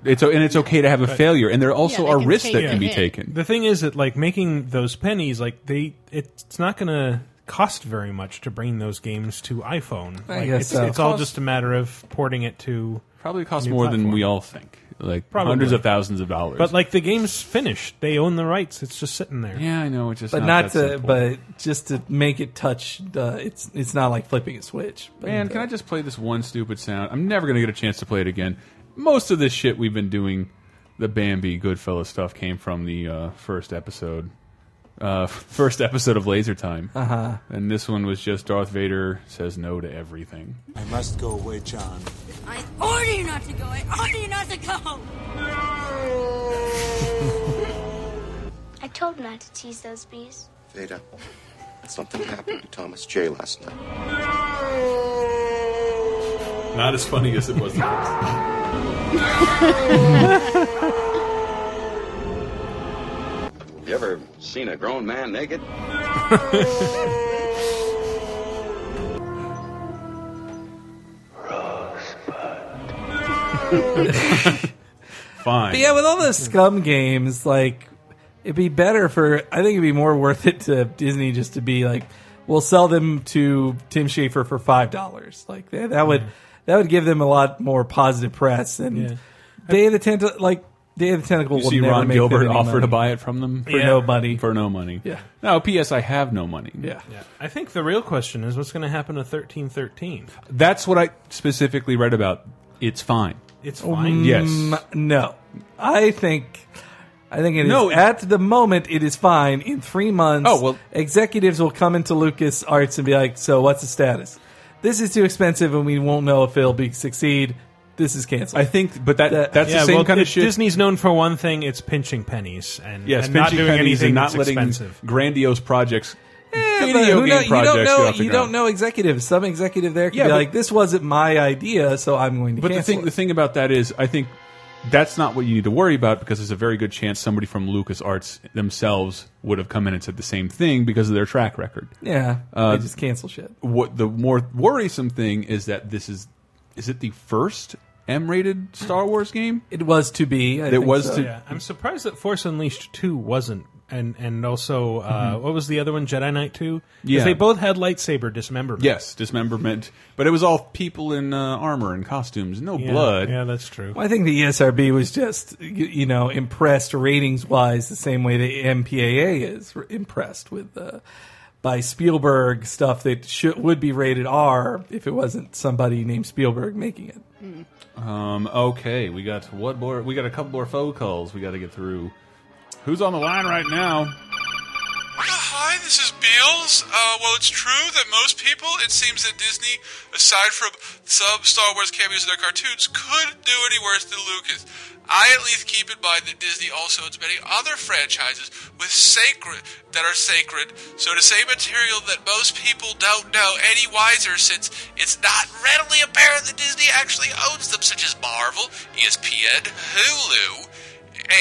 Speaker 2: It's o- and it's okay to have a failure, and there also
Speaker 5: Yeah, they
Speaker 2: are
Speaker 5: can
Speaker 2: risks
Speaker 5: take
Speaker 2: that
Speaker 5: a
Speaker 2: can be
Speaker 5: hit.
Speaker 2: taken.
Speaker 3: The thing is that like making those pennies, like they, it's not going to cost very much to bring those games to iPhone.
Speaker 4: I
Speaker 3: Like,
Speaker 4: guess
Speaker 3: it's,
Speaker 4: so.
Speaker 3: it's all
Speaker 4: Cost-
Speaker 3: just a matter of porting it to.
Speaker 2: Probably costs
Speaker 3: New
Speaker 2: more than
Speaker 3: platform.
Speaker 2: we all think, like
Speaker 3: Probably.
Speaker 2: hundreds of thousands of dollars.
Speaker 3: But like the game's finished, they own the rights. It's just sitting there.
Speaker 2: yeah, I know. It's just
Speaker 4: but
Speaker 2: not,
Speaker 4: not,
Speaker 2: that
Speaker 4: to
Speaker 2: simple.
Speaker 4: but just to make it touch. Uh, it's it's not like flipping a switch. But,
Speaker 2: Man, can I just play this one stupid sound? I'm never going to get a chance to play it again. Most of this shit we've been doing, the Bambi Goodfellas stuff, came from the uh, first episode. Uh, first episode of Laser Time. Uh-huh. And this one was just Darth Vader says no to everything.
Speaker 11: I must go away, John.
Speaker 10: I order you not to go. I order you not to go.
Speaker 1: I told not to tease those bees.
Speaker 11: Veda, something happened to Thomas J last night.
Speaker 2: Not as funny as it was the first.
Speaker 11: You ever seen a grown man naked?
Speaker 2: Fine.
Speaker 4: But yeah, with all those scum games, like it'd be better for. I think it'd be more worth it to Disney just to be like, we'll sell them to Tim Schafer for five dollars. Like that, that would that would give them a lot more positive press. And Day of the Tentacle, like Day of the Tentacle,
Speaker 2: You
Speaker 4: will
Speaker 2: see
Speaker 4: never
Speaker 2: Ron
Speaker 4: make them
Speaker 2: Gilbert
Speaker 4: any
Speaker 2: offer to
Speaker 4: money.
Speaker 2: buy it from them
Speaker 4: For no money.
Speaker 2: For no money.
Speaker 4: Yeah.
Speaker 2: No. P.S. I have no money.
Speaker 4: Yeah.
Speaker 3: I think the real question is what's going to happen to thirteen thirteen.
Speaker 2: That's what I specifically read about. It's fine.
Speaker 3: It's
Speaker 2: Oh,
Speaker 3: fine.
Speaker 2: yes.
Speaker 4: Mm, No, I think. I think it is.
Speaker 2: No, it-
Speaker 4: at the moment it is fine. In three months,
Speaker 2: Oh, well-
Speaker 4: executives will come into Lucas Arts and be like, "So what's the status? This is too expensive, and we won't know if it'll be succeed. This is canceled."
Speaker 2: I think, but that,
Speaker 4: That-
Speaker 2: that's
Speaker 3: Yeah,
Speaker 2: the same
Speaker 3: well,
Speaker 2: kind of
Speaker 3: if
Speaker 2: shit.
Speaker 3: Disney's known for one thing: it's pinching pennies and,
Speaker 2: yes,
Speaker 3: and not
Speaker 2: pinching
Speaker 3: doing
Speaker 2: pennies
Speaker 3: anything
Speaker 2: and not
Speaker 3: that's
Speaker 2: letting
Speaker 3: expensive.
Speaker 2: grandiose projects,
Speaker 4: Yeah, but
Speaker 2: video
Speaker 4: who
Speaker 2: game projects
Speaker 4: know- You don't
Speaker 2: go
Speaker 4: know.
Speaker 2: off the
Speaker 4: You
Speaker 2: ground.
Speaker 4: don't know executives. Some executive there could
Speaker 2: Yeah,
Speaker 4: be
Speaker 2: but-
Speaker 4: like, "This wasn't my idea, so I'm going to."
Speaker 2: But the
Speaker 4: cancel
Speaker 2: thing,
Speaker 4: it."
Speaker 2: the thing about that is, I think that's not what you need to worry about because there's a very good chance somebody from LucasArts themselves would have come in and said the same thing because of their track record.
Speaker 4: yeah,
Speaker 2: Uh,
Speaker 4: they just cancel shit.
Speaker 2: What the more worrisome thing is that this is is it the first M-rated Star Wars game?
Speaker 4: It was to be. I
Speaker 2: It
Speaker 4: think
Speaker 2: was
Speaker 4: so.
Speaker 2: to-
Speaker 3: Yeah, I'm surprised that Force Unleashed two wasn't, and and also uh, what was the other one, Jedi Knight two? 'Cause
Speaker 2: Mm-hmm. Yeah.
Speaker 3: they both had lightsaber dismemberment.
Speaker 2: Yes, dismemberment, but it was all people in uh, armor and costumes, no
Speaker 3: Yeah,
Speaker 2: blood.
Speaker 3: Yeah, that's true.
Speaker 4: Well, I think the E ESRB was just, y- you know, impressed ratings wise the same way the MPAA is r- impressed with uh, by Spielberg stuff that should, would be rated R if it wasn't somebody named Spielberg making it.
Speaker 2: Um, okay, we got what more? We got a couple more phone calls we got to get through. Who's on the line right now?
Speaker 6: Ah, hi, this is Beals. Uh, well, it's true that most people, it seems that Disney, aside from some Star Wars cameos in their cartoons, could do any worse than Lucas. I at least keep in mind that Disney also owns many other franchises with sacred that are sacred, so to say material that most people don't know any wiser since it's not readily apparent that Disney actually owns them, such as Marvel, E ESPN, Hulu,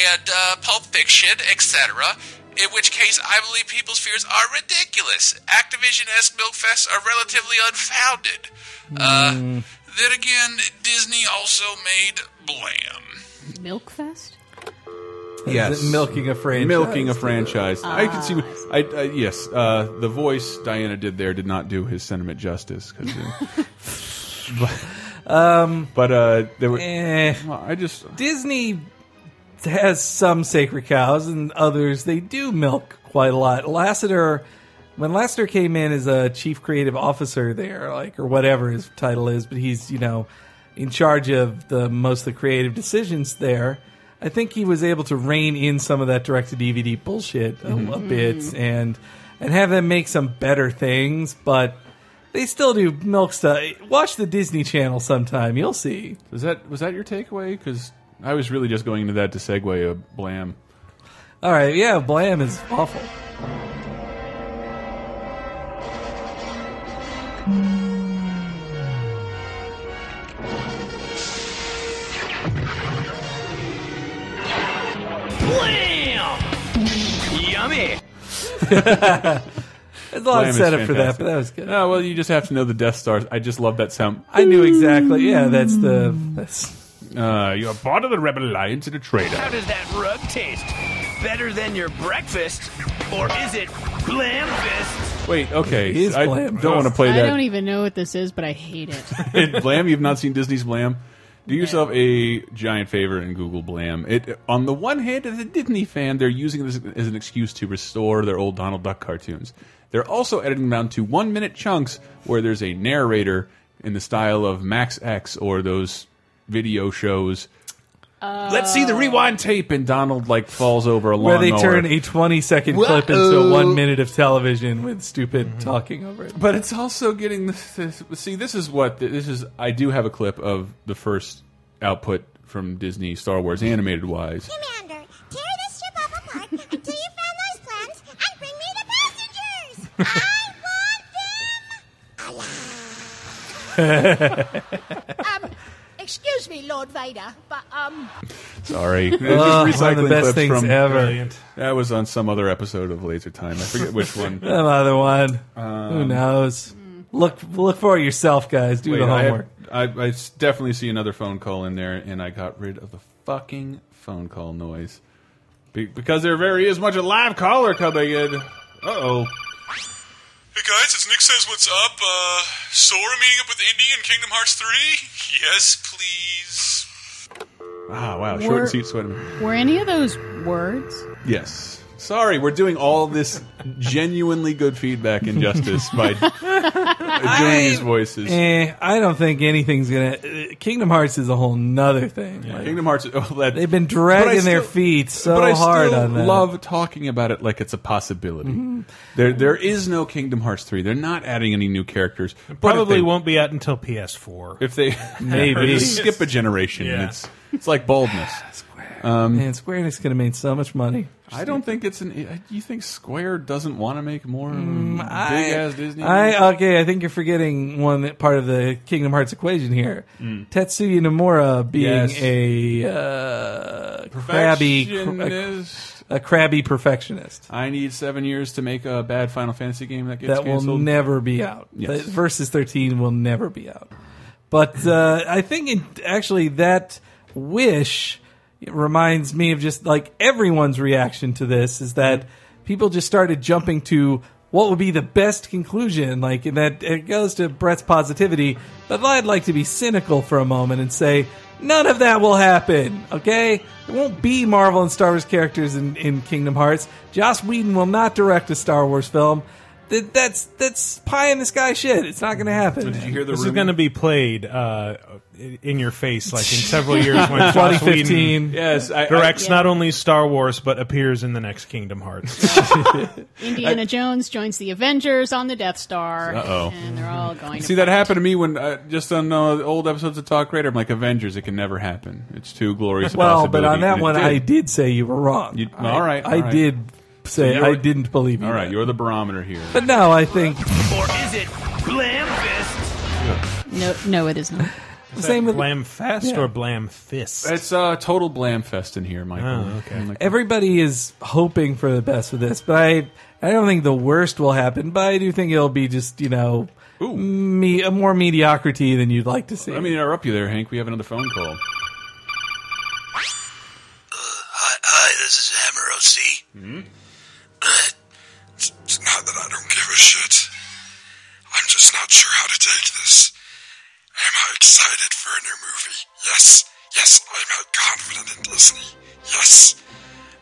Speaker 6: and uh, Pulp Fiction, etc. In which case, I believe people's fears are ridiculous. Activision-esque milkfests are relatively unfounded. Uh, then again, Disney also made Blam.
Speaker 5: Milkfest?
Speaker 2: Yes.
Speaker 4: Milking a franchise. Ah.
Speaker 2: milking a franchise. I can see. I, I yes, uh, the voice Diana did there did not do his sentiment justice. 'cause, uh, but, um, but uh, there were.
Speaker 4: Eh.
Speaker 2: well, I just
Speaker 4: Disney has some sacred cows, and others they do milk quite a lot. Lassiter, when Lassiter came in as a chief creative officer there, like or whatever his title is, but he's you know in charge of the most of the creative decisions there. I think he was able to rein in some of that direct to DVD bullshit a, a bit, and and have them make some better things, but. They still do milk stuff. Watch the Disney Channel sometime. You'll see.
Speaker 2: was that was that your takeaway? Because I was really just going into that to segue a blam.
Speaker 4: All right, yeah, Blam is awful.
Speaker 8: Yummy!
Speaker 4: There's a lot
Speaker 2: Blam
Speaker 4: of
Speaker 2: is
Speaker 4: setup for
Speaker 2: fantastic.
Speaker 4: that, but that was good.
Speaker 2: Oh, well, you just have to know the Death Stars. I just love that sound.
Speaker 4: I knew exactly. Yeah, that's the. That's,
Speaker 2: Uh, you are part of the Rebel Alliance and a traitor.
Speaker 8: How does that rub taste? Better than your breakfast? Or is it Blamfist?
Speaker 2: Wait, okay,
Speaker 4: It is
Speaker 2: I
Speaker 4: Blam.
Speaker 2: don't want to play
Speaker 5: I
Speaker 2: that.
Speaker 5: don't even know what this is, but I hate it.
Speaker 2: Blam, you've not seen Disney's Blam. Do yourself a giant favor and Google Blam. It on the one hand, as a Disney fan, they're using this as an excuse to restore their old Donald Duck cartoons. They're also editing them down to one minute chunks where there's a narrator in the style of Max X or those video shows. Let's see the rewind tape, and Donald like falls over a
Speaker 4: Uh, where
Speaker 2: lawnmower.
Speaker 4: they turn a 20 second clip into one minute of television with stupid
Speaker 2: Mm-hmm.
Speaker 4: talking over it.
Speaker 2: But it's also getting this, this. See, this is what this is. I do have a clip of the first output from Disney Star Wars animated wise.
Speaker 10: Commander, tear this ship up apart until you found those plans and bring me the passengers! I want them! um, excuse me, Lord Vader, but, um,
Speaker 2: Sorry, Just
Speaker 4: Ugh, one of
Speaker 2: recycling
Speaker 4: the best
Speaker 2: clips
Speaker 4: things
Speaker 2: from-
Speaker 4: ever.
Speaker 2: That was on some other episode of Laser Time. I forget which one.
Speaker 4: Some other one. Who knows? Look, look for it yourself, guys. Do
Speaker 2: Um, Wait,
Speaker 4: the
Speaker 2: I,
Speaker 4: homework.
Speaker 2: I, I s- definitely see another phone call in there, and I got rid of the fucking phone call noise. Be because there very is much a live caller coming in. Uh oh.
Speaker 12: Hey guys, it's Nick says what's up. Uh, Sora meeting up with Indy in Kingdom Hearts 3? Yes, please.
Speaker 2: Ah, wow. Short
Speaker 5: Were-
Speaker 2: and sweet sweater.
Speaker 5: Were any of those words?
Speaker 2: Yes. Sorry, we're doing all this genuinely good feedback injustice by doing these voices.
Speaker 4: Eh, I don't think anything's gonna. uh, Kingdom Hearts is a whole nother thing. Like,
Speaker 2: Kingdom Hearts. Oh, that,
Speaker 4: They've been
Speaker 2: But I
Speaker 4: dragging
Speaker 2: still-
Speaker 4: their feet so
Speaker 2: but I
Speaker 4: hard
Speaker 2: still
Speaker 4: on that.
Speaker 2: love talking about it like it's a possibility.
Speaker 4: Mhm.
Speaker 2: There, there is no Kingdom Hearts three. They're not adding any new characters. But if
Speaker 3: Probably
Speaker 2: they-
Speaker 3: won't be out until PS4.
Speaker 2: If they
Speaker 3: Maybe.
Speaker 2: skip a generation,
Speaker 3: Yeah.
Speaker 2: it's it's like baldness.
Speaker 4: Um, Man, Square Enix could have made so much money.
Speaker 2: I don't think it's an. You think Square doesn't want to make more big ass Disney? movies?
Speaker 4: Mm, I uh, okay. I think you're forgetting one that- part of the Kingdom Hearts equation here. Tetsuya Nomura being
Speaker 2: Hmm. Yes.
Speaker 4: a uh, crabby, cr- a,
Speaker 2: Perfectionist.
Speaker 4: a crabby perfectionist
Speaker 2: I need seven years to make a bad Final Fantasy game that gets
Speaker 4: that will
Speaker 2: canceled.
Speaker 4: never be out.
Speaker 2: Yes.
Speaker 4: That Versus 13 will never be out. But uh, I think it, actually that wish reminds me of just like everyone's reaction to this is that people just started jumping to what would be the best conclusion. Like and that it goes to Brett's positivity, but I'd like to be cynical for a moment and say. None of that will happen, okay? There won't be Marvel and Star Wars characters in, in Kingdom Hearts. Joss Whedon will not direct a Star Wars film. That, that's that's pie in the sky shit. It's not going to happen. Did you hear
Speaker 3: this is going to be played uh, in your face, like in several years when Joss
Speaker 4: 2015.
Speaker 3: Whedon
Speaker 2: Yes, I- I-
Speaker 3: directs
Speaker 2: Yeah.
Speaker 3: not only Star Wars but appears in the next Kingdom Hearts.
Speaker 5: Indiana Jones joins the Avengers on the Death Star.
Speaker 2: Uh-oh.
Speaker 5: And they're all going
Speaker 2: See
Speaker 5: to
Speaker 2: that happened to me when uh, just on uh, old episodes of Talk Radar. I'm like Avengers, it can never happen. It's too glorious. a
Speaker 4: well, Oh, but
Speaker 2: possibility,
Speaker 4: on that
Speaker 2: and it
Speaker 4: one,
Speaker 2: did.
Speaker 4: I did say you were wrong.
Speaker 2: You-
Speaker 4: I,
Speaker 2: all right,
Speaker 4: I
Speaker 2: all right.
Speaker 4: did say
Speaker 2: you're-
Speaker 4: I didn't believe you.
Speaker 2: All right, you're the barometer here.
Speaker 4: But now I think
Speaker 8: Or is it Blamfist?
Speaker 5: No, no, it is not.
Speaker 3: Is
Speaker 4: Same
Speaker 3: that
Speaker 4: with-
Speaker 3: Blam Fest
Speaker 4: Yeah.
Speaker 3: or Blam Fist?
Speaker 2: It's uh, total blam fest in here, Michael.
Speaker 3: Oh, okay.
Speaker 2: I'm like,
Speaker 4: everybody is hoping for the best with this, but I I don't think the worst will happen. But I do think it'll be just you know me a more mediocrity than you'd like to see.
Speaker 2: let me interrupt you there, Hank. We have another phone call.
Speaker 11: Hi, hi this is Hammer OC. It's, it's not that I don't give a shit. I'm just not sure how to take this. Am I excited for a new movie? Yes. Yes, I'm not confident in Disney. Yes.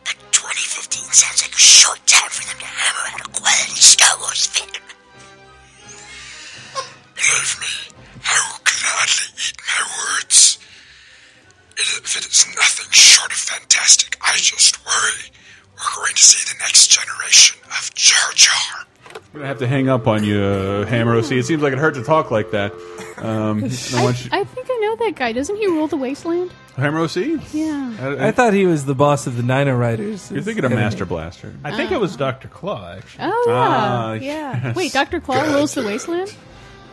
Speaker 11: But 2015 sounds like a short time for them to hammer out a quality Star Wars film. Believe me, I will gladly eat my words. It- If it is nothing short of fantastic, I just worry we're going to see the next generation of Jar Jar.
Speaker 2: We're gonna have to hang up on you, uh, Hammer OC. It seems like it hurt to talk like that. Um, I want you-
Speaker 5: I think I know that guy. Doesn't he rule the wasteland?
Speaker 2: Hammer OC.
Speaker 5: Yeah.
Speaker 2: I,
Speaker 4: I thought he was the boss of the Nino Riders.
Speaker 2: you're thinking of Master Blaster.
Speaker 3: I think it was Doctor Claw. Actually,
Speaker 5: Oh yeah,
Speaker 2: Ah,
Speaker 5: yeah.
Speaker 2: yes.
Speaker 5: Wait, Doctor Claw rules the wasteland.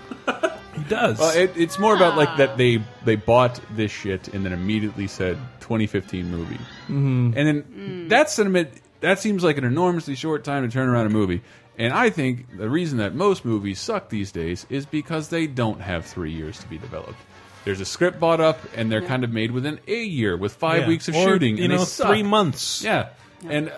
Speaker 3: he does.
Speaker 2: Well, it, it's more about like that they they bought this shit and then immediately said 2015 movie, mm-hmm. and then that sentiment that seems like an enormously short time to turn around a movie. And I think the reason that most movies suck these days is because they don't have three years to be developed. There's a script bought up, and they're kind of made within a year with five
Speaker 3: Yeah.
Speaker 2: weeks of
Speaker 3: Or,
Speaker 2: shooting.
Speaker 3: you
Speaker 2: and they
Speaker 3: know,
Speaker 2: suck.
Speaker 3: three months.
Speaker 2: Yeah, and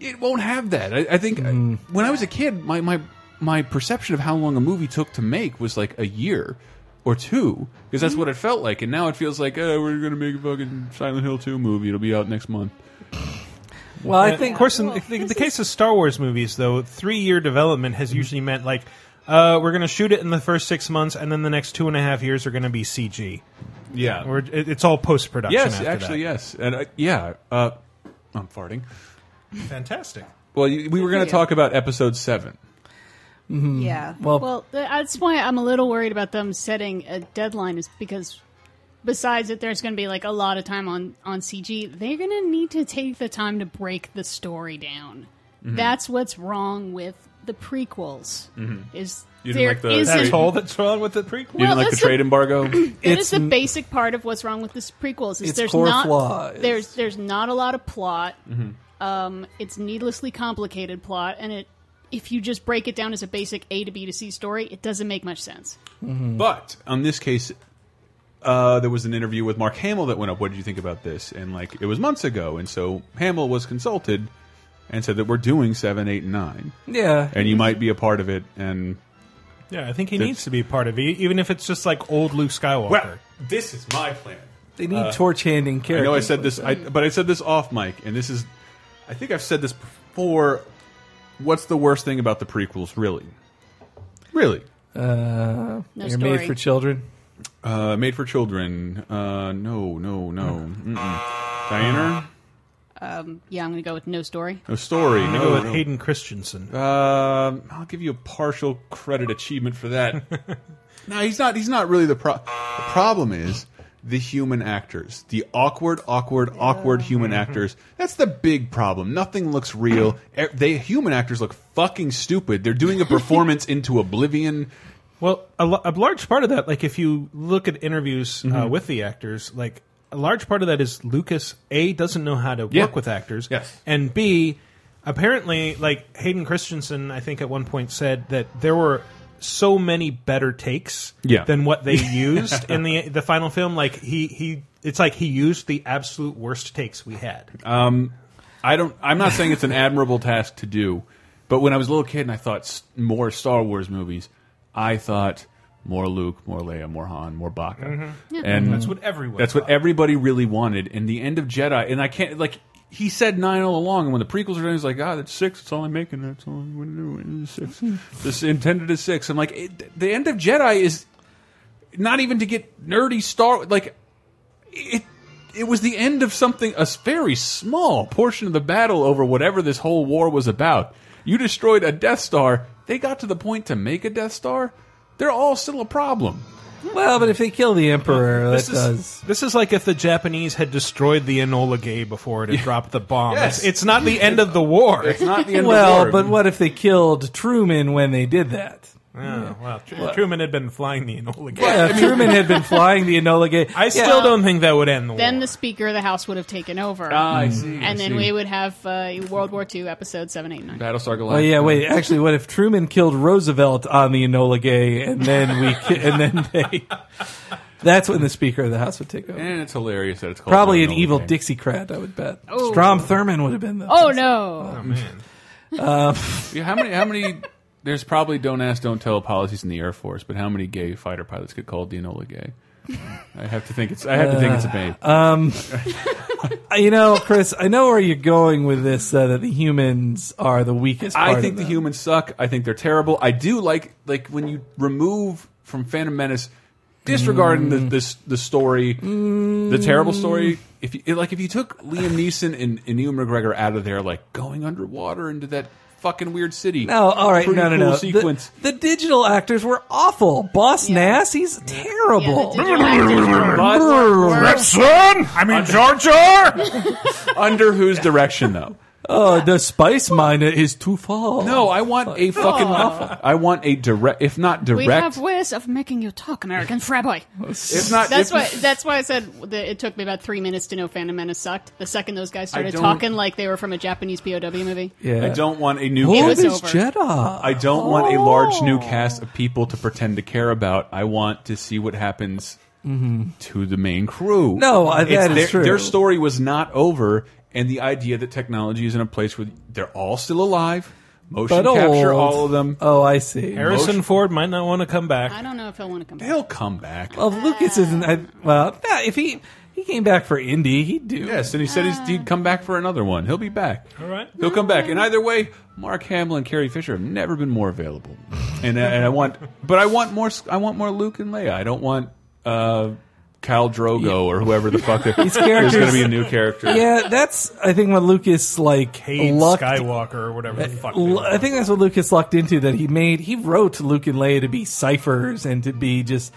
Speaker 2: it won't have that. I, I think uh, when I was a kid, my my my perception of how long a movie took to make was like a year or two, because that's what it felt like. And now it feels like oh, we're gonna make a fucking Silent Hill two movie. It'll be out next month.
Speaker 4: Well, I
Speaker 3: Uh,
Speaker 4: think
Speaker 3: of course, in the, the case of Star Wars movies, though, three-year development has usually meant like uh, we're going to shoot it in the first six months, and then the next two and a half years are going to be CG.
Speaker 2: Yeah.
Speaker 3: We're, it, it's all post-production.
Speaker 2: yes,
Speaker 3: after
Speaker 2: actually,
Speaker 3: that.
Speaker 2: yes, and uh, yeah. Uh, I'm farting.
Speaker 3: fantastic.
Speaker 2: Well, you, we were gonna
Speaker 5: you.
Speaker 2: talk about episode seven.
Speaker 5: Yeah.
Speaker 2: Mm.
Speaker 4: Well-
Speaker 5: Well, th- that's why I'm a little worried about them setting a deadline, is because besides that, there's going to be like a lot of time on on CG. They're going to need to take the time to break the story down.
Speaker 2: Mm-hmm.
Speaker 5: That's what's wrong with the prequels. Is
Speaker 2: Mm-hmm. You didn't
Speaker 5: there
Speaker 2: like the-
Speaker 5: isn't-
Speaker 2: That's
Speaker 3: That's all that's wrong with the prequel.
Speaker 2: You didn't
Speaker 5: Well,
Speaker 2: like the
Speaker 5: let's-
Speaker 2: trade embargo?
Speaker 5: That
Speaker 4: It's
Speaker 5: is the
Speaker 4: n-
Speaker 5: basic part of what's wrong with this prequels. Is
Speaker 4: Its
Speaker 5: there's
Speaker 4: core
Speaker 5: not
Speaker 4: flaw is-
Speaker 5: there's there's not a lot of plot.
Speaker 4: Mm-hmm.
Speaker 5: Um, it's needlessly complicated plot, and it if you just break it down as a basic A to B to C story, it doesn't make much sense.
Speaker 2: But on this case, uh, there was an interview with Mark Hamill that went up. What did you think about this? And like it was months ago, and so Hamill was consulted and said that we're doing seven, eight, and nine.
Speaker 4: Yeah.
Speaker 2: and you might be a part of it. And
Speaker 3: Yeah, I think he
Speaker 2: That's-
Speaker 3: needs to be part of it, even if it's just like old Luke Skywalker.
Speaker 2: Well, this is my plan.
Speaker 4: They need
Speaker 2: Uh,
Speaker 4: torch handing characters.
Speaker 2: I know I said this, I, but I said this off mic, and this is, I think I've said this before. What's the worst thing about the prequels, really? Really?
Speaker 4: Uh,
Speaker 5: No
Speaker 4: you're made
Speaker 5: story.
Speaker 4: for children.
Speaker 2: Uh, made for children. Uh, no, no, no. Mm-mm. Diana?
Speaker 5: Um, yeah, I'm going to go with no story.
Speaker 4: Oh.
Speaker 2: No story.
Speaker 3: I'm gonna
Speaker 2: no,
Speaker 3: go with
Speaker 2: no.
Speaker 3: Hayden Christensen.
Speaker 2: Um, I'll give you a partial credit achievement for that. no, he's not. He's not really the pro. The problem is the human actors, the awkward, awkward, awkward human actors. That's the big problem. Nothing looks real. E- they human actors look fucking stupid. They're doing a performance into oblivion.
Speaker 3: Well, a, lo- a large part of that, like if you look at interviews uh,
Speaker 2: Mhm.
Speaker 3: with the actors, like a large part of that is Lucas A doesn't know how to
Speaker 2: Yeah.
Speaker 3: work with actors,
Speaker 2: Yes.
Speaker 3: and B apparently, like Hayden Christensen, I think at one point said that there were so many better takes
Speaker 2: Yeah.
Speaker 3: than what they used in the the final film. Like he he, it's like he used the absolute worst takes we had.
Speaker 2: Um, I don't. I'm not saying it's an admirable task to do, but when I was a little kid and I thought s- more Star Wars movies, I thought more Luke, more Leia, more Han, more Baka,
Speaker 3: Mhm. Yeah.
Speaker 2: and
Speaker 3: That's what everyone
Speaker 2: That's what everybody really wanted. And the end of Jedi, and I can't like. He said nine all along, and when the prequels are done, he's like, "Ah, that's six. That's all I'm making. That's all I'm going to do. It's
Speaker 3: Mm-hmm.
Speaker 2: Six. this intended as six. I'm like, it, the end of Jedi is not even to get nerdy Star. Like, it it was the end of something a very small portion of the battle over whatever this whole war was about you destroyed a death star they got to the point to make a death star they're all still a problem
Speaker 4: Well, but if they kill the emperor, that
Speaker 3: This is,
Speaker 4: does.
Speaker 3: this is like if the Japanese had destroyed the Enola Gay before it had dropped the bomb.
Speaker 4: Yes.
Speaker 3: It's, it's not the end of the war.
Speaker 2: It's not the end
Speaker 4: well,
Speaker 2: of the war
Speaker 4: but what if they killed Truman when they did that?
Speaker 3: Oh, well, Tr-
Speaker 4: Well-
Speaker 3: Truman had been flying the Enola Gay.
Speaker 4: Yeah, if Truman had been flying the Enola Gay.
Speaker 3: I still don't think that would end the war.
Speaker 5: Then the Speaker of the House would have taken over.
Speaker 2: Ah, I see, I
Speaker 5: And then
Speaker 2: see.
Speaker 5: we would have uh, World War II, Episode 789.
Speaker 2: battlestar galactica
Speaker 4: Oh yeah, wait. Actually, what if Truman killed Roosevelt on the Enola Gay, and then we, ki- and then they? That's when the Speaker of the House would take over.
Speaker 2: and it's hilarious that it's called
Speaker 4: Probably an
Speaker 2: Enola
Speaker 4: evil
Speaker 2: Gay.
Speaker 4: Dixiecrat, I would bet.
Speaker 5: Oh.
Speaker 4: Strom Thurmond would have been the.
Speaker 5: Oh, no.
Speaker 4: Um,
Speaker 2: yeah, how many how many there's probably don't ask don't tell policies in the air force but how many gay fighter pilots get called the Enola gay i have to think it's i have to think it's a babe
Speaker 4: Um, you know, Chris, I know where you're going with this. Uh, that the humans are the weakest. Part
Speaker 2: I think
Speaker 4: of
Speaker 2: the
Speaker 4: them.
Speaker 2: humans suck. I think they're terrible. I do like like when you remove from Phantom Menace, disregarding
Speaker 4: Mm.
Speaker 2: the, the the story, the terrible story. If you like, if you took Liam Neeson and, and Ewan McGregor out of there, like going underwater into that fucking weird city.
Speaker 4: No, Oh, all right,
Speaker 2: Pretty
Speaker 4: no, no,
Speaker 2: cool
Speaker 4: no. The-
Speaker 2: Sequence.
Speaker 4: The, digital actors were awful. Boss Nass, he's terrible.
Speaker 7: Son, I mean, Jar Jar.
Speaker 2: Under whose direction though?
Speaker 4: Oh, the spice miner is too far.
Speaker 2: No, I want a fucking. I want a direct, if not
Speaker 5: We
Speaker 2: direct.
Speaker 5: have ways of making you talk, American frat
Speaker 2: If not-
Speaker 5: that's
Speaker 2: if-
Speaker 5: why. That's why I said that it took me about three minutes to know Phantom Menace sucked. The second those guys started
Speaker 2: don't-
Speaker 5: talking like they were from a Japanese POW movie.
Speaker 4: Yeah.
Speaker 2: I don't want a new.
Speaker 4: Who
Speaker 5: It
Speaker 4: is
Speaker 5: was over.
Speaker 4: Jedi?
Speaker 2: I don't want a large new
Speaker 4: Oh.
Speaker 2: cast of people to pretend to care about. I want to see what happens to the main crew.
Speaker 4: No, I- that
Speaker 2: It's
Speaker 4: is
Speaker 2: their,
Speaker 4: true.
Speaker 2: Their story was not over, and the idea that technology is in a place where they're all still alive, motion
Speaker 4: But
Speaker 2: capture
Speaker 4: old.
Speaker 2: all of them.
Speaker 4: Oh, I see.
Speaker 3: Harrison Ford might not want to come back.
Speaker 5: I don't know if I want to come back.
Speaker 2: They'll come back.
Speaker 4: Well, Lucas isn't. I, well, yeah, if he he came back for Indy, he'd do.
Speaker 2: Yes, and he said he's, he'd come back for another one. He'll be back.
Speaker 3: All right.
Speaker 2: He'll come back. And either way, Mark Hamill and Carrie Fisher have never been more available. And, uh, and I want, but I want more. I want more Luke and Leia. I don't want uh, Cal Drogo or whoever the fuck. there- There's
Speaker 4: characters-
Speaker 2: going to be a new character.
Speaker 4: Yeah, that's I think what Lucas like
Speaker 3: Cade
Speaker 4: lucked.
Speaker 3: Skywalker or whatever the fuck.
Speaker 4: L- I think that's what Lucas lucked into that he made. He wrote Luke and Leia to be ciphers and to be just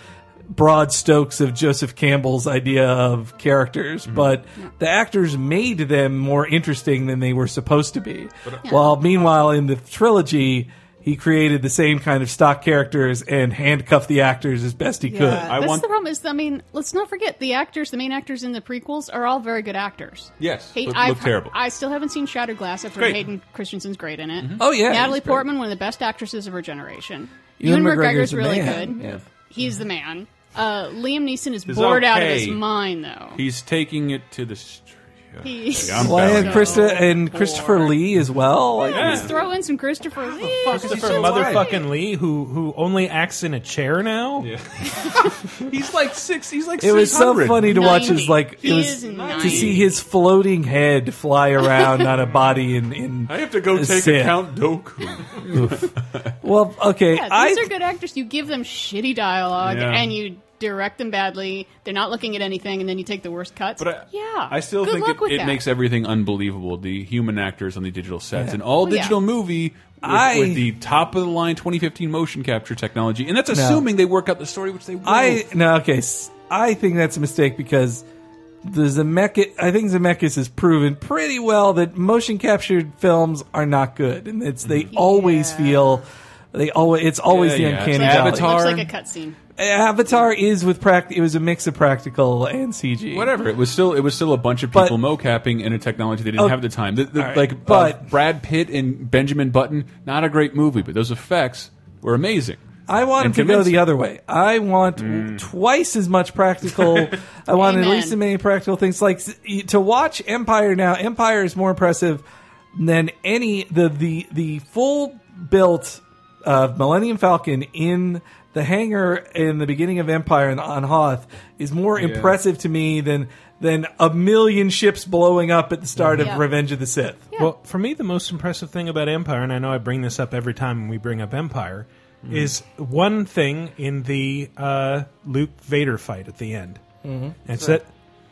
Speaker 4: broad strokes of Joseph Campbell's idea of characters, but the actors made them more interesting than they were supposed to be. While meanwhile in the trilogy. He created the same kind of stock characters and handcuffed the actors as best he could.
Speaker 5: Yeah, that's the problem. Is I mean, let's not forget the actors. The main actors in the prequels are all very good actors.
Speaker 2: Yes,
Speaker 5: Hey,
Speaker 2: look-
Speaker 5: I've
Speaker 2: look
Speaker 5: heard-
Speaker 2: terrible.
Speaker 5: I still haven't seen Shattered Glass. I've heard
Speaker 2: Great.
Speaker 5: Hayden Christensen's great in it.
Speaker 4: Oh, yeah,
Speaker 5: Natalie
Speaker 4: he's great.
Speaker 5: Portman, one of the best actresses of her generation.
Speaker 4: Ewan
Speaker 5: Ewan
Speaker 4: McGregor's
Speaker 5: McGregor's
Speaker 4: the
Speaker 5: really
Speaker 4: man,
Speaker 5: good.
Speaker 4: yeah.
Speaker 5: He's the man. Uh, Liam Neeson is
Speaker 2: It's
Speaker 5: bored out of
Speaker 2: okay.
Speaker 5: his mind, though.
Speaker 2: He's taking it to the street.
Speaker 5: He's
Speaker 2: I'm
Speaker 4: Well,
Speaker 2: bowing
Speaker 4: and,
Speaker 2: out.
Speaker 4: Krista, and Christopher Lee as well. Like,
Speaker 5: Yeah, Let's throw in some Christopher Lee.
Speaker 3: Christopher
Speaker 5: She's
Speaker 3: motherfucking Lee, who who only acts in a chair now.
Speaker 2: he's like six. He's like
Speaker 4: it was so
Speaker 2: 600.
Speaker 4: funny to watch his like
Speaker 2: He
Speaker 4: it was
Speaker 2: is
Speaker 4: to
Speaker 2: 90.
Speaker 4: see his floating head fly around on a body in in
Speaker 2: I have to go
Speaker 4: a
Speaker 2: take
Speaker 4: sit.
Speaker 2: a Count
Speaker 4: Oof.
Speaker 2: Doku.
Speaker 4: well, okay,
Speaker 5: Yeah,
Speaker 4: I
Speaker 5: these are good actors. You give them shitty dialogue
Speaker 2: Yeah.
Speaker 5: and you direct them badly. They're not looking at anything, and then you take the worst cuts.
Speaker 2: But
Speaker 5: yeah,
Speaker 2: I still
Speaker 5: Good luck
Speaker 2: think
Speaker 5: with
Speaker 2: it, it
Speaker 5: that.
Speaker 2: makes everything unbelievable. The human actors on the digital sets,
Speaker 5: Yeah.
Speaker 2: an all
Speaker 5: Well, yeah.
Speaker 2: digital movie with,
Speaker 4: I-
Speaker 2: with the top of the line 2015 motion capture technology, and that's
Speaker 4: No.
Speaker 2: assuming they work out the story, which they will.
Speaker 4: I no okay. s- I think that's a mistake because the Zemeckis. I think Zemeckis has proven pretty well that motion captured films are not good, and it's they always feel they always it's always
Speaker 2: Mm-hmm. Yeah,
Speaker 4: the
Speaker 2: yeah.
Speaker 4: uncanny
Speaker 2: It's like-
Speaker 4: valley.
Speaker 2: Avatar.
Speaker 5: Looks like a cutscene.
Speaker 4: Avatar is with pract. It was a mix of practical and CG.
Speaker 2: Whatever. It was still it was still a bunch of people mocapping in a technology they didn't
Speaker 4: Oh,
Speaker 2: have at the time. The, the,
Speaker 4: all right.
Speaker 2: Like, uh,
Speaker 4: But-
Speaker 2: Brad Pitt and Benjamin Button, not a great movie, but those effects were amazing.
Speaker 4: I want him
Speaker 2: And
Speaker 4: to go
Speaker 2: convincing.
Speaker 4: the other way. I want twice as much practical. I want at
Speaker 5: Amen.
Speaker 4: least as many practical things. Like s- y- to watch Empire now. Empire is more impressive than any the the the full built uh, Millennium Falcon in the hangar in the beginning of Empire and on Hoth is more
Speaker 2: Yeah.
Speaker 4: impressive to me than than a million ships blowing up at the start
Speaker 5: Yeah.
Speaker 4: of Revenge of the Sith.
Speaker 3: Well, for me, the most impressive thing about Empire, and I know I bring this up every time we bring up Empire,
Speaker 4: Mm-hmm.
Speaker 3: is one thing in the uh, Luke Vader fight at the end.
Speaker 4: Mm-hmm.
Speaker 13: Mhm.
Speaker 3: It's
Speaker 13: Sure.
Speaker 3: that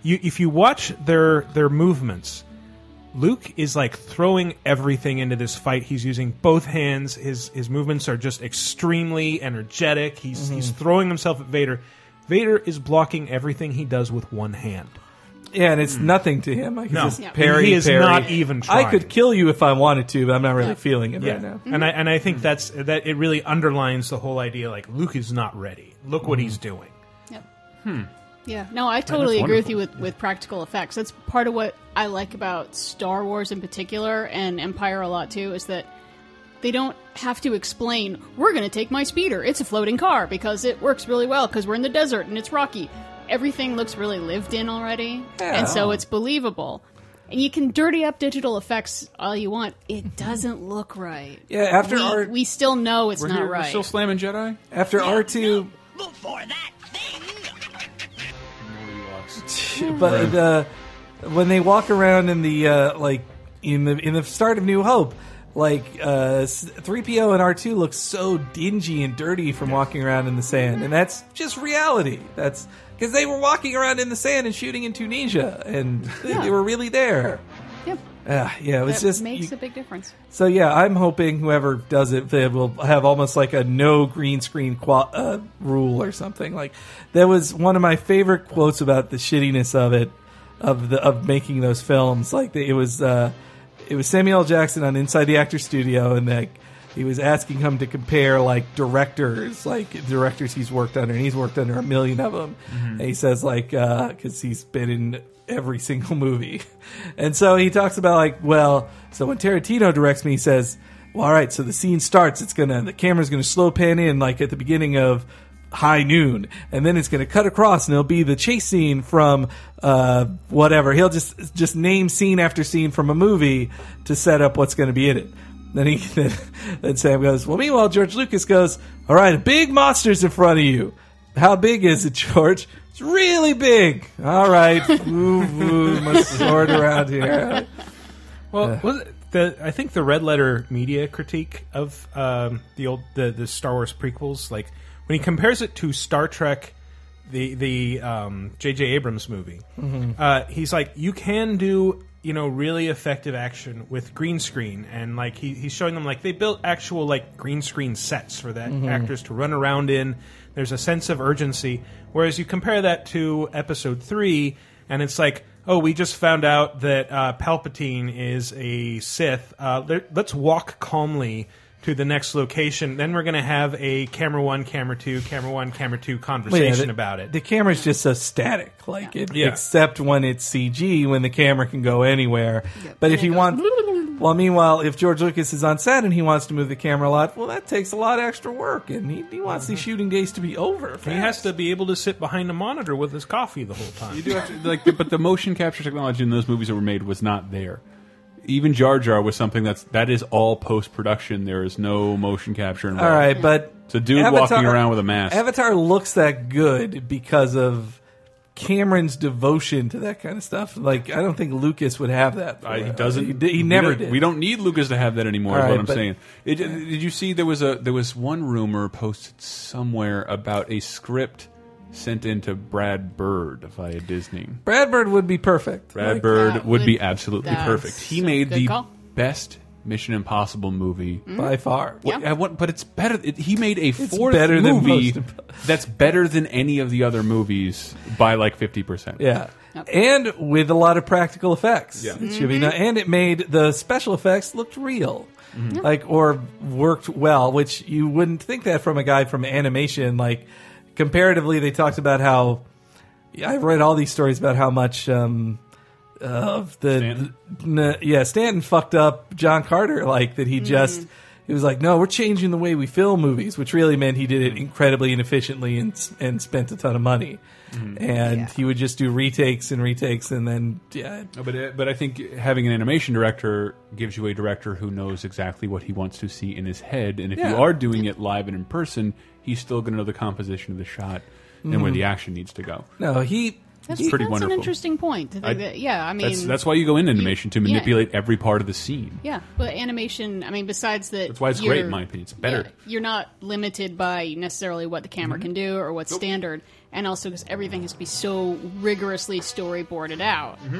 Speaker 3: you, if you watch their their movements, Luke is like throwing everything into this fight. He's using both hands. His his movements are just extremely energetic. He's he's
Speaker 4: Mhm.
Speaker 3: throwing himself at Vader. Vader is blocking everything he does with one hand.
Speaker 4: Yeah, and it's nothing to him. I can
Speaker 3: No.
Speaker 4: just
Speaker 3: Yeah.
Speaker 4: parry.
Speaker 3: He is
Speaker 4: parry.
Speaker 3: not even trying.
Speaker 4: I could kill you if I wanted to, but I'm not really feeling it right now.
Speaker 3: And I and I think that's that it really underlines the whole idea like Luke is not ready. Look what he's doing.
Speaker 5: Yep.
Speaker 3: Hmm.
Speaker 5: Yeah, no, I totally
Speaker 3: that's
Speaker 5: agree with you with, with practical effects. That's part of what I like about Star Wars in particular and Empire a lot too is that they don't have to explain, we're going to take my speeder. It's a floating car because it works really well because we're in the desert and it's rocky. Everything looks really lived in already,
Speaker 9: Yeah.
Speaker 5: and so it's believable. And you can dirty up digital effects all you want. It doesn't look right.
Speaker 4: Yeah, after
Speaker 5: we,
Speaker 4: our-
Speaker 5: we still know it's
Speaker 2: We're
Speaker 5: not
Speaker 2: here- we're
Speaker 5: right.
Speaker 2: still slamming Jedi.
Speaker 4: After R two, but
Speaker 2: Right.
Speaker 4: the when they walk around in the uh, like in the in the start of New Hope, like uh three PO and R two look so dingy and dirty from walking around in the sand, and that's just reality. That's because they were walking around in the sand and shooting in Tunisia, and they, they were really there.
Speaker 5: Yep.
Speaker 4: Uh, yeah, it was
Speaker 5: that
Speaker 4: just
Speaker 5: makes
Speaker 4: you-
Speaker 5: a big difference.
Speaker 4: So yeah, I'm hoping whoever does it, they will have almost like a no green screen qua uh, rule or something. Like that was one of my favorite quotes about the shittiness of it, of the of making those films. Like it was, uh, it was Samuel L. Jackson on Inside the Actor Studio, and like he was asking him to compare like directors, like directors he's worked under, and he's worked under a million of them. And he says like because he's been in every single movie, and so he talks about like well, so when Tarantino directs me, he says, well, all right, so the scene starts, it's gonna the camera's gonna slow pan in like at the beginning of High Noon, and then it's going to cut across, and it'll be the chase scene from uh, whatever. He'll just just name scene after scene from a movie to set up what's going to be in it. Then he then, then Sam goes, well. Meanwhile, George Lucas goes, all right, a big monster's in front of you. How big is it, George? It's really big. All right, move, move my sword around here.
Speaker 3: Well, was it the I think the red letter media critique of um, the old the, the Star Wars prequels, like when he compares it to Star Trek, the the um, J.J. Abrams movie,
Speaker 13: Mhm.
Speaker 3: uh, he's like you can do you know really effective action with green screen, and like he, he's showing them like they built actual like green screen sets for that
Speaker 13: Mhm.
Speaker 3: actors to run around in. There's a sense of urgency, whereas you compare that to Episode Three, and it's like oh, we just found out that uh, Palpatine is a Sith. Uh, let- let's walk calmly to the next location. Then we're going to have a camera one, camera two, camera one, camera two conversation
Speaker 4: the-
Speaker 3: about it.
Speaker 4: The camera's just so static, like it,
Speaker 3: Yeah.
Speaker 4: except when it's CG, when the camera can go anywhere. But if you want, Well, meanwhile, if George Lucas is on set and he wants to move the camera a lot, well, that takes a lot of extra work, and he, he wants these shooting days to be over.
Speaker 3: Mm-hmm. He has to be able to sit behind a monitor with his coffee the whole time.
Speaker 2: You do have to, like, but the motion capture technology in those movies that were made was not there. Even Jar Jar was something that's that is all post production. There is no motion capture involved.
Speaker 4: All right, but
Speaker 2: it's a dude walking around with a mask.
Speaker 4: Avatar looks that good because of Cameron's devotion to that kind of stuff. Like I don't think Lucas would have that.
Speaker 2: I, he doesn't.
Speaker 4: He, d- he
Speaker 2: we
Speaker 4: never
Speaker 2: don't-
Speaker 4: did.
Speaker 2: We don't need Lucas to have that anymore.
Speaker 4: All
Speaker 2: is
Speaker 4: right,
Speaker 2: what I'm
Speaker 4: but-
Speaker 2: saying. It, did you see there was a there was one rumor posted somewhere about a script sent in to Brad Bird via Disney.
Speaker 4: Brad Bird would be perfect.
Speaker 2: Brad
Speaker 4: Oh Like,
Speaker 2: Bird
Speaker 4: that
Speaker 2: would, be
Speaker 4: would-
Speaker 2: absolutely
Speaker 4: that's
Speaker 2: perfect. He
Speaker 4: a
Speaker 2: made
Speaker 4: good
Speaker 2: the
Speaker 4: call.
Speaker 2: best Mission Impossible movie
Speaker 4: Mm. By far.
Speaker 2: What-
Speaker 4: Yeah.
Speaker 2: I want- but it's better. It, he made a
Speaker 4: It's
Speaker 2: fourth
Speaker 4: better than
Speaker 2: movie
Speaker 4: most
Speaker 2: that's better than any of the other movies by like fifty percent.
Speaker 4: Yeah. And with a lot of practical effects.
Speaker 2: Yeah.
Speaker 4: It should be
Speaker 2: Mhm.
Speaker 4: no- and it made the special effects looked real.
Speaker 2: Mhm. Yeah.
Speaker 4: Like or worked well, which you wouldn't think that from a guy from animation like comparatively they talked about how I read all these stories about how much um uh, of the n- yeah, Stanton fucked up John Carter like that he just it was like, no, we're changing the way we film movies, which really meant he did it
Speaker 2: Mm-hmm.
Speaker 4: incredibly inefficiently and s- and spent a ton of money.
Speaker 2: Mhm.
Speaker 4: And he would just do retakes and retakes, and then yeah.
Speaker 2: No, but uh, but I think having an animation director gives you a director who knows exactly what he wants to see in his head, and if
Speaker 4: Yeah.
Speaker 2: you are doing it live and in person, he's still going to know the composition of the shot and where
Speaker 4: Mhm.
Speaker 2: the action needs to go.
Speaker 4: No, he.
Speaker 5: That's,
Speaker 2: It's pretty
Speaker 5: that's
Speaker 2: wonderful.
Speaker 5: an interesting point. To think
Speaker 2: I-
Speaker 5: that, yeah, I mean,
Speaker 2: that's, that's why you go in animation to
Speaker 5: yeah.
Speaker 2: manipulate every part of the scene.
Speaker 5: Yeah, but animation. I mean, besides that,
Speaker 2: That's why it's
Speaker 5: you're-
Speaker 2: great, in my opinion. It's better. Mm-hmm.
Speaker 5: yeah, you're not limited by necessarily what the camera can do or what's standard, and also because everything has to be so rigorously storyboarded out.
Speaker 2: Mm-hmm.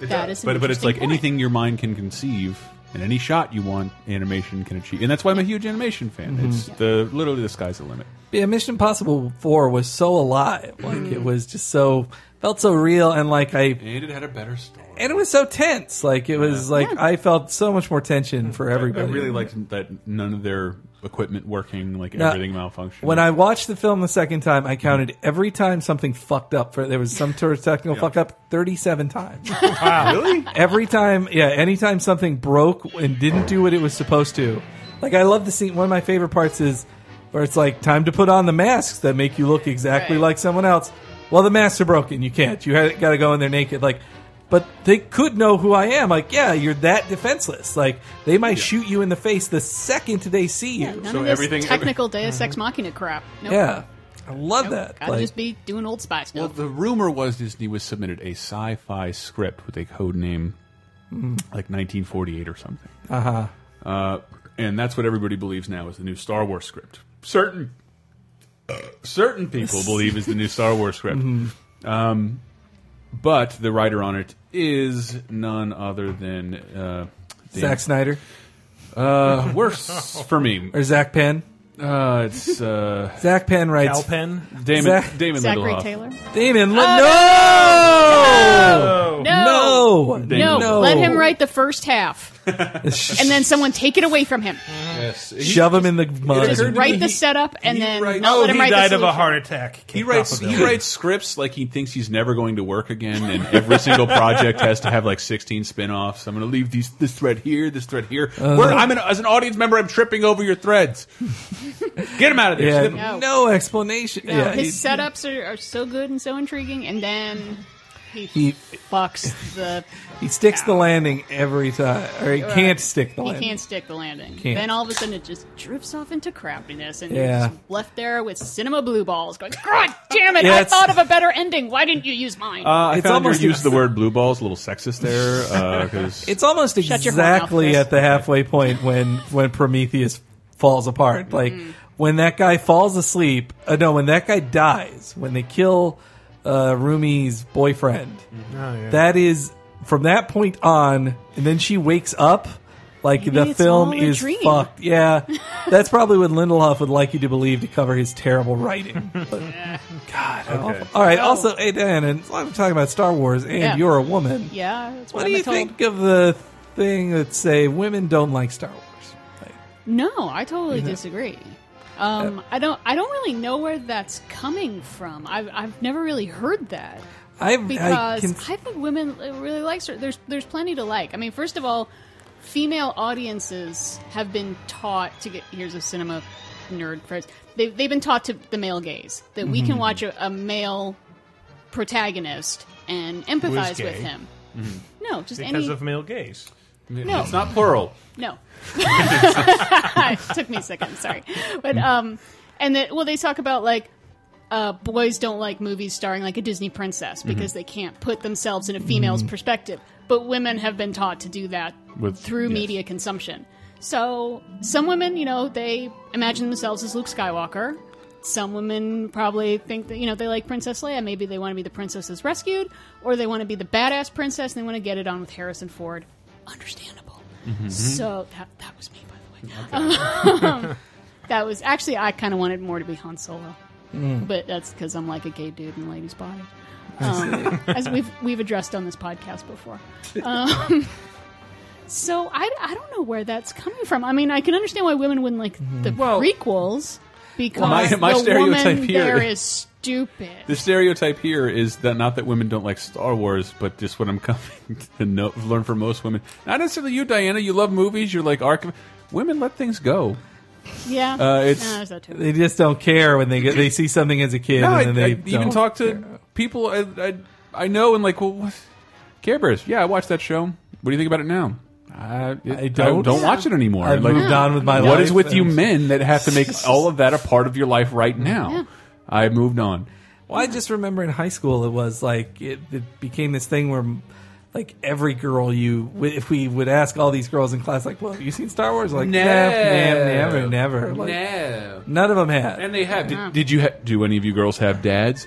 Speaker 2: It
Speaker 5: That
Speaker 2: does.
Speaker 5: is an
Speaker 2: but but it's
Speaker 5: interesting
Speaker 2: like
Speaker 5: point.
Speaker 2: anything your mind can conceive and any shot you want, animation can achieve. And that's why I'm a huge animation fan.
Speaker 4: Mhm.
Speaker 2: It's the literally the sky's the limit.
Speaker 4: Yeah, Mission Impossible Four was so alive. Like it was just so felt so real, and like I
Speaker 2: And it had a better story.
Speaker 4: and it was so tense. Like it was like I felt so much more tension for
Speaker 2: Mm-hmm. I
Speaker 4: everybody.
Speaker 2: really liked that none of their equipment working, like
Speaker 4: Now,
Speaker 2: everything malfunctioned.
Speaker 4: When I watched the film the second time, I counted every time something fucked up. For there was some sort of technical
Speaker 2: Yeah.
Speaker 4: fuck up, thirty-seven times.
Speaker 2: Really?
Speaker 4: Every time, yeah. Anytime something broke and didn't do what it was supposed to, like I love the scene. One of my favorite parts is where it's like time to put on the masks that make you look exactly like someone else. Well, the masks are broken. You can't. You got to go in there naked. Like, but they could know who I am. Like, yeah, you're that defenseless. Like, they might shoot you in the face the second they see you.
Speaker 5: None of this technical
Speaker 2: Mm-hmm.
Speaker 5: Deus Ex Machina crap. Nope.
Speaker 4: Yeah. I love
Speaker 5: Nope.
Speaker 4: that.
Speaker 5: Gotta
Speaker 2: Like-
Speaker 5: just be doing Old Spy stuff.
Speaker 2: Well, the rumor was Disney was submitted a sci-fi script with a code name,
Speaker 4: Mm.
Speaker 2: like 1948 or something.
Speaker 4: Uh-huh.
Speaker 2: Uh, and that's what everybody believes now is the new Star Wars script. Certain, certain people believe is the new Star Wars script.
Speaker 4: Mhm.
Speaker 2: Um, but the writer on it is none other than uh, Dan-
Speaker 4: Zack Snyder.
Speaker 2: Uh, worse for me.
Speaker 4: Or Zach Penn.
Speaker 2: Uh, it's uh,
Speaker 4: Zach Penn writes.
Speaker 2: Cal Penn? Damon- Damon Zachary Lindelof. Taylor?
Speaker 4: Damon. Lin-
Speaker 5: Oh,
Speaker 2: Oh.
Speaker 4: no!
Speaker 5: No!
Speaker 4: No!
Speaker 5: No,
Speaker 4: No.
Speaker 5: let him write the first half, and then someone take it away from him.
Speaker 2: Yes.
Speaker 4: Shove him in the mud.
Speaker 5: Just write the setup, and then not
Speaker 2: Oh,
Speaker 5: let him
Speaker 3: he
Speaker 5: write the
Speaker 3: died of a
Speaker 5: solution.
Speaker 3: heart attack.
Speaker 2: He writes he writes scripts like he thinks he's never going to work again, and every single project has to have like sixteen spin-offs. I'm going to leave these this thread here, this thread here.
Speaker 4: Uh.
Speaker 2: We're- I'm an, as an audience member, I'm tripping over your threads. Get him out of there.
Speaker 4: Yeah,
Speaker 2: Snip 'em.
Speaker 5: No.
Speaker 4: no. explanation.
Speaker 5: No,
Speaker 4: yeah,
Speaker 5: Oh, his
Speaker 4: he-
Speaker 5: setups are, are so good and so intriguing, and then he,
Speaker 4: He-
Speaker 5: fucks the.
Speaker 4: He sticks the landing every time, or he can't stick the
Speaker 5: He
Speaker 4: landing.
Speaker 5: can't stick the landing.
Speaker 4: Can't.
Speaker 5: Then all of a sudden it just drifts off into crappiness, and
Speaker 4: Yeah.
Speaker 5: you're just left there with cinema blue balls going, God damn it!
Speaker 2: Yeah,
Speaker 5: I
Speaker 2: it's-
Speaker 5: thought of a better ending. Why didn't you use mine?
Speaker 2: Uh, I
Speaker 4: It's
Speaker 2: found
Speaker 4: almost
Speaker 2: you used the word blue balls, a little sexist there. uh, Because
Speaker 4: It's almost
Speaker 5: Shut your whore mouth,
Speaker 4: exactly
Speaker 5: Chris.
Speaker 4: at the halfway point when when Prometheus falls
Speaker 5: Mm-hmm.
Speaker 4: apart. Like when that guy falls asleep. Uh, no, when that guy dies. When they kill uh, Rumi's boyfriend.
Speaker 3: Oh, yeah.
Speaker 4: That is from that point on, and then she wakes up. Like
Speaker 5: Maybe
Speaker 4: the
Speaker 5: it's
Speaker 4: film
Speaker 5: all a
Speaker 4: is
Speaker 5: dream.
Speaker 4: fucked. Yeah, that's probably what Lindelof would like you to believe to cover his terrible writing. But- God, how
Speaker 2: Okay.
Speaker 4: awful. all right. Also, hey Dan, and I'm talking about Star Wars, and
Speaker 5: Yeah.
Speaker 4: you're a woman.
Speaker 5: yeah, that's what,
Speaker 4: What
Speaker 5: I'm
Speaker 4: do you
Speaker 5: told.
Speaker 4: think of the thing that say women don't like Star Wars?
Speaker 5: No, I totally
Speaker 4: Yeah. Uh,
Speaker 5: disagree. Um, I don't. I don't really know where that's coming from. I've I've never really heard that.
Speaker 4: I've- I
Speaker 5: because I, uh,
Speaker 4: can-
Speaker 5: think women really like. There's there's plenty to like. I mean, first of all, female audiences have been taught to get here's a cinema nerd phrase. They've, they've been taught to the male gaze that we can
Speaker 3: Mm-hmm.
Speaker 13: Mhm.
Speaker 5: watch a, a male protagonist and empathize with him. No,
Speaker 3: Mm-hmm. because
Speaker 5: just any-
Speaker 3: of male gaze.
Speaker 5: No. It's not
Speaker 2: plural.
Speaker 5: No. it took me a second, sorry. But um and that well they talk about like uh, boys don't like movies starring like a Disney princess because
Speaker 13: Mhm.
Speaker 5: they can't put themselves in a female's
Speaker 13: Mm.
Speaker 5: perspective. But women have been taught to do that
Speaker 13: With-
Speaker 5: through
Speaker 13: yes.
Speaker 5: media consumption. So some women, you know, they imagine themselves as Luke Skywalker. Some women probably think that you know they like Princess Leia. Maybe they want to be the princess that's rescued, or they want to be the badass princess and they want to get it on with Harrison Ford.
Speaker 13: Mhm.
Speaker 5: So that that was me, by the way. Um, that was actually I kind of wanted more to be Han Solo,
Speaker 13: Mm.
Speaker 5: but that's because I'm like a gay dude in a lady's body,
Speaker 13: I
Speaker 5: um,
Speaker 13: see.
Speaker 5: as we've we've addressed on this podcast before. Um, so I, I don't know where that's coming from. I mean, I can understand why women wouldn't like the
Speaker 13: Hmm.
Speaker 5: prequels because
Speaker 2: my- my
Speaker 5: the woman
Speaker 2: stereotype here-
Speaker 5: there is stupid.
Speaker 2: The stereotype here is that not that women don't like Star Wars, but just what I'm coming to know, learn from most women. Not necessarily you, Diana. You love movies. You're like archiv. Women let things go.
Speaker 5: Yeah,
Speaker 2: Uh, it's
Speaker 5: No, there's that too.
Speaker 4: They just don't care when they get they see something as a kid,
Speaker 2: No, I,
Speaker 4: and then
Speaker 2: I
Speaker 4: they
Speaker 2: even
Speaker 4: don't.
Speaker 2: talk to people I, I I know and like, well, what? Care Bears. Yeah, I watched that show. What do you think about it now? I, it-
Speaker 4: I don't.
Speaker 2: don't watch it anymore.
Speaker 4: I've
Speaker 2: like,
Speaker 4: moved on with my
Speaker 2: What
Speaker 4: life
Speaker 2: is with you
Speaker 4: and-
Speaker 2: men that have to make all of that a part of your life right now?
Speaker 4: Yeah.
Speaker 2: I moved on.
Speaker 4: Well, I just remember in high school it was like it, it became this thing where like every girl you if we would ask all these girls in class like, "Well, have you seen Star Wars?" Like,
Speaker 2: No.
Speaker 4: never, never, never. Like,
Speaker 2: No.
Speaker 4: None of them had.
Speaker 2: And they have. Did, did you? Ha do any of you girls have dads?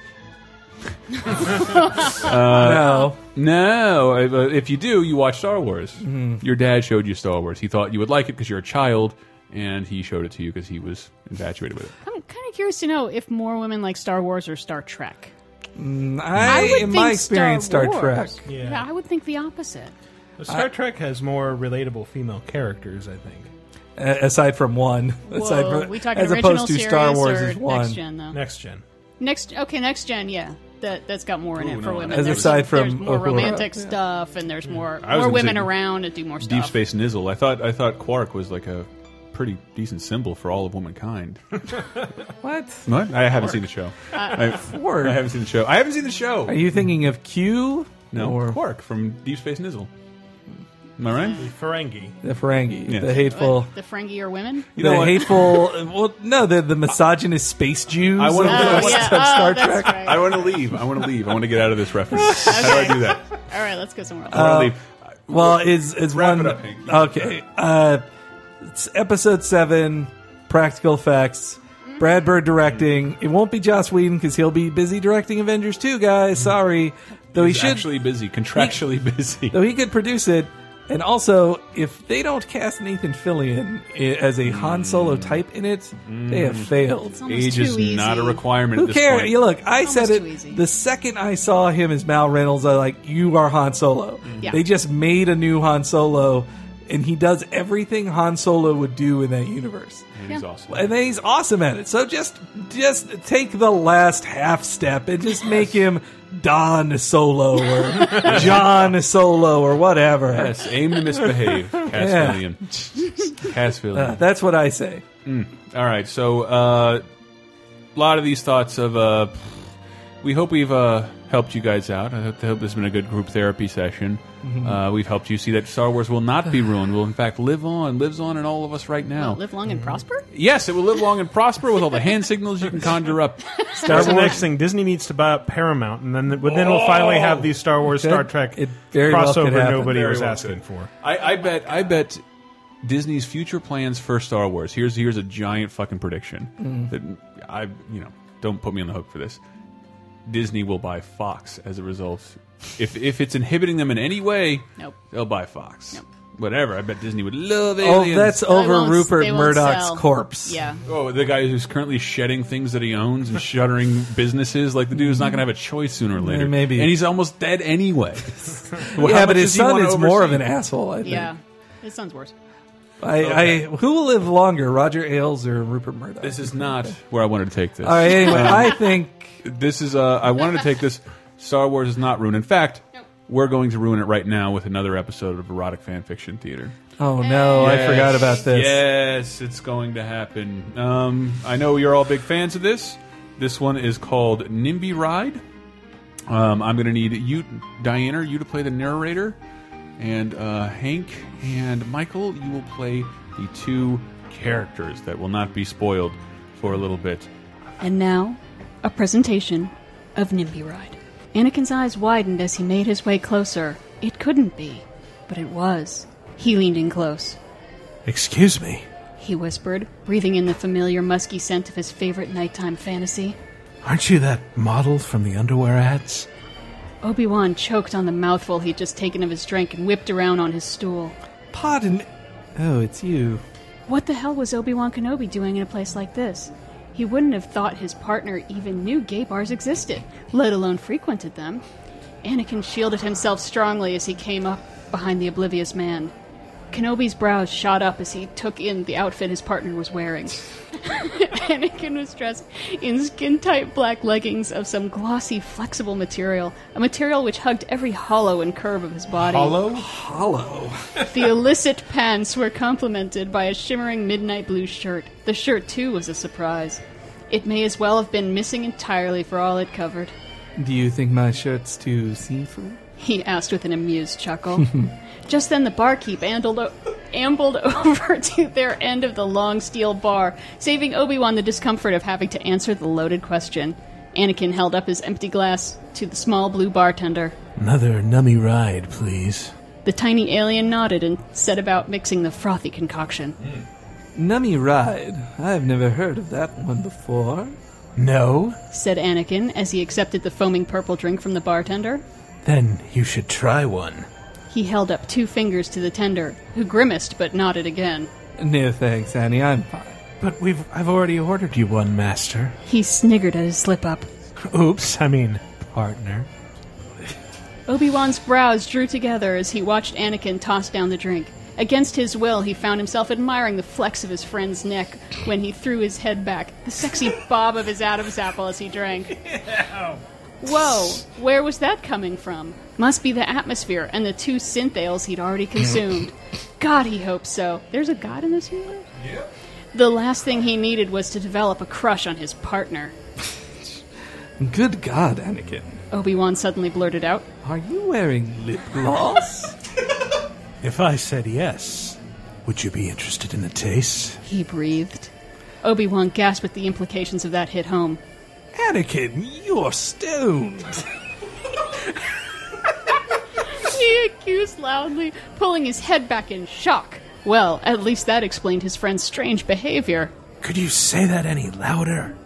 Speaker 2: Uh,
Speaker 4: No.
Speaker 2: No. I- uh, If you do, you watch Star Wars.
Speaker 4: Mhm.
Speaker 2: Your dad showed you Star Wars. He thought you would like it because you're a child, and he showed it to you because he was infatuated with it.
Speaker 5: I'm kind of curious to know if more women like Star Wars or Star Trek.
Speaker 4: Mm,
Speaker 5: I
Speaker 4: I,
Speaker 5: would
Speaker 4: in
Speaker 5: think
Speaker 4: my experience,
Speaker 5: Star
Speaker 4: Star, Trek.
Speaker 5: Wars. Yeah. I would think the opposite.
Speaker 3: Star Trek has more relatable female characters, I think.
Speaker 4: A- aside from one, aside
Speaker 5: Whoa,
Speaker 4: from,
Speaker 5: we talking
Speaker 4: as
Speaker 5: original
Speaker 4: opposed to Star
Speaker 5: series
Speaker 4: Wars
Speaker 5: or
Speaker 4: is one.
Speaker 5: next gen, though?
Speaker 3: Next gen.
Speaker 5: Next, okay, next gen, yeah, that that's got more in
Speaker 4: Ooh,
Speaker 5: it for
Speaker 4: no,
Speaker 5: women.
Speaker 4: as
Speaker 5: there's,
Speaker 4: aside from
Speaker 5: there's more
Speaker 4: Uhura.
Speaker 5: romantic stuff, and there's
Speaker 2: I
Speaker 5: more
Speaker 2: was
Speaker 5: more
Speaker 2: gonna
Speaker 5: women
Speaker 2: say
Speaker 5: around that do more
Speaker 2: Deep
Speaker 5: stuff.
Speaker 2: space nizzle. I thought. I thought Quark was like a pretty decent symbol for all of womankind.
Speaker 4: What?
Speaker 2: What? I haven't seen the show.
Speaker 4: Uh,
Speaker 2: I,
Speaker 4: Quark.
Speaker 2: I haven't seen the show. I haven't seen the show.
Speaker 4: Are you thinking of Q?
Speaker 2: No,
Speaker 4: or
Speaker 2: Quark from Deep Space Nizzle. Am I right?
Speaker 3: The Ferengi.
Speaker 4: the Ferengi,
Speaker 2: Yeah.
Speaker 4: the hateful.
Speaker 5: The Ferengi are women.
Speaker 2: You know
Speaker 4: the
Speaker 2: what?
Speaker 4: hateful. Well, no, the the misogynist space Jews.
Speaker 2: I want to.
Speaker 4: of
Speaker 2: I
Speaker 4: Star
Speaker 2: wanna-
Speaker 5: Oh, that's
Speaker 4: Trek.
Speaker 5: right.
Speaker 2: I want to leave. I want to leave. I want to get out of this reference. How do I do that?
Speaker 5: All right, let's go somewhere else.
Speaker 2: Or
Speaker 4: Uh,
Speaker 2: leave.
Speaker 4: well, is is
Speaker 2: Wrap
Speaker 4: one
Speaker 2: it up, Hank.
Speaker 4: okay? Uh, it's episode seven, practical effects.
Speaker 5: Mm-hmm.
Speaker 4: Brad Bird directing. It won't be Joss Whedon because he'll be busy directing Avengers two. Guys, sorry. Though
Speaker 2: Mm-hmm. He's
Speaker 4: he should,
Speaker 2: actually busy, contractually busy.
Speaker 4: though he could produce it. And also, if they don't cast Nathan Fillion i- as a Han Solo
Speaker 2: Hmm.
Speaker 4: type in it, they have failed.
Speaker 2: Age is not a requirement
Speaker 4: Who
Speaker 2: Hmm. at this
Speaker 4: cares?
Speaker 2: point.
Speaker 4: You look, I said it the second I saw him as Mal Reynolds. I like you are Han Solo.
Speaker 2: Yeah.
Speaker 4: They just made a new Han Solo, and he does everything Han Solo would do in that universe.
Speaker 2: And he's awesome.
Speaker 4: And then he's awesome at it. So just just take the last half step and just make him Don Solo or John Solo or whatever.
Speaker 2: Yes, aim to misbehave, Cass
Speaker 4: Yeah.
Speaker 2: Fillion. Cass Fillion.
Speaker 4: Uh, that's what I say.
Speaker 2: Mm. All right. So uh, a lot of these thoughts of uh, we hope we've uh, helped you guys out. I hope, I hope this has been a good group therapy session.
Speaker 5: Mhm.
Speaker 2: Uh, we've helped you see that Star Wars will not be ruined. Will in fact live on, lives on in all of us right now.
Speaker 5: Well, live long
Speaker 4: Mm-hmm.
Speaker 5: and prosper.
Speaker 2: yes, it will live long and prosper with all the hand signals you can conjure up.
Speaker 3: That's the next thing. Disney needs to buy up Paramount, and then but then we'll finally have these Star Wars, Star Trek crossover nobody
Speaker 2: Very
Speaker 3: was
Speaker 2: well
Speaker 3: asking
Speaker 2: could.
Speaker 3: for.
Speaker 2: I, I bet. I bet Disney's future plans for Star Wars. Here's here's a giant fucking prediction.
Speaker 4: Mm.
Speaker 2: That I you know don't put me on the hook for this. Disney will buy Fox as a result. If if it's inhibiting them in any way,
Speaker 5: Nope.
Speaker 2: they'll buy Fox. Whatever. I bet Disney would love
Speaker 4: Oh,
Speaker 2: aliens.
Speaker 4: that's over Rupert Murdoch's corpse.
Speaker 5: Yeah.
Speaker 2: Oh, the guy who's currently shedding things that he owns and shuttering businesses. Like the dude is not going to have a choice sooner or later.
Speaker 4: maybe.
Speaker 2: and he's almost dead anyway. Well,
Speaker 4: yeah,
Speaker 2: how
Speaker 4: but
Speaker 2: much
Speaker 4: his
Speaker 2: does he
Speaker 4: son
Speaker 2: wanna
Speaker 4: is more of
Speaker 2: oversee?
Speaker 4: an asshole. I think.
Speaker 5: Yeah, it sounds worse.
Speaker 4: I, I who will live longer, Roger Ailes or Rupert Murdoch?
Speaker 2: This is not where I wanted to take this.
Speaker 4: All right, anyway,
Speaker 2: Um,
Speaker 4: I think
Speaker 2: this is. Uh, I wanted to take this. Star Wars is not ruined. In fact, we're going to ruin it right now with another episode of erotic fan fiction theater.
Speaker 4: Oh no, I forgot about this.
Speaker 2: Yes, it's going to happen. Um, I know you're all big fans of this. This one is called NIMBY Ride. Um, I'm going to need you, Diana, or you to play the narrator, and uh, Hank and Michael, you will play the two characters that will not be spoiled for a little bit.
Speaker 5: And now, a presentation of Nimby Ride. Anakin's eyes widened as he made his way closer. It couldn't be, but it was. He leaned in close.
Speaker 3: Excuse me.
Speaker 5: He whispered, breathing in the familiar musky scent of his favorite nighttime fantasy.
Speaker 3: Aren't you that model from the underwear ads?
Speaker 5: Obi Wan choked on the mouthful he'd just taken of his drink and whipped around on his stool.
Speaker 4: Pardon. Oh, it's you.
Speaker 5: What the hell was Obi Wan Kenobi doing in a place like this? He wouldn't have thought his partner even knew gay bars existed, let alone frequented them. Anakin shielded himself strongly as he came up behind the oblivious man. Kenobi's brows shot up as he took in the outfit his partner was wearing. Anakin was dressed in skin tight black leggings of some glossy, flexible material, a material which hugged every hollow and curve of his body.
Speaker 4: Hollow.
Speaker 5: The illicit pants were complemented by a shimmering midnight blue shirt. The shirt, too, was a surprise. It may as well have been missing entirely for all it covered,
Speaker 4: Do you think my shirt's too see-through?
Speaker 5: he asked with an amused chuckle. Just then, the barkeep ambled, o- ambled over to their end of the long steel bar, saving Obi Wan the discomfort of having to answer the loaded question. Anakin held up his empty glass to the small blue bartender.
Speaker 3: Another nummy ride, please.
Speaker 5: The tiny alien nodded and set about mixing the frothy concoction.
Speaker 4: Nummy Ride. I've never heard of that one before.
Speaker 3: No?
Speaker 5: Said Anakin as he accepted the foaming purple drink from the bartender.
Speaker 3: Then you should try one.
Speaker 5: He held up two fingers to the tender, who grimaced but nodded again.
Speaker 4: No thanks, Annie. I'm fine.
Speaker 3: But we've I've already ordered you one, Master.
Speaker 5: He sniggered at his slip up.
Speaker 3: Oops, I mean partner.
Speaker 5: Obi Wan's brows drew together as he watched Anakin toss down the drink. Against his will, he found himself admiring the flex of his friend's neck when he threw his head back, the sexy bob of his Adam's apple as he drank. Whoa, where was that coming from? Must be the atmosphere and the two synth ales he'd already consumed. God, he hopes so. There's a god in this universe? The last thing he needed was to develop a crush on his partner.
Speaker 4: Good God, Anakin.
Speaker 5: Obi Wan suddenly blurted out.
Speaker 4: Are you wearing lip gloss?
Speaker 3: If I said yes, would you be interested in the taste?
Speaker 5: He breathed. Obi Wan gasped at the implications of that hit home.
Speaker 4: Anakin, you're stoned.
Speaker 5: he accused loudly, pulling his head back in shock. Well, at least that explained his friend's strange behavior.
Speaker 3: Could you say that any louder?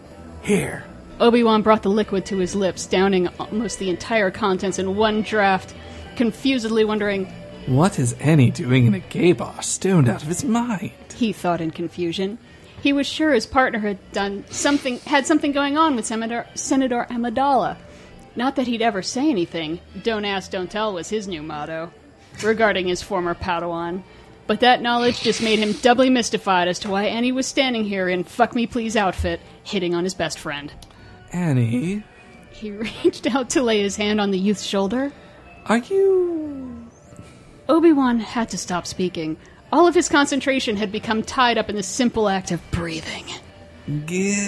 Speaker 3: Here.
Speaker 5: Obi Wan brought the liquid to his lips, downing almost the entire contents in one draft, confusedly wondering,
Speaker 4: What is Annie doing in a gay bar, stoned out of his mind?
Speaker 5: he thought in confusion. He was sure his partner had done something had something going on with Senator Senator Amidala. Not that he'd ever say anything. Don't ask, don't tell was his new motto regarding his former Padawan. But that knowledge just made him doubly mystified as to why Annie was standing here in fuck me please outfit, hitting on his best friend.
Speaker 4: Annie,
Speaker 5: He reached out to lay his hand on the youth's shoulder.
Speaker 4: are you.
Speaker 5: Obi Wan had to stop speaking. All of his concentration had become tied up in the simple act of breathing. he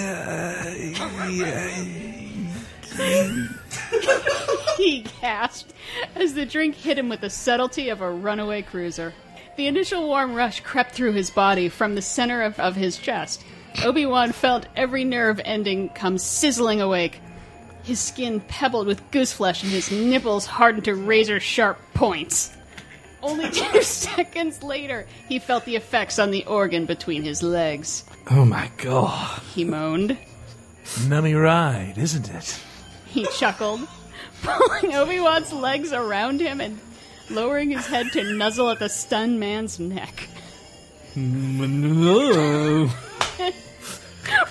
Speaker 5: gasped as the drink hit him with the subtlety of a runaway cruiser. The initial warm rush crept through his body from the center of, of his chest. Obi Wan felt every nerve ending come sizzling awake. His skin pebbled with goose flesh and his nipples hardened to razor sharp points. Only two seconds later, he felt the effects on the organ between his legs.
Speaker 4: Oh my god.
Speaker 5: He moaned.
Speaker 3: Nummy ride, isn't it?
Speaker 5: He chuckled, pulling Obi Wan's legs around him and lowering his head to nuzzle at the stunned man's neck.
Speaker 4: No.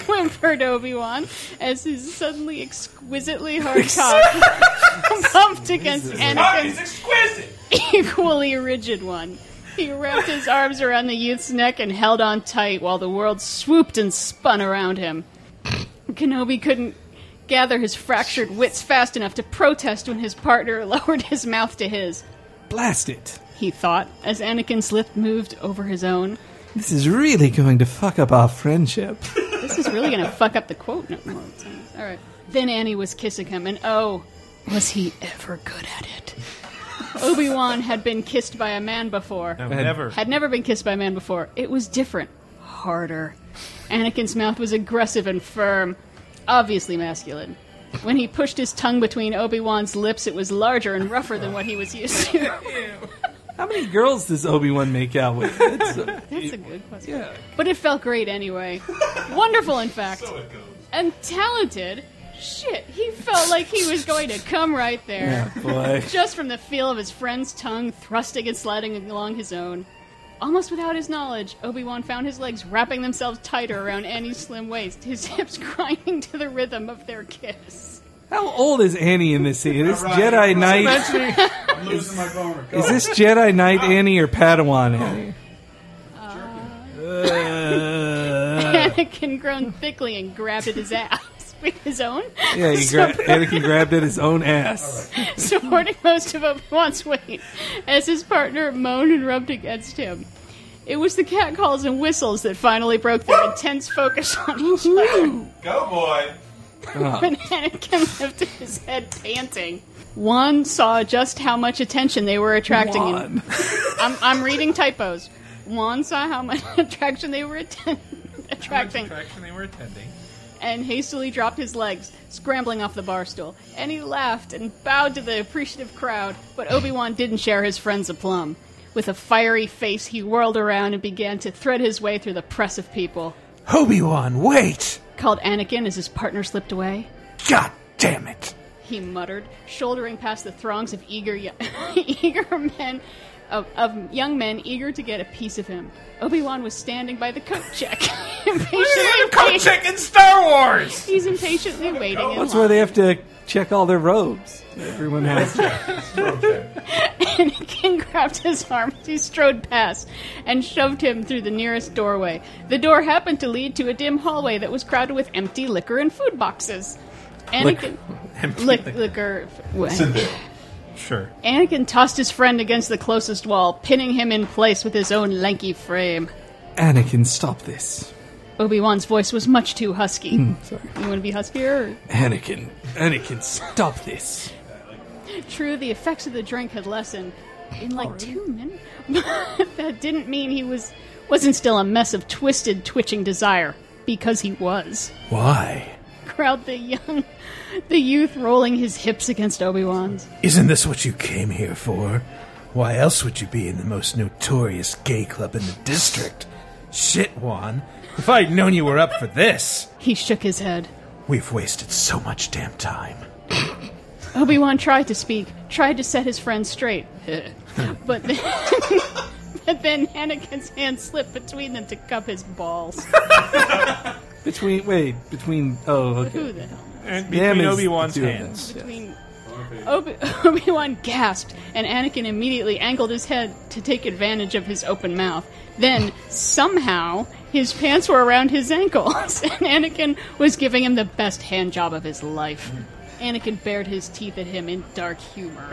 Speaker 5: Whimpered Obi Wan as his suddenly exquisitely hard cock bumped against Anakin's equally rigid one. He wrapped his arms around the youth's neck and held on tight while the world swooped and spun around him. Kenobi couldn't gather his fractured wits fast enough to protest when his partner lowered his mouth to his.
Speaker 4: Blast it.
Speaker 5: he thought, as Anakin's lip moved over his own.
Speaker 4: This is really going to fuck up our friendship.
Speaker 5: This is really going to fuck up the quote. No, no, it's- all right. Then Annie was kissing him, and oh, was he ever good at it? Obi Wan had been kissed by a man before.
Speaker 3: No, Had- never.
Speaker 5: Had never been kissed by a man before. It was different, harder. Anakin's mouth was aggressive and firm, obviously masculine. When he pushed his tongue between Obi Wan's lips, it was larger and rougher than what he was used to.
Speaker 4: How many girls does Obi Wan make out with? It's, uh,
Speaker 5: That's a good question. But it felt great anyway. Wonderful, in fact. And talented. Shit, he felt like he was going to come right there.
Speaker 4: Yeah, boy.
Speaker 5: Just from the feel of his friend's tongue thrusting and sliding along his own. Almost without his knowledge, Obi Wan found his legs wrapping themselves tighter around Annie's slim waist, his hips grinding to the rhythm of their kiss.
Speaker 4: how old is Annie in this scene? Is this
Speaker 5: Alright,
Speaker 4: Jedi
Speaker 5: I'm
Speaker 4: Knight?
Speaker 5: imagining-
Speaker 7: I'm losing my boner. Go. Uh,
Speaker 4: Is this Jedi Knight Annie or Padawan Annie? Uh.
Speaker 5: Anakin groaned thickly and grabbed at his ass with his own.
Speaker 4: Yeah, he gra- Anakin grabbed at his own ass.
Speaker 5: supporting most of Obi-Wan's weight as his partner moaned and rubbed against him. It was the cat calls and whistles that finally broke their intense focus on each other.
Speaker 7: Go, boy.
Speaker 5: When Anakin lifted his head panting, Juan saw just how much attention they were attracting. And I'm, I'm reading typos. Juan saw how much attraction they were atten- attracting
Speaker 7: Attraction they were attending.
Speaker 5: and hastily dropped his legs, scrambling off the bar stool. And he laughed and bowed to the appreciative crowd, but Obi Wan didn't share his friend's aplomb. With a fiery face, he whirled around and began to thread his way through the press of people.
Speaker 4: Obi Wan, wait!
Speaker 5: Called Anakin as his partner slipped away.
Speaker 4: God damn it!
Speaker 5: He muttered, shouldering past the throngs of eager, yo- eager men, of, of young men eager to get a piece of him. Obi Wan was standing by the coat check, impatiently
Speaker 7: Come
Speaker 5: waiting-
Speaker 7: check in Star Wars.
Speaker 5: He's impatiently waiting. in
Speaker 4: That's where they have to check all their robes. Everyone has.
Speaker 5: Anakin grabbed his arm as he strode past and shoved him through the nearest doorway. The door happened to lead to a dim hallway that was crowded with empty liquor and food boxes.
Speaker 3: Lick-
Speaker 5: Anakin,
Speaker 3: empty
Speaker 5: lick- liquor.
Speaker 3: What's in there? Sure.
Speaker 5: Anakin tossed his friend against the closest wall, pinning him in place with his own lanky frame.
Speaker 4: Anakin, stop this.
Speaker 5: Obi Wan's voice was much too husky.
Speaker 4: Hmm, sorry.
Speaker 5: You want to be huskier? Or?
Speaker 4: Anakin, Anakin, stop this.
Speaker 5: True, the effects of the drink had lessened in like two minutes, but that didn't mean he was wasn't still a mess of twisted, twitching desire because he was.
Speaker 3: Why?
Speaker 5: Crowd the young, the youth rolling his hips against Obi Wan's.
Speaker 14: Isn't this what you came here for? Why else would you be in the most notorious gay club in the district? Shit, Juan. If I'd known you were up for this,
Speaker 5: He shook his head.
Speaker 14: we've wasted so much damn time.
Speaker 5: Obi Wan tried to speak, tried to set his friend straight, but then, but then Anakin's hand slipped between them to cup his balls.
Speaker 4: Between wait, between oh okay.
Speaker 5: Who the hell?
Speaker 4: And
Speaker 3: between Obi-Wan's
Speaker 4: hands.
Speaker 5: Between Obi- Obi-Wan gasped, and Anakin immediately angled his head to take advantage of his open mouth. Then, somehow, his pants were around his ankles, and Anakin was giving him the best hand job of his life. Anakin bared his teeth at him in dark humor.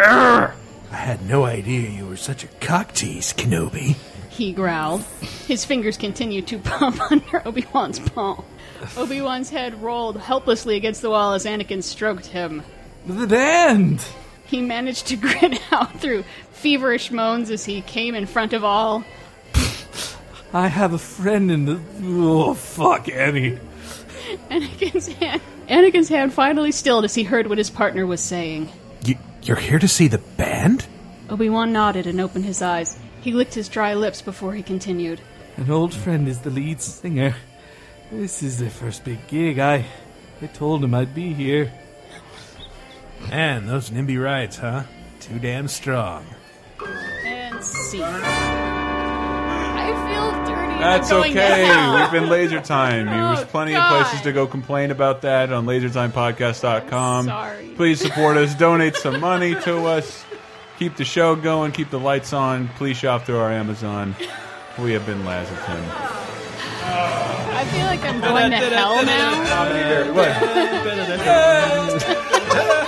Speaker 14: I had no idea you were such a cock tease, Kenobi.
Speaker 5: he growled. His fingers continued to pump under Obi-Wan's palm. Obi-Wan's head rolled helplessly against the wall as Anakin stroked him.
Speaker 4: The end.
Speaker 5: He managed to grin out through feverish moans as he came in front of all.
Speaker 4: I have a friend in the oh fuck Annie.
Speaker 5: Anakin's hand, Anakin's hand finally stilled as he heard what his partner was saying.
Speaker 14: You, you're here to see the band?
Speaker 5: Obi Wan nodded and opened his eyes. He licked his dry lips before he continued.
Speaker 4: An old friend is the lead singer. This is their first big gig. I I told him I'd be here.
Speaker 14: Man, those NIMBY rides, huh? Too damn strong.
Speaker 5: And see. I feel dirty.
Speaker 2: That's
Speaker 5: about going
Speaker 2: okay.
Speaker 5: now.
Speaker 2: We've been Laser Time. There's plenty
Speaker 5: God.
Speaker 2: of places to go complain about that on lasertimepodcast.com.
Speaker 5: Sorry.
Speaker 2: Please support us. Donate some money to us. Keep the show going. Keep the lights on. Please shop through our Amazon. We have been Laser Time.
Speaker 5: I feel like I'm going to hell now.
Speaker 2: What?